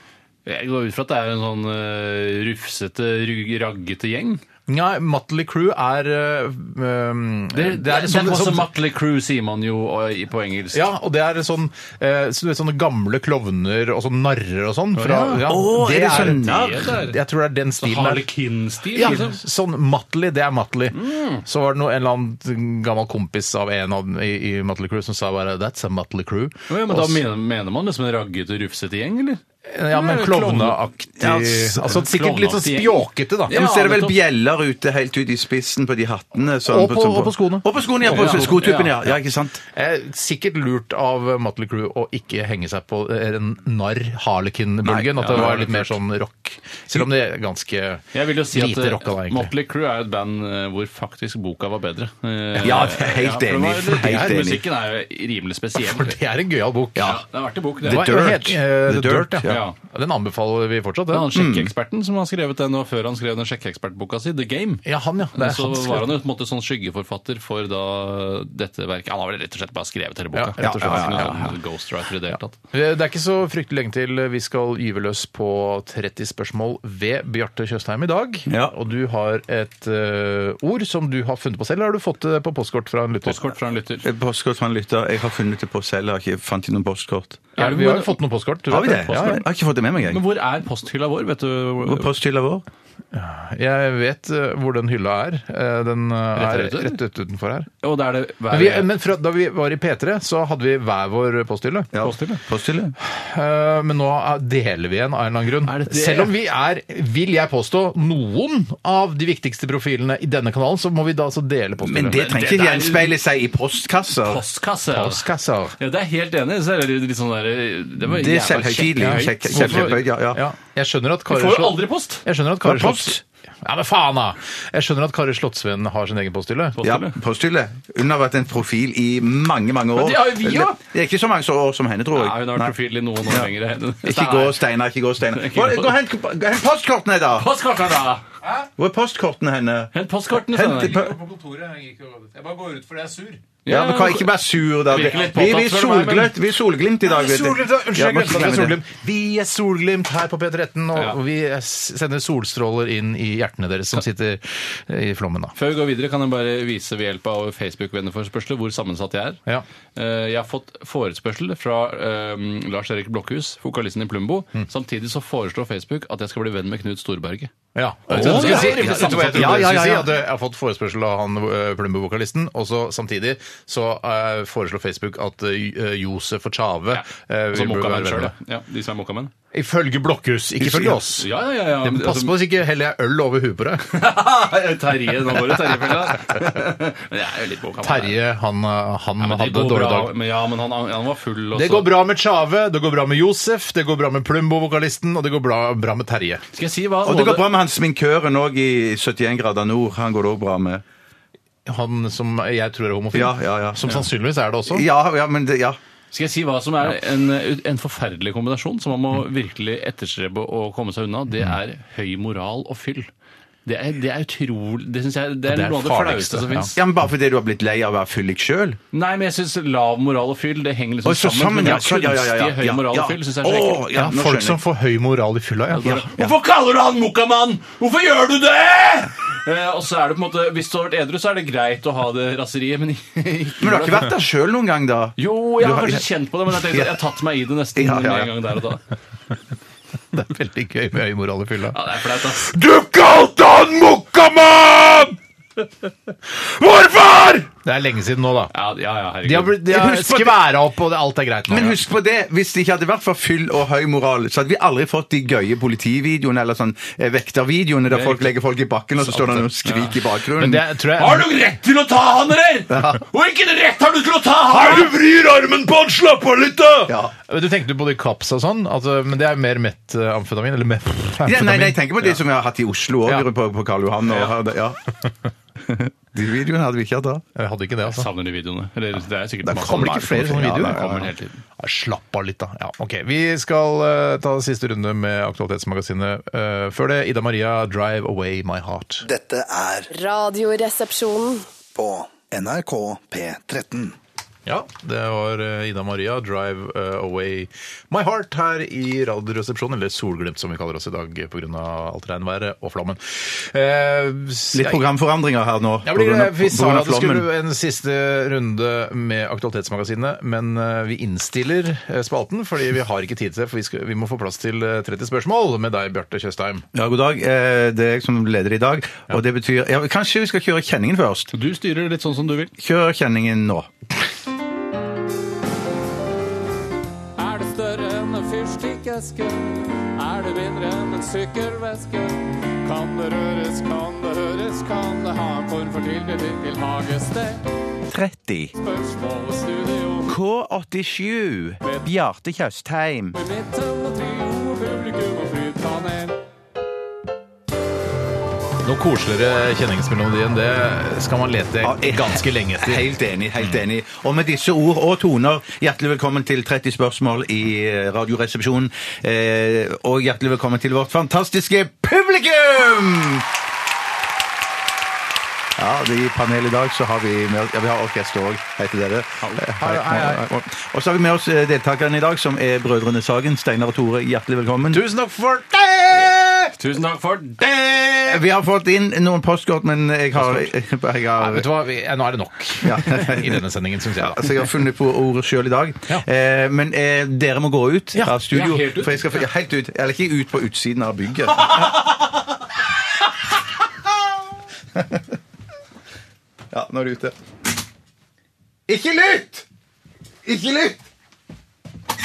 Speaker 9: Jeg går ut fra at det er en sånn eh, rufsete, rug- raggete gjeng.
Speaker 7: Nei, Mutley Crew er eh, um,
Speaker 9: Det, det er
Speaker 7: sånn- sånn-
Speaker 9: Mutley Crew, sier man jo og- i- på engelsk.
Speaker 7: Ja, og det er sånn eh, så du vet, sånne gamle klovner og sånn narrer og sånn. Fra, ja.
Speaker 8: Å, er det sånn narr?
Speaker 7: Jeg tror det er den stilen der.
Speaker 9: Harlekin-stil,
Speaker 7: Ja,
Speaker 9: liksom.
Speaker 7: sånn Matley, det er Matley. Så var det noe, en eller annen gammel kompis av en av, i, i Matley Crew som sa bare 'That's a Matley Crew'.
Speaker 9: Å Ja, men da
Speaker 7: Og s-
Speaker 9: mener, mener man liksom en raggete, rufsete gjeng, eller?
Speaker 7: ja, men
Speaker 9: Eller
Speaker 7: klovneaktig
Speaker 8: Ja, s-
Speaker 7: altså, Sikkert litt sånn
Speaker 9: klovneaktig.
Speaker 7: spjåkete, da.
Speaker 8: Ja, men
Speaker 9: Ja,
Speaker 8: så er det vel
Speaker 9: nettopp.
Speaker 8: bjeller ute helt ut i spissen på de hattene. sånn
Speaker 7: Og på-
Speaker 8: sånn
Speaker 7: og på skoene.
Speaker 8: Og på skoene, ja, på
Speaker 9: Ja, ja.
Speaker 8: skotuppen, ja. ja. Ikke sant?
Speaker 7: Eh, Sikkert lurt av Matley Crew å ikke henge seg på en narr-harlekin-bølgen.
Speaker 9: Nei,
Speaker 7: at det
Speaker 9: ja,
Speaker 7: var
Speaker 9: det
Speaker 7: litt
Speaker 9: er
Speaker 7: mer
Speaker 9: klart.
Speaker 7: sånn rock rock. Selv om det er ganske
Speaker 9: Jeg vil jo si at
Speaker 7: lite
Speaker 9: eh,
Speaker 7: rock av det, egentlig.
Speaker 9: Motley Crue er jo et band eh, hvor faktisk boka var bedre. Eh,
Speaker 8: Ja, det er helt
Speaker 9: for det var-
Speaker 8: enig.
Speaker 9: det- det er-
Speaker 8: Helt enig.
Speaker 9: Musikken er jo rimelig
Speaker 7: [laughs]
Speaker 9: spesiell.
Speaker 7: For det er en gøyal bok.
Speaker 9: Ja, det er verdt en bok. Det
Speaker 7: Det var,
Speaker 9: var
Speaker 7: hva
Speaker 8: Dirt.
Speaker 7: het- eh, The,
Speaker 8: The
Speaker 7: Dirt,
Speaker 8: Dirt,
Speaker 7: ja.
Speaker 9: ja.
Speaker 7: Den anbefaler vi fortsatt,
Speaker 9: Det er han
Speaker 7: den.
Speaker 9: sjekkeeksperten som har skrevet den, og før han skrev den sjekkeekspertboka si, The Game.
Speaker 7: Ja, han, ja. Det er
Speaker 9: så
Speaker 7: han som
Speaker 9: var
Speaker 7: skrev
Speaker 9: han jo på en måte sånn skyggeforfatter for da dette verket. Han har vel rett og slett bare skrevet hele boka.
Speaker 7: Ja, ja,
Speaker 9: rett og slett.
Speaker 7: ja,
Speaker 9: Ikke
Speaker 7: ja,
Speaker 9: noen Ghostwriter i det hele tatt.
Speaker 7: Eh, Det er ikke så fryktelig lenge til vi skal gyve løs på 30 spørsmål ved Bjarte Tjøstheim i dag.
Speaker 8: Ja.
Speaker 7: Og du har et eh, ord som du har funnet på selv, eller har du fått det på postkort fra en lytter?
Speaker 9: Postkort fra en lytter.
Speaker 8: Eh, Postkort fra en lytter. Jeg har funnet det på selv. Jeg har ikke fant noen postkort.
Speaker 7: Ja, vi har jo fått noen postkort. du
Speaker 8: Har vi
Speaker 7: vet
Speaker 8: det?
Speaker 7: Ja,
Speaker 8: Jeg har ikke fått det med meg,
Speaker 9: Men
Speaker 8: jeg.
Speaker 9: hvor er posthylla vår, vet du?
Speaker 8: Hvor Posthylla vår?
Speaker 7: ja. Jeg vet eh, hvor den hylla er. Eh, Den eh,
Speaker 9: her
Speaker 7: er
Speaker 9: ute, eller?
Speaker 7: rett ut utenfor her.
Speaker 9: Og det er det hver
Speaker 7: Men, vi, eh, men fra, da vi var i P3, så hadde vi hver vår posthylle.
Speaker 8: Ja.
Speaker 9: Posthylle.
Speaker 8: Posthylle?
Speaker 7: Eh, Men nå er- deler vi en av en eller annen grunn.
Speaker 9: Er det det?
Speaker 7: Selv om vi er, vil jeg påstå, noen av de viktigste profilene i denne kanalen, så må vi da altså dele posthylle.
Speaker 8: Men det trenger
Speaker 9: det
Speaker 8: ikke
Speaker 9: der-
Speaker 8: gjenspeile seg i postkasser.
Speaker 9: postkasse.
Speaker 7: Postkasser.
Speaker 9: Ja, det er helt enig. Så er det litt sånn der, det var
Speaker 8: Det er
Speaker 9: jævla
Speaker 8: selvhøytidelig.
Speaker 9: kjekk-
Speaker 8: Kjekk- Selvhøytidelig. Ja, ja.
Speaker 7: Ja, jeg skjønner at
Speaker 9: Vi
Speaker 7: Kari
Speaker 9: får jo
Speaker 7: Slott-
Speaker 9: aldri post!
Speaker 7: Jeg skjønner at Kari
Speaker 8: Det er post.
Speaker 7: Slott- Ja, men faen, da! Jeg skjønner at Kari Slottsveen har sin egen posthylle.
Speaker 8: Ja, posthylle. Hun har vært en profil i mange, mange år.
Speaker 9: Men det har jo vi også.
Speaker 8: Det er ikke så mange så år som henne, tror jeg.
Speaker 9: Ja, hun har
Speaker 8: Nei.
Speaker 9: vært profil i noen år lenger.
Speaker 8: Ikke gå, Steinar. Ikke gå, Steinar.
Speaker 9: Ikke
Speaker 8: Gå
Speaker 9: gå.
Speaker 8: gå og hent, gå og hent postkortene, da!
Speaker 9: Postkortene, da!
Speaker 8: Hvor er postkortene henne?
Speaker 9: Hent postkortene. Steinar.
Speaker 8: Hent-
Speaker 7: på kontoret. Jeg, bare går ut fordi jeg er sur.
Speaker 8: Ja, men kan jeg ikke være sur, da. Vi,
Speaker 9: Virker litt
Speaker 8: vi,
Speaker 9: påtatt,
Speaker 8: er
Speaker 9: spør du meg, men-
Speaker 8: solgløtt, vi er solglimt i dag, vet du.
Speaker 7: Solglimt, da.
Speaker 8: Ja,
Speaker 7: Unnskyld,
Speaker 8: må
Speaker 7: jeg glemte at det er
Speaker 8: glemme
Speaker 7: solglimt.
Speaker 8: det.
Speaker 7: Vi er Solglimt her på P13, og
Speaker 9: Ja.
Speaker 7: og vi s- sender solstråler inn i hjertene deres som sitter eh, i flommen, da.
Speaker 9: Før vi går videre, kan jeg bare vise ved hjelp av Facebook-venneforspørsler hvor sammensatt jeg er.
Speaker 7: Ja.
Speaker 9: Eh, Jeg har fått forespørsel fra eh, Lars-Erik Blokhus, vokalisten i Plumbo.
Speaker 7: Mm.
Speaker 9: Samtidig så foreslår Facebook at jeg skal bli venn med Knut Storberget.
Speaker 7: Ja.
Speaker 9: Åh,
Speaker 7: Jeg trodde du
Speaker 9: ja,
Speaker 7: skulle si-
Speaker 9: det er rimelig
Speaker 7: jeg trodde jeg trodde
Speaker 8: Ja,
Speaker 7: du
Speaker 8: ja,
Speaker 7: skulle
Speaker 8: ja,
Speaker 7: si
Speaker 8: ja.
Speaker 7: at Jeg har fått forespørsel av han eh, Plumbo-vokalisten, og så samtidig så eh, foreslår Facebook at eh, Josef og Tjave eh, vi
Speaker 9: Som
Speaker 7: burde
Speaker 9: mokamenn
Speaker 7: være venner
Speaker 9: sjøl,
Speaker 7: med.
Speaker 9: ja. De som er mokamenn.
Speaker 7: Ifølge Blokhus, ikke ifølge oss.
Speaker 9: Ja, ja, ja. ja.
Speaker 7: Det- Pass
Speaker 9: [laughs]
Speaker 7: på så ikke heller jeg øl over huet på deg.
Speaker 9: Altså- Terje. Nå går det
Speaker 7: [laughs]
Speaker 9: Terje-fella. Men jeg er jo litt mokamenn.
Speaker 7: Terje, han, eh, han
Speaker 9: Ja, men det
Speaker 7: hadde
Speaker 9: går
Speaker 7: en dårlig
Speaker 9: bra.
Speaker 7: dag.
Speaker 9: Men, ja, men han, han var full. og
Speaker 7: Det
Speaker 9: så-
Speaker 7: går bra med Tjave, det går bra med Josef, det går bra med Plumbo-vokalisten, og det går bra, bra med Terje.
Speaker 9: Skal jeg si hva?
Speaker 8: Og det
Speaker 9: noe
Speaker 8: går
Speaker 9: av
Speaker 8: bra med han sminkøren òg i 71 grader nord. Han går det òg bra med.
Speaker 7: Han som jeg tror er homofil.
Speaker 8: Ja, ja, ja.
Speaker 7: Som sannsynligvis er det
Speaker 9: Sånn.
Speaker 7: også.
Speaker 8: Ja, ja, men det, ja.
Speaker 9: Skal jeg si hva som er en, en forferdelig kombinasjon som man må
Speaker 8: Mm.
Speaker 9: virkelig etterstrebe å komme seg unna? Det er høy moral og fyll. Det er, det er utrolig Det synes jeg det er,
Speaker 7: Det er
Speaker 9: noe av det
Speaker 7: farligste,
Speaker 9: flaueste som
Speaker 7: ja.
Speaker 9: fins.
Speaker 8: ja, men Bare fordi du har blitt lei av å være fyllik sjøl?
Speaker 9: Nei, men jeg syns lav moral og fyll det henger liksom
Speaker 8: Å, så
Speaker 9: sammen.
Speaker 8: sammen,
Speaker 9: men
Speaker 8: ja,
Speaker 9: det
Speaker 8: så- ja, ja, ja, ja,
Speaker 9: kunstige høy
Speaker 8: ja,
Speaker 9: moral
Speaker 8: ja.
Speaker 9: og fyll synes jeg er så ekkelt.
Speaker 8: Å, ja, nå skjønner
Speaker 7: Folk
Speaker 8: jeg.
Speaker 7: som får høy moral i fylla, ja.
Speaker 9: Bare, Hvorfor kaller du han Mokamann? Hvorfor gjør du det?! Eh, og så er det på en måte, Hvis du har vært edru, så er det greit å ha det raseriet, men [laughs] ikke
Speaker 8: Men du har ikke vært der sjøl noen gang, da?
Speaker 9: Jo, jeg
Speaker 8: Du
Speaker 9: har
Speaker 8: har-
Speaker 9: kanskje kjent på det, men jeg tenkte at jeg har tatt meg i det nesten
Speaker 8: Ja, ja, ja.
Speaker 9: med en gang der og da.
Speaker 7: Det er [laughs] veldig gøy med høy moral i fylla.
Speaker 9: Ja, det er flaut, ass.
Speaker 7: Du kalte han Mokkamann! Hvorfor?! Det er lenge siden nå, da.
Speaker 9: Ja, ja, ja, herregud.
Speaker 7: De har, blitt- de har
Speaker 8: Husk på det-
Speaker 7: skværa opp, og det, alt er greit nå.
Speaker 8: Men husk på det, hvis det ikke hadde vært for fyll og høy moral, så hadde vi aldri fått de gøye politivideoene eller sånn eh, vektervideoene der folk legger folk i bakken, og så står det noen skrik i bakgrunnen.
Speaker 7: Men det tror jeg
Speaker 9: Har du rett til å ta han, eller?! Og ikke rett har du til å ta han!
Speaker 7: vrir armen på han! Slapp av litt, da!
Speaker 8: Ja.
Speaker 7: Du tenkte jo på de kaps og sånn, altså, men det er mer metamfetamin? Eller metamfetamin?
Speaker 8: Ja, nei, nei, jeg tenker på det som vi har hatt i Oslo òg,
Speaker 7: Ja.
Speaker 8: på, på Karl Johan. Og, her, det- ja.
Speaker 7: [laughs]
Speaker 8: De videoene hadde vi ikke hatt da.
Speaker 7: Jeg hadde ikke det,
Speaker 9: Jeg
Speaker 7: altså.
Speaker 9: savner de videoene. Eller, det er sikkert
Speaker 8: Det
Speaker 9: masse
Speaker 8: kommer
Speaker 9: som
Speaker 8: ikke
Speaker 9: er-
Speaker 8: flere sånne
Speaker 9: Ja,
Speaker 8: videoer.
Speaker 9: det kommer hele tiden.
Speaker 7: Ja, Slapp av litt, da. Ja, ok. Vi skal eh, ta siste runde med Aktualitetsmagasinet. Eh, før det, Ida Maria, 'Drive Away My Heart'.
Speaker 3: Dette er
Speaker 10: Radioresepsjonen.
Speaker 3: på NRK P13.
Speaker 7: Ja, det var eh, Ida Maria, 'Drive eh, Away My Heart', her i Radioresepsjonen. Eller Solglimt, som vi kaller oss i dag pga. alt regnværet og flommen. Eh, s-
Speaker 8: Litt programforandringer her nå.
Speaker 7: Ja, blir
Speaker 8: på grunn
Speaker 7: det,
Speaker 8: av-
Speaker 7: vi
Speaker 8: på
Speaker 7: sa
Speaker 8: grunn av
Speaker 7: at det
Speaker 8: flommen.
Speaker 7: skulle en siste runde med Aktualitetsmagasinet, men eh, vi innstiller eh, spalten fordi vi har ikke tid til det. For vi, skal, vi må få plass til eh, 30 spørsmål med deg, Bjarte Tjøstheim.
Speaker 8: Ja, god dag. Eh, Det er jeg som leder i dag, og det betyr ja, Kanskje vi skal kjøre kjenningen først?
Speaker 9: Du styrer litt sånn som du vil.
Speaker 8: Kjør kjenningen nå.
Speaker 9: Er det større enn en fyrstikkeske? Er det mindre enn en sykkelveske? Kan det røres, kan det høres, kan det ha en form for tilknytning til hagested?
Speaker 8: 30.
Speaker 9: Spørsmål og studio
Speaker 8: K87. Bjarte Tjøstheim.
Speaker 9: med midten og trio og publikum og flytpanel.
Speaker 7: Noe koseligere kjenningsmelodi enn det skal man lete
Speaker 8: Ja, jeg-
Speaker 7: ganske lenge etter.
Speaker 8: Helt enig. helt enig. Og med disse ord og toner, hjertelig velkommen til 30 spørsmål i eh, Radioresepsjonen. Eh, og hjertelig velkommen til vårt fantastiske publikum! Ja, og I panelet i dag så har vi med oss ja, vi har orkester òg. Hei til dere. Eh, Hei, hei, hei. Og så har vi med oss eh, deltakerne i dag, som er Brødrene Sagen. Steinar og Tore, hjertelig velkommen.
Speaker 7: Tusen takk for det!
Speaker 9: Tusen takk for det!
Speaker 8: Eh, Vi har fått inn noen postkort, men jeg har, [laughs] jeg
Speaker 7: Nei,
Speaker 8: har
Speaker 7: vet du hva? Vi, ja, nå er det nok
Speaker 8: [laughs] Ja.
Speaker 7: i denne sendingen, syns jeg. da.
Speaker 8: Altså, jeg har funnet på ordet sjøl i dag.
Speaker 7: Ja.
Speaker 8: Eh, men eh, dere må gå ut
Speaker 7: Ja,
Speaker 8: av studio.
Speaker 9: ja, helt ut.
Speaker 8: For jeg skal, ja, helt ut. Eller ikke ut på utsiden av bygget. ja, nå er det ute. Ikke lytt! Ikke lytt!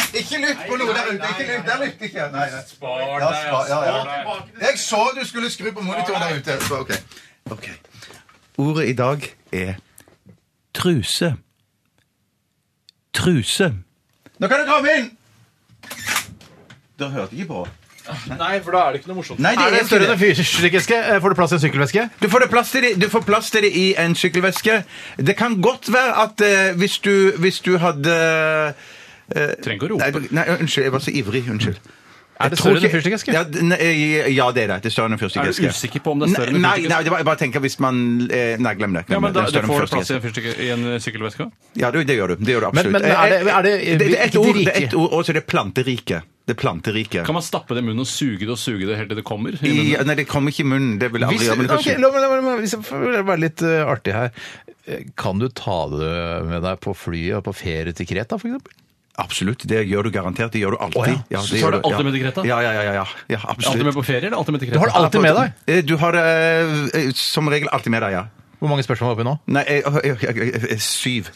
Speaker 8: Ikke lytt på noe der ute. Ikke lytt. Der lytter ikke. Nei, nei.
Speaker 9: Spar
Speaker 8: Ja, spar- ja, ja. Jeg så du skulle skru på monitoren der ute. Så, ok. ok. Ordet i dag er truse. Truse. Nå kan du komme inn! Dere hørte ikke på.
Speaker 9: Nei, for da er det ikke noe morsomt.
Speaker 8: Nei,
Speaker 7: Er det
Speaker 8: ikke
Speaker 7: større enn en fyrstikkeske? Eh, Får du plass i en sykkelveske?
Speaker 8: Du får, det plass til det, du får plass til det i en sykkelveske. Det kan godt være at eh, hvis, du, hvis du hadde eh,
Speaker 9: Trenger ikke å
Speaker 8: Nei,
Speaker 9: rope.
Speaker 8: nei, unnskyld. Jeg var så ivrig. Unnskyld.
Speaker 7: Er
Speaker 8: Jeg
Speaker 7: det
Speaker 8: tror
Speaker 7: større enn en
Speaker 8: ikke-
Speaker 7: fyrstikkeske?
Speaker 8: Ja, d- nei, eh, ja, det er det. Det er større enn en fyrstikkeske.
Speaker 9: Er du usikker på om det er større enn en
Speaker 8: Nei,
Speaker 9: fyrstikkeske?
Speaker 8: Nei, det var, jeg bare tenker hvis man eh, Nei, glem det. Glem
Speaker 9: Ja, men da,
Speaker 8: det.
Speaker 9: du
Speaker 8: Det er større enn
Speaker 9: får plass
Speaker 8: en
Speaker 9: i en,
Speaker 8: fyrstikkeske.
Speaker 9: fyrstikkeske- i en eh, sykkelveske også?
Speaker 8: Ja, du, det gjør du. Det gjør du
Speaker 7: Men-
Speaker 8: absolutt. Eh,
Speaker 7: men er det- er det-
Speaker 8: det, det er
Speaker 7: hvilket
Speaker 8: ett ord, det er
Speaker 7: rike?
Speaker 8: ett ord og så er det planteriket. Det er planteriket.
Speaker 9: Kan man stappe det i munnen og suge det og suge det helt til det kommer? i munnen?
Speaker 8: I, nei, det kommer ikke i munnen. Det vil jeg aldri
Speaker 7: Hvis,
Speaker 8: gjøre. men det kan
Speaker 7: ok,
Speaker 8: skje.
Speaker 7: la meg- la meg- la meg- hvis jeg får være litt eh, artig her Eh, Kan du ta det med deg på flyet og på ferie til Kreta, for eksempel?
Speaker 8: Absolutt. Det gjør du garantert. Det gjør du alltid.
Speaker 7: Å, ja.
Speaker 8: det
Speaker 9: Så
Speaker 8: gjør
Speaker 9: tar du alltid
Speaker 8: ja.
Speaker 9: med til Greta?
Speaker 8: Ja, ja, ja. ja, ja. ja absolutt.
Speaker 9: Alltid med på ferie, eller alltid med til
Speaker 7: Du har
Speaker 9: Kreta?
Speaker 7: det alltid med deg!
Speaker 8: Eh, Du har det eh, som regel alltid med deg, ja.
Speaker 7: Hvor mange spørsmål er oppi nå?
Speaker 8: Nei, eh, jeg, jeg, jeg, jeg, jeg, syv.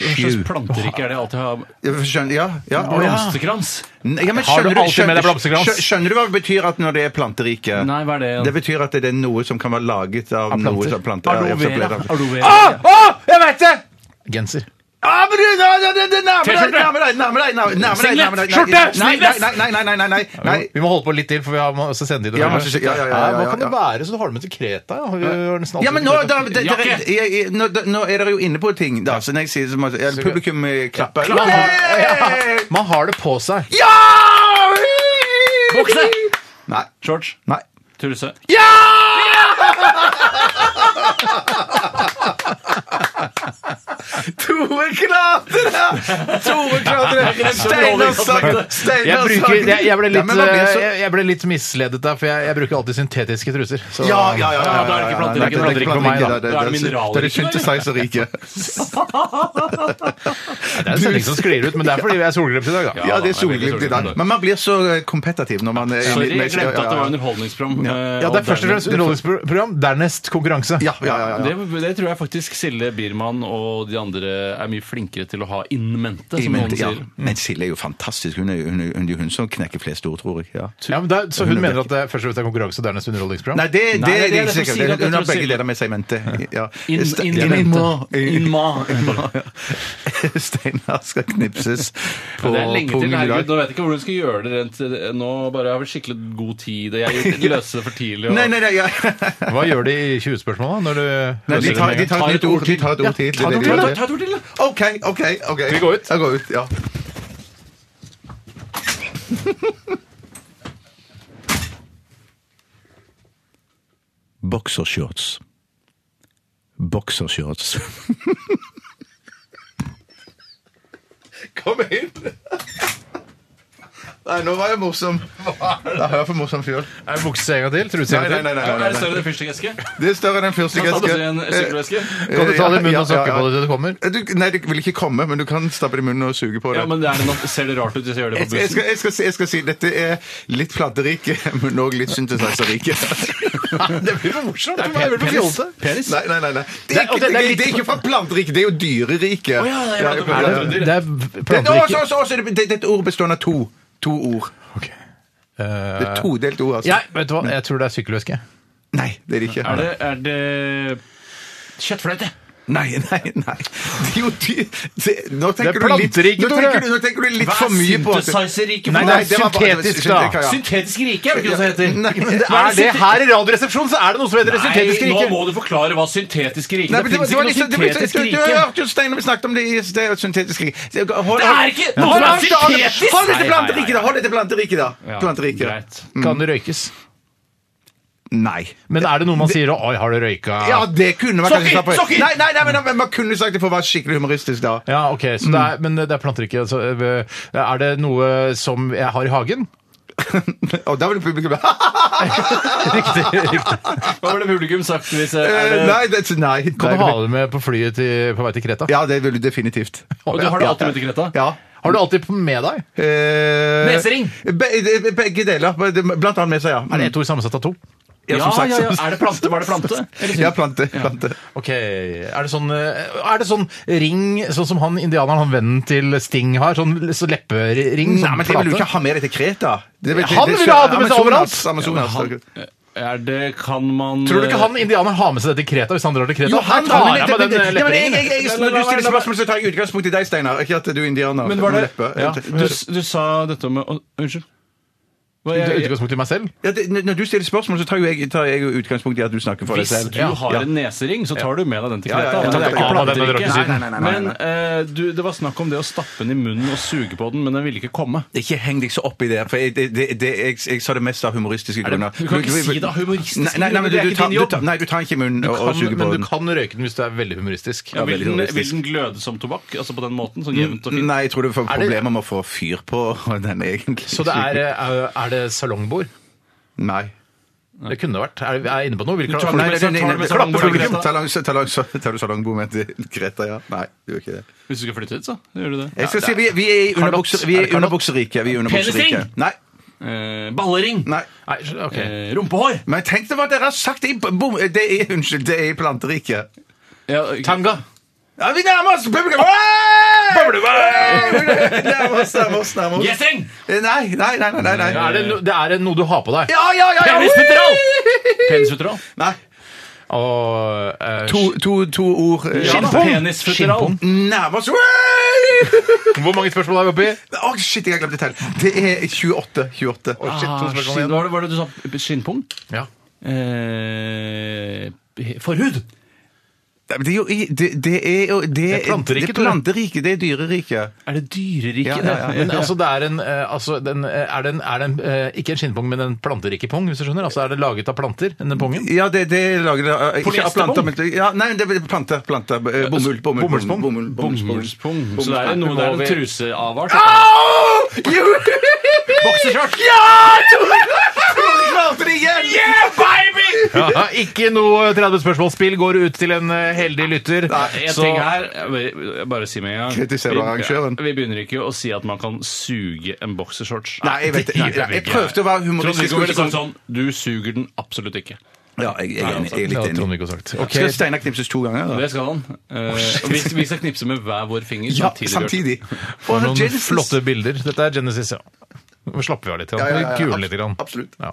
Speaker 9: Hva slags
Speaker 8: Sju.
Speaker 9: planterike er det jeg alltid har?
Speaker 8: Jeg skjønner, ja, ja.
Speaker 9: Blomsterkrans?
Speaker 8: Nei, Ja, men
Speaker 7: Har du
Speaker 8: skjønner
Speaker 7: alltid med deg blomsterkrans?
Speaker 8: skjø- Skjønner du hva det betyr at når det er planterike?
Speaker 9: Nei, hva er det?
Speaker 8: Det betyr at det er noe som kan være laget av,
Speaker 7: planter.
Speaker 8: noe som planter. ja,
Speaker 9: Aloe
Speaker 8: ja, så ble
Speaker 9: vera.
Speaker 8: det-
Speaker 9: Aloe vera.
Speaker 8: Ah, ah, jeg vet det!
Speaker 7: Genser.
Speaker 8: Ah, men du, da- da- da- da- nærmer deg,
Speaker 9: T-skjorte.
Speaker 8: nærmer deg, nærmer deg, nærmer deg, nærmer deg, nærmer deg.
Speaker 9: Singlet, skjorte,
Speaker 8: Nei, nei,
Speaker 9: sneakers.
Speaker 8: nei, nei, nei, nei, nei, nei, nei.
Speaker 7: Vi må holde på litt til, for vi har må også sende inn
Speaker 8: Ja, men så- ja, ja, ja, ja,
Speaker 7: Hva kan
Speaker 8: ja,
Speaker 7: det være så du har det med til Kreta? ja? Vi har nesten alltid
Speaker 8: Ja, men nå,
Speaker 7: med til
Speaker 8: da,
Speaker 7: Kreta.
Speaker 8: det, det,
Speaker 9: Jakke.
Speaker 8: jeg- jeg- nå, da, nå er dere jo inne på ting, da. Så når jeg sier det, så må ja, publikum eh, klapper.
Speaker 7: Ja, man har-
Speaker 8: Yay!
Speaker 7: Man har det på seg.
Speaker 8: Ja!
Speaker 9: Bukse!
Speaker 8: Nei.
Speaker 9: Shorts?
Speaker 8: Nei.
Speaker 9: Truse?
Speaker 8: Tore klarte det! Tore klarte
Speaker 9: [laughs]
Speaker 8: det! Steinar Sagen! Steinar
Speaker 7: Jeg, bruker,
Speaker 8: Sagen.
Speaker 7: jeg, jeg, ble
Speaker 8: Ja,
Speaker 7: litt,
Speaker 8: men man blir
Speaker 7: eh,
Speaker 8: så-
Speaker 7: jeg, jeg ble litt misledet der, for jeg, jeg bruker alltid syntetiske truser. Så,
Speaker 8: Ja, ja, ja.
Speaker 9: Ja, da er det ikke blant rike, blant
Speaker 8: Nei, det er
Speaker 9: rike
Speaker 8: ikke
Speaker 9: for
Speaker 8: blant
Speaker 9: meg, da.
Speaker 8: rike, det-
Speaker 9: Da er det
Speaker 8: det-
Speaker 9: mineralrike,
Speaker 8: Da er det
Speaker 9: eller?
Speaker 8: synthesizer-rike.
Speaker 7: Det er en sending som sklir ut, men det er fordi vi er solglimt i dag, da.
Speaker 8: Ja, det er
Speaker 9: det er veldig
Speaker 8: solglimt i dag.
Speaker 9: solglimt.
Speaker 8: Men man blir så eh, kompetativ når man er
Speaker 9: Sorry,
Speaker 8: litt mer-
Speaker 9: jeg glemte
Speaker 8: ja,
Speaker 9: at det var
Speaker 8: ja, ja.
Speaker 9: underholdningsprogram. eh,
Speaker 7: Ja, det er først og
Speaker 9: dernest-
Speaker 7: fremst underholdningsprogram, dernest konkurranse.
Speaker 8: Ja, ja, ja, ja.
Speaker 9: Det, det tror jeg faktisk Silje Biermann og de andre er mye flinkere til å ha in mente,
Speaker 8: I
Speaker 9: som
Speaker 8: mente,
Speaker 9: noen
Speaker 8: ja.
Speaker 9: sier.
Speaker 8: Men Silje er jo fantastisk. Hun er jo hun, er- hun, er hun som knekker flest ord, tror jeg. Ja.
Speaker 7: Ja, men det er- så hun mener at det først og fremst er konkurranse og dernest underholdningsprogram?
Speaker 8: Nei, det, det,
Speaker 9: Nei, det er
Speaker 8: er jeg
Speaker 9: det
Speaker 8: ikke
Speaker 9: som
Speaker 8: sikkert.
Speaker 9: sier at jeg
Speaker 8: Hun har
Speaker 9: tror
Speaker 8: begge
Speaker 9: Silje-
Speaker 8: deler med seg i mente. Ja.
Speaker 9: In,
Speaker 8: Ste-
Speaker 9: in,
Speaker 8: Ja, eh,
Speaker 9: in,
Speaker 8: in-
Speaker 9: in,
Speaker 8: [laughs] in-
Speaker 9: ma. [laughs]
Speaker 8: Steinar skal knipses på,
Speaker 9: Det er lenge
Speaker 8: på
Speaker 9: til.
Speaker 8: middag.
Speaker 9: Herregud, nå vet jeg ikke hvordan du skal gjøre det. Rent. eh, Nå bare har vi skikkelig god tid. og Jeg
Speaker 8: [laughs]
Speaker 9: har løst det for tidlig. Og...
Speaker 8: Nei, nei, nei, ja.
Speaker 7: Hva gjør de i 20-spørsmåla når du
Speaker 8: nei de, tar, de tar et nytt ord. De tar et ord til. Det er det de
Speaker 9: Ta,
Speaker 8: gjør.
Speaker 9: ta, ta et ord til, da!
Speaker 8: OK, OK. ok.
Speaker 7: vi gå ut?
Speaker 8: Jeg går ut, ja. Boksershorts. Boksershorts. [laughs] Kom inn! Nei, nå var jeg morsom. Da er jeg for morsom fjøl.
Speaker 7: Er det bukse en gang til? Truse en
Speaker 8: Nei, nei,
Speaker 7: gang til?
Speaker 8: nei, nei,
Speaker 9: Er det
Speaker 8: nei, nei.
Speaker 9: større enn en fyrstikkeske?
Speaker 8: Det er større enn en
Speaker 9: Kan du ta
Speaker 8: fyrstikkeske.
Speaker 9: det i en sykkelveske?
Speaker 7: Kan du ta det i munnen
Speaker 8: Ja,
Speaker 7: og snakke
Speaker 8: ja,
Speaker 7: på
Speaker 8: ja.
Speaker 7: det til det kommer?
Speaker 8: eh, Du, nei, det vil ikke komme, men du kan stappe det i munnen og suge på det.
Speaker 9: Ja, men det er nok, ser det rart ut hvis jeg gjør det på
Speaker 8: Jeg skal, jeg,
Speaker 9: bussen.
Speaker 8: skal, jeg, skal si, jeg skal si dette er litt planterike, men òg litt synthesiserrike. [laughs] det blir for morsomt.
Speaker 7: Det blir for fjollete.
Speaker 8: Penis? Nei, nei, nei. nei. Det, er
Speaker 7: og det-
Speaker 8: ikke, det,
Speaker 7: det er litt-
Speaker 8: det er ikke fra planterike, det er jo dyrerike.
Speaker 9: Å, ja, ja, ja, det
Speaker 8: ja,
Speaker 9: er
Speaker 8: ja.
Speaker 7: Det
Speaker 9: det.
Speaker 7: er
Speaker 8: Det- å, så-
Speaker 7: planterike
Speaker 8: så- så er det- det- det er et ord bestående av to. To ord.
Speaker 7: Ok.
Speaker 8: Det er et todelt ord, altså.
Speaker 7: Jeg, vet du hva? jeg tror det er sykkelveske.
Speaker 8: Nei, det er det ikke.
Speaker 9: Er det, er det kjøttfløyte?
Speaker 8: Nei, nei, nei. Det er jo dyr. Det- Nå
Speaker 7: Det er
Speaker 8: tenker du litt,
Speaker 7: planterike,
Speaker 8: nå
Speaker 7: tror
Speaker 8: tenker
Speaker 7: jeg.
Speaker 8: du, nå tenker du litt
Speaker 9: Hva
Speaker 8: for
Speaker 9: er
Speaker 8: mye på at-
Speaker 9: synthesizer-rike for
Speaker 8: Nei,
Speaker 9: noe?
Speaker 8: nei, det var bare-
Speaker 7: Syntetisk, da.
Speaker 8: syntetisk, ja.
Speaker 9: Syntetisk rike, er det ikke det det heter?
Speaker 8: Nei, men det
Speaker 9: Hva
Speaker 7: Er det
Speaker 9: synte-
Speaker 7: her i Radioresepsjonen, så er det noe som heter det syntetisk
Speaker 9: Nei, nå må
Speaker 7: rike.
Speaker 9: du forklare hva syntetisk rike
Speaker 8: Nei,
Speaker 9: er. Det
Speaker 8: men det var-
Speaker 9: finnes
Speaker 8: det
Speaker 9: ikke noe
Speaker 8: var liksom- det var-
Speaker 9: syntetisk
Speaker 8: du- du- du
Speaker 9: rike.
Speaker 8: hørte jo Steinar vi snakket om det i sted, syntetisk rike. Det
Speaker 9: Det er ikke noe som er syntetisk!
Speaker 8: Hold deg
Speaker 9: Nei,
Speaker 8: til
Speaker 9: nei,
Speaker 8: planterike,
Speaker 9: nei.
Speaker 8: da! Hold deg til planterike, da.
Speaker 9: Ja,
Speaker 8: Planterike.
Speaker 9: greit. [laughs]
Speaker 8: Mm.
Speaker 7: Kan det røykes?
Speaker 8: Nei.
Speaker 7: Men er det noe man sier 'oi, har du røyka'?
Speaker 8: Ja, det kunne man kanskje
Speaker 9: Sokker,
Speaker 8: sagt på
Speaker 9: sokker!
Speaker 8: Nei, nei, nei, men men man kunne sagt det for å være skikkelig humoristisk, da.
Speaker 7: Ja, ok, så det er, Men det er planterike. Altså, øh, er det noe som jeg har i hagen?
Speaker 8: Og da ville publikum
Speaker 7: Riktig. riktig.
Speaker 9: Hva ville publikum sagt hvis eh, er
Speaker 8: Eh,
Speaker 9: det-
Speaker 8: Nei, det, nei.
Speaker 7: Kan du
Speaker 8: Nei,
Speaker 7: ha det med på flyet til, på vei til Kreta?
Speaker 8: Ja, det ville du definitivt.
Speaker 9: Og du har det alltid med til Greta?
Speaker 8: Ja.
Speaker 7: Har du alltid med deg?
Speaker 8: Eh,
Speaker 9: Nesering?
Speaker 8: Be, be- begge deler. Blant annet med seg, ja.
Speaker 7: Er det ett ord sammensatt av to?
Speaker 9: Ja,
Speaker 8: som sagt,
Speaker 9: ja, ja.
Speaker 8: som-
Speaker 9: Er det plante? Var det plante?
Speaker 8: Ja, plante. plante.
Speaker 7: Ok, er det, sånn, eh, er det sånn ring, sånn som han indianeren, han vennen til Sting har? Sånn så leppering?
Speaker 8: Nei,
Speaker 7: sånn
Speaker 8: men det vil du
Speaker 7: plate?
Speaker 8: ikke ha med deg til Kreta. Det vil-
Speaker 7: Han
Speaker 8: det-
Speaker 7: vil ha det med seg
Speaker 8: Amazonas,
Speaker 7: overalt.
Speaker 8: Amazonas.
Speaker 9: Er det Kan man eh,
Speaker 7: Tror du ikke han indianeren har med seg det til Kreta hvis han drar til Kreta?
Speaker 8: Jo, han
Speaker 7: Her tar
Speaker 8: tar
Speaker 7: jeg med den eh,
Speaker 8: Ja, men jeg-
Speaker 7: lepperingen.
Speaker 8: jeg- jeg- Når du stiller spørsmål, så tar jeg utgangspunkt i deg, Steinar. Ikke at du er indianer.
Speaker 9: Men var
Speaker 8: med
Speaker 9: det
Speaker 8: leppe.
Speaker 9: ja, du, du sa dette med å, Unnskyld. Hva,
Speaker 7: Det er
Speaker 9: jeg,
Speaker 7: Utgangspunkt i meg selv?
Speaker 8: Ja, det, når du stiller spørsmål, så tar jo jeg, tar jeg jo utgangspunkt i at du snakker for deg
Speaker 9: hvis
Speaker 8: selv.
Speaker 9: du har en nesering, så tar du med deg den til
Speaker 8: Ja, ja,
Speaker 9: Kreta.
Speaker 8: ja,
Speaker 9: men
Speaker 8: ja,
Speaker 9: det er ikke
Speaker 8: ja, ja,
Speaker 7: ja, ja, ja,
Speaker 9: plantedrikke.
Speaker 8: ja, ja, ja, ja, ja, ja.
Speaker 9: Men eh, du, det var snakk om det å stappe den i munnen og suge på den, men den ville ikke komme.
Speaker 8: Ikke heng deg så opp i det. for jeg, det, det, det, jeg, jeg sa det mest av humoristiske
Speaker 9: det-
Speaker 8: grunner.
Speaker 9: du kan ikke si det av humoristiske
Speaker 8: Nei, nei, nei, men
Speaker 9: grunner, det er
Speaker 8: du,
Speaker 9: ikke
Speaker 8: tar-
Speaker 9: din jobb.
Speaker 8: du tar- Nei, du tar ikke i munnen og, og
Speaker 7: Kan,
Speaker 8: suger på
Speaker 7: men du
Speaker 8: den.
Speaker 7: kan røyke den hvis du er veldig humoristisk.
Speaker 8: Ja,
Speaker 9: vil,
Speaker 8: veldig
Speaker 9: den, vil
Speaker 8: humoristisk.
Speaker 9: den gløde som tobakk? Altså på den måten? Sånn jevnt og fint?
Speaker 8: Nei, jeg tror du får
Speaker 7: det-
Speaker 8: problemer med å få fyr på [laughs] den egentlig.
Speaker 7: Så det er, eh, er det salongbord?
Speaker 8: Nei.
Speaker 7: Det kunne det vært. Er jeg er jeg inne på noe? Vil
Speaker 9: tar
Speaker 7: klappe
Speaker 9: det med-
Speaker 7: publikum?
Speaker 9: tar det med
Speaker 7: Klappe
Speaker 9: salongbord til
Speaker 7: publikum?
Speaker 9: Greta.
Speaker 8: Ta lang- ta lang- Tar du salongbord med til Greta, ja? Nei, du gjør ikke det.
Speaker 9: Hvis du skal flytte hit, så gjør du det.
Speaker 8: Jeg skal si, vi, vi er i underbukser- vi er i underbukseriket. Vi er i underbukseriket.
Speaker 9: Penisring?
Speaker 8: Nei.
Speaker 9: Eh, ballering!
Speaker 8: Nei.
Speaker 7: Nei, ok.
Speaker 9: Eh, rumpehår!
Speaker 8: Men tenk deg hva dere har sagt i bom... Det er, unnskyld, det er i planteriket.
Speaker 9: Ja,
Speaker 7: Tanga.
Speaker 8: Ja, vi nærmer oss! Publikum! Hey! Hey! Nærmer oss, nærmer oss, nærmer oss.
Speaker 9: Gjessing!
Speaker 8: Eh, Nei, nei, nei. nei, nei, nei.
Speaker 7: Er det, no- det er noe du har på deg?
Speaker 8: Ja, ja, ja! ja.
Speaker 9: Penisfutteral! Penisfutteral.
Speaker 8: Nei.
Speaker 7: Og, eh,
Speaker 8: To, to, to ord. eh,
Speaker 9: Ja, da. Penisfutteral.
Speaker 8: Nærmer oss. Hey!
Speaker 7: Hvor mange spørsmål er vi oppe i?
Speaker 8: Å, shit, jeg har glemt et tall. Det er 28.
Speaker 7: Å, shit,
Speaker 8: 28.
Speaker 7: to
Speaker 9: Ah,
Speaker 7: spørsmål
Speaker 9: skinn,
Speaker 7: igjen.
Speaker 9: hva var det- hva var det du sa? Skinnpung?
Speaker 7: Ja.
Speaker 9: Eh, forhud!
Speaker 8: Nei, men Det er jo i- det, det er jo Det
Speaker 7: er planteriket,
Speaker 8: Det er planteriket, det er dyreriket.
Speaker 9: Er det dyreriket?
Speaker 8: Ja, ja, ja.
Speaker 7: Men altså, det er en, eh, altså, den, eh, er det en, er det en eh, ikke en skinnpung, men en planterike pung, hvis du skjønner? Altså, er det laget av planter, denne pungen?
Speaker 8: Ja, det, det er laget av Ikke av planter, men ja, Nei, det er planter. planter
Speaker 7: altså,
Speaker 8: eh, bomull. bomull,
Speaker 7: Bomullspung?
Speaker 8: bomull,
Speaker 9: Bomullspung.
Speaker 8: bomull.
Speaker 9: Så det er noe det er en truseavart.
Speaker 8: Au! Bokseskjørt! Ja! Tore Tore klarte det igjen! Yeah, baby!
Speaker 7: Ja, ikke noe 30 spørsmålsspill går ut til en eh, heldig lytter.
Speaker 9: En
Speaker 7: Så-
Speaker 9: ting her, jeg bare- jeg bare si med en gang
Speaker 8: Kritiserer
Speaker 9: Vi-
Speaker 8: arrangøren.
Speaker 9: Vi begynner ikke å si at man kan suge en boksershorts.
Speaker 8: Nei, jeg vet det. Nei, jeg prøvde å være humoristisk.
Speaker 9: Trond-Viggo ville sagt sånn Du suger den absolutt ikke.
Speaker 8: Ja, jeg, jeg, er enig, altså, jeg er
Speaker 7: Ja,
Speaker 8: litt enig.
Speaker 7: Trond-Viggo har sagt. Ok.
Speaker 8: Skal Steinar knipses to ganger? da?
Speaker 9: Det skal han. Eh, og vi, vi skal knipse med hver vår finger
Speaker 8: Ja,
Speaker 9: samtidig. Bjørn.
Speaker 8: samtidig.
Speaker 7: Det var
Speaker 8: Og
Speaker 7: noen
Speaker 8: Genesis.
Speaker 7: flotte bilder. Dette er Genesis, ja. Nå slapper vi av litt. Ja.
Speaker 8: Ja, ja, ja, ja.
Speaker 7: Kuler litt. Grann.
Speaker 8: Absolutt.
Speaker 7: Ja.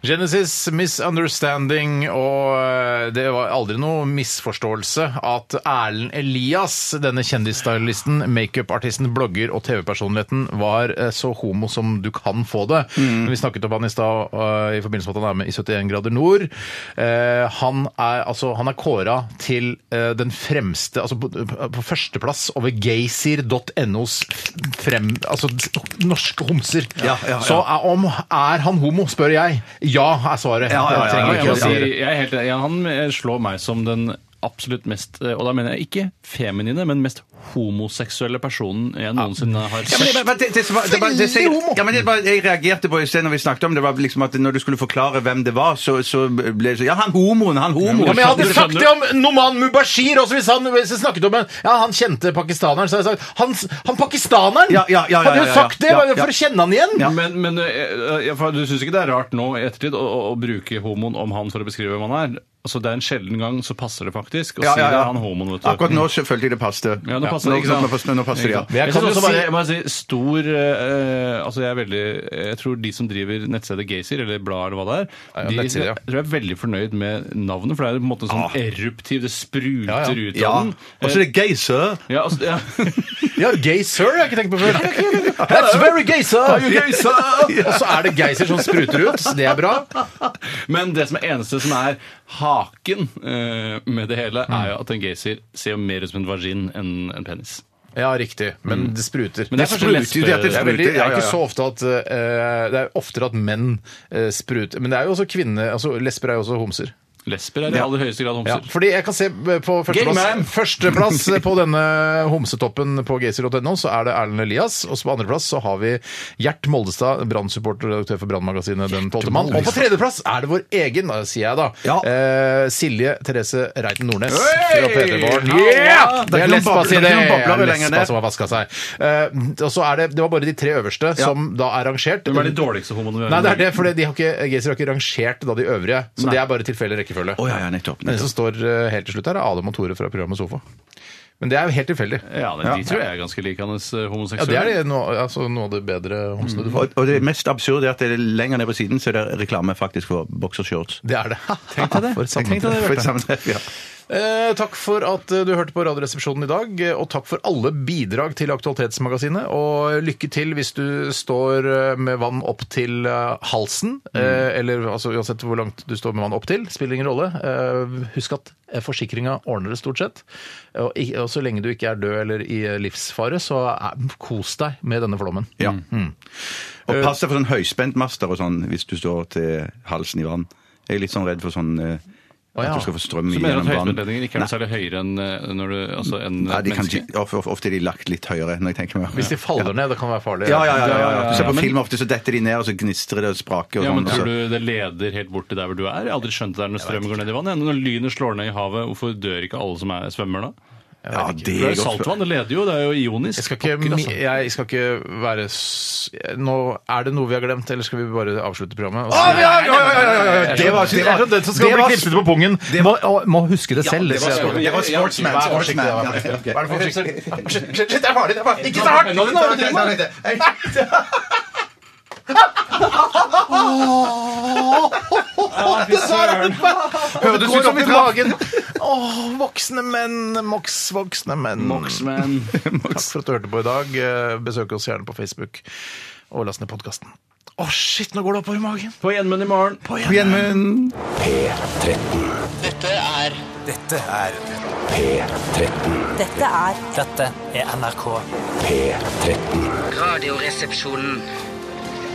Speaker 7: Genesis, misunderstanding, og eh, det var aldri noe misforståelse at Erlend Elias, denne kjendisstylisten, makeupartisten, blogger og TV-personligheten, var eh, så homo som du kan få det.
Speaker 8: Mm.
Speaker 7: Vi snakket om han i stad eh, i forbindelse med at han er med i 71 grader nord. Eh, Han er, altså, han er kåra til eh, den fremste, altså på, på førsteplass over gaysir.nos frem... Altså norske homser.
Speaker 8: Ja, ja, ja.
Speaker 7: Så er, Ah, om er han homo, spør jeg. Ja, er svaret.
Speaker 8: Ja, ja, ja,
Speaker 7: Jeg
Speaker 9: Ja,
Speaker 7: trenger
Speaker 9: jeg,
Speaker 7: ikke
Speaker 9: må
Speaker 7: å
Speaker 9: si,
Speaker 7: si det.
Speaker 9: jeg er helt enig. Ja, han eh, slår meg som den absolutt mest eh, Og da mener jeg ikke feminine, men mest homoseksuelle personen jeg noensinne har
Speaker 8: Ja, men
Speaker 9: sett.
Speaker 8: det- det- det- det som var- det var- det-
Speaker 7: Veldig homo.
Speaker 8: Ja, men det var- Jeg reagerte på i sted når vi snakket om det, var liksom at når du skulle forklare hvem det var, så, så ble det sånn Ja, han homoen! Han
Speaker 7: Ja,
Speaker 8: homoen!
Speaker 7: men jeg hadde
Speaker 9: Skjønner-
Speaker 7: sagt det om Noman Mubashir også, hvis han hvis jeg snakket om en, ja, han kjente pakistaneren. Så hadde jeg sagt han, han pakistaneren!
Speaker 8: Ja, ja, ja, ja,
Speaker 7: hadde
Speaker 8: ja,
Speaker 7: jo
Speaker 8: ja,
Speaker 7: sagt det
Speaker 8: ja,
Speaker 7: bare
Speaker 8: ja.
Speaker 7: for å kjenne han igjen!
Speaker 9: Men, men eh, eh, for du syns ikke det er rart nå i ettertid å, å, å bruke homoen om han for å beskrive hvem han er? altså det er en sjelden gang så passer det faktisk å
Speaker 8: Ja,
Speaker 9: si
Speaker 8: ja,
Speaker 9: det
Speaker 8: ja.
Speaker 9: han homoen, vet du. Mm.
Speaker 8: Akkurat nå så følte jeg det passet.
Speaker 9: Ja, nå passer det, ikke sant?
Speaker 8: Nå, passer- nå passer det, ja.
Speaker 9: Ikke sant? Jeg,
Speaker 7: Jeg
Speaker 9: kan
Speaker 7: kan
Speaker 9: også
Speaker 7: jo si-
Speaker 9: bare, jeg må si stor eh, Altså, jeg er veldig Jeg tror de som driver nettstedet Gaysir, eller bladet eller hva det er,
Speaker 7: Ja, ja,
Speaker 9: de
Speaker 7: nettsider, ja.
Speaker 9: jeg tror jeg er veldig fornøyd med navnet, for det er på en måte sånn eruptiv, det spruter
Speaker 7: Ja, ja.
Speaker 9: ut
Speaker 8: Ah. Ja.
Speaker 9: av den.
Speaker 8: Og så er det gay, sir.
Speaker 9: Eh, ja, altså, ja. [laughs]
Speaker 7: Ja, gay sir har jeg ikke tenkt på
Speaker 8: [laughs]
Speaker 7: før. That's very gay, sir! Og så er det geyser som spruter ut. Det er bra.
Speaker 9: Men det som er eneste som er haken eh, med det hele, er jo at en Gaysir ser jo mer ut som en vagin enn en penis.
Speaker 7: Ja, riktig. Men det spruter.
Speaker 9: Men det er kanskje mest-
Speaker 8: spruter, Mm. det er at det
Speaker 7: Det er, veldig, det
Speaker 8: Ja,
Speaker 7: er
Speaker 8: ja,
Speaker 7: ikke
Speaker 8: ja.
Speaker 7: så ofte at eh, Det er oftere at menn eh, spruter. Men det er jo også kvinner altså Lesber er jo også homser.
Speaker 9: Lesber er i aller høyeste grad
Speaker 7: Ja,
Speaker 9: homser.
Speaker 7: fordi jeg kan se eh, på
Speaker 9: Gay man.
Speaker 7: førsteplass, førsteplass eh, på denne homsetoppen på gaysir.no, så er det Erlend Elias. Og så på andreplass så har vi Gjert Moldestad, brannsupporter og redaktør for Brannmagasinet Den tolvte mann. Og på tredjeplass er det vår egen, da sier jeg da,
Speaker 8: Ja.
Speaker 7: eh, Silje Therese Reiten Nordnes. fra
Speaker 9: Hey!
Speaker 7: P3-morgen.
Speaker 9: Ja, ja.
Speaker 7: Yeah!
Speaker 8: Det
Speaker 7: Det er
Speaker 8: er ikke noen
Speaker 7: Lesba,
Speaker 8: bobler-
Speaker 7: si
Speaker 8: det er
Speaker 7: det!
Speaker 8: ikke noen bobler lenger
Speaker 7: Lesba
Speaker 8: ned.
Speaker 7: som har vaska seg. Eh, og så er det, det var bare de tre øverste som da er rangert.
Speaker 9: Hvem er de dårligste homoene vi har?
Speaker 7: Nei, det er det, for de har ikke, Gaysir har ikke rangert da de øvrige. Så
Speaker 8: Nei.
Speaker 7: det er bare tilfeldig rekkefølge.
Speaker 8: Å, ja, ja, nettopp,
Speaker 7: Men det
Speaker 8: nettopp.
Speaker 7: som står eh, helt til slutt her, er Adam og Tore fra programmet Sofa. Men det er jo helt tilfeldig.
Speaker 9: Ja, det, de tror jeg er ganske like hans eh,
Speaker 7: Ja, det
Speaker 9: homoseksuelle.
Speaker 7: er det, noe, altså, noe av det bedre homsene du
Speaker 9: Mm.
Speaker 8: Og,
Speaker 7: får.
Speaker 8: og det mest absurde er at det er lenger ned på siden så er det reklame faktisk for boksershorts.
Speaker 7: Det er det.
Speaker 9: Tenk deg
Speaker 7: [laughs]
Speaker 9: det.
Speaker 7: For et
Speaker 9: Tenk deg det,
Speaker 7: sammentreff.
Speaker 8: For et sammentreff, ja.
Speaker 7: Eh, takk for at eh, du hørte på Radioresepsjonen i dag, eh, og takk for alle bidrag til Aktualitetsmagasinet. Og lykke til hvis du står eh, med vann opp til eh, halsen,
Speaker 8: Mm.
Speaker 7: eh, eller altså, uansett hvor langt du står med vann opp til, spiller ingen rolle. Eh, husk at eh, forsikringa ordner det stort sett. Og, i- og så lenge du ikke er død eller i eh, livsfare, så eh, kos deg med denne flommen.
Speaker 8: ja.
Speaker 9: Mm, Eh,
Speaker 8: Og pass deg for sånn høyspentmaster og sånn hvis du står til halsen i vann. Jeg er litt sånn redd for sånn eh,
Speaker 7: Å, ja.
Speaker 8: at du skal få strøm
Speaker 9: Så mener du
Speaker 8: gjennom
Speaker 9: at
Speaker 8: vann.
Speaker 9: høyspentledninger ikke er noe særlig høyere enn eh, når du, altså, enn
Speaker 8: Nei,
Speaker 9: et
Speaker 8: de kan,
Speaker 9: menneske?
Speaker 8: ikke- of- of- ofte er de lagt litt høyere, når jeg tenker meg om.
Speaker 7: Hvis de faller ned, det kan være farlig.
Speaker 8: Ja, ja, ja, ja, ja. Du ser på
Speaker 9: Men-
Speaker 8: film ofte, så detter de ned, og så gnistrer det og spraker. Og
Speaker 9: Ja, men
Speaker 8: sånn,
Speaker 9: Tror
Speaker 8: og så-
Speaker 9: du det leder helt bort til der hvor du er? Jeg har aldri skjønt det der når strømmen går ned i vann. jeg. Når lynet slår ned i havet, hvorfor dør ikke alle som er svømmer da?
Speaker 8: ja, det
Speaker 9: Det er
Speaker 8: er
Speaker 9: jo
Speaker 8: godt.
Speaker 9: saltvann, det leder jo, det er jo ionisk.
Speaker 7: Jeg skal, ikke,
Speaker 9: Pokker,
Speaker 7: mi-
Speaker 9: altså.
Speaker 7: jeg skal ikke være s- Nå Er det noe vi har glemt, eller skal vi bare avslutte programmet?
Speaker 8: Å, ja, ja, ja,
Speaker 7: Eh,
Speaker 8: ja, ja, ja. Det var-
Speaker 7: Jeg skjønner den som skal
Speaker 8: det
Speaker 7: bli
Speaker 8: var-
Speaker 7: knipset på pungen, må, å, må huske det selv.
Speaker 8: det var-
Speaker 7: sier jeg.
Speaker 8: det var sportsman.
Speaker 7: Vær forsiktig,
Speaker 8: sportsman.
Speaker 7: vær
Speaker 8: Ja, ok.
Speaker 7: forsiktig. Vær forsiktig. Shit, shit, det er farlig! Det er farlig. Ikke så hardt!
Speaker 9: Nå er det- nå er det- nå Å, fy søren.
Speaker 7: Høres ut som i magen! Åh, voksne menn. Mox, voksne menn.
Speaker 9: Moxman.
Speaker 7: Takk for at du hørte på i dag. Eh, Besøk oss gjerne på Facebook, og last ned podkasten. Å, shit, nå går det oppover i magen!
Speaker 9: På gjenmunn i morgen.
Speaker 8: På gjenmunn.
Speaker 2: Dette er
Speaker 1: Dette er P13.
Speaker 11: Dette er
Speaker 2: Dette er NRK.
Speaker 1: P13.
Speaker 11: Radioresepsjonen.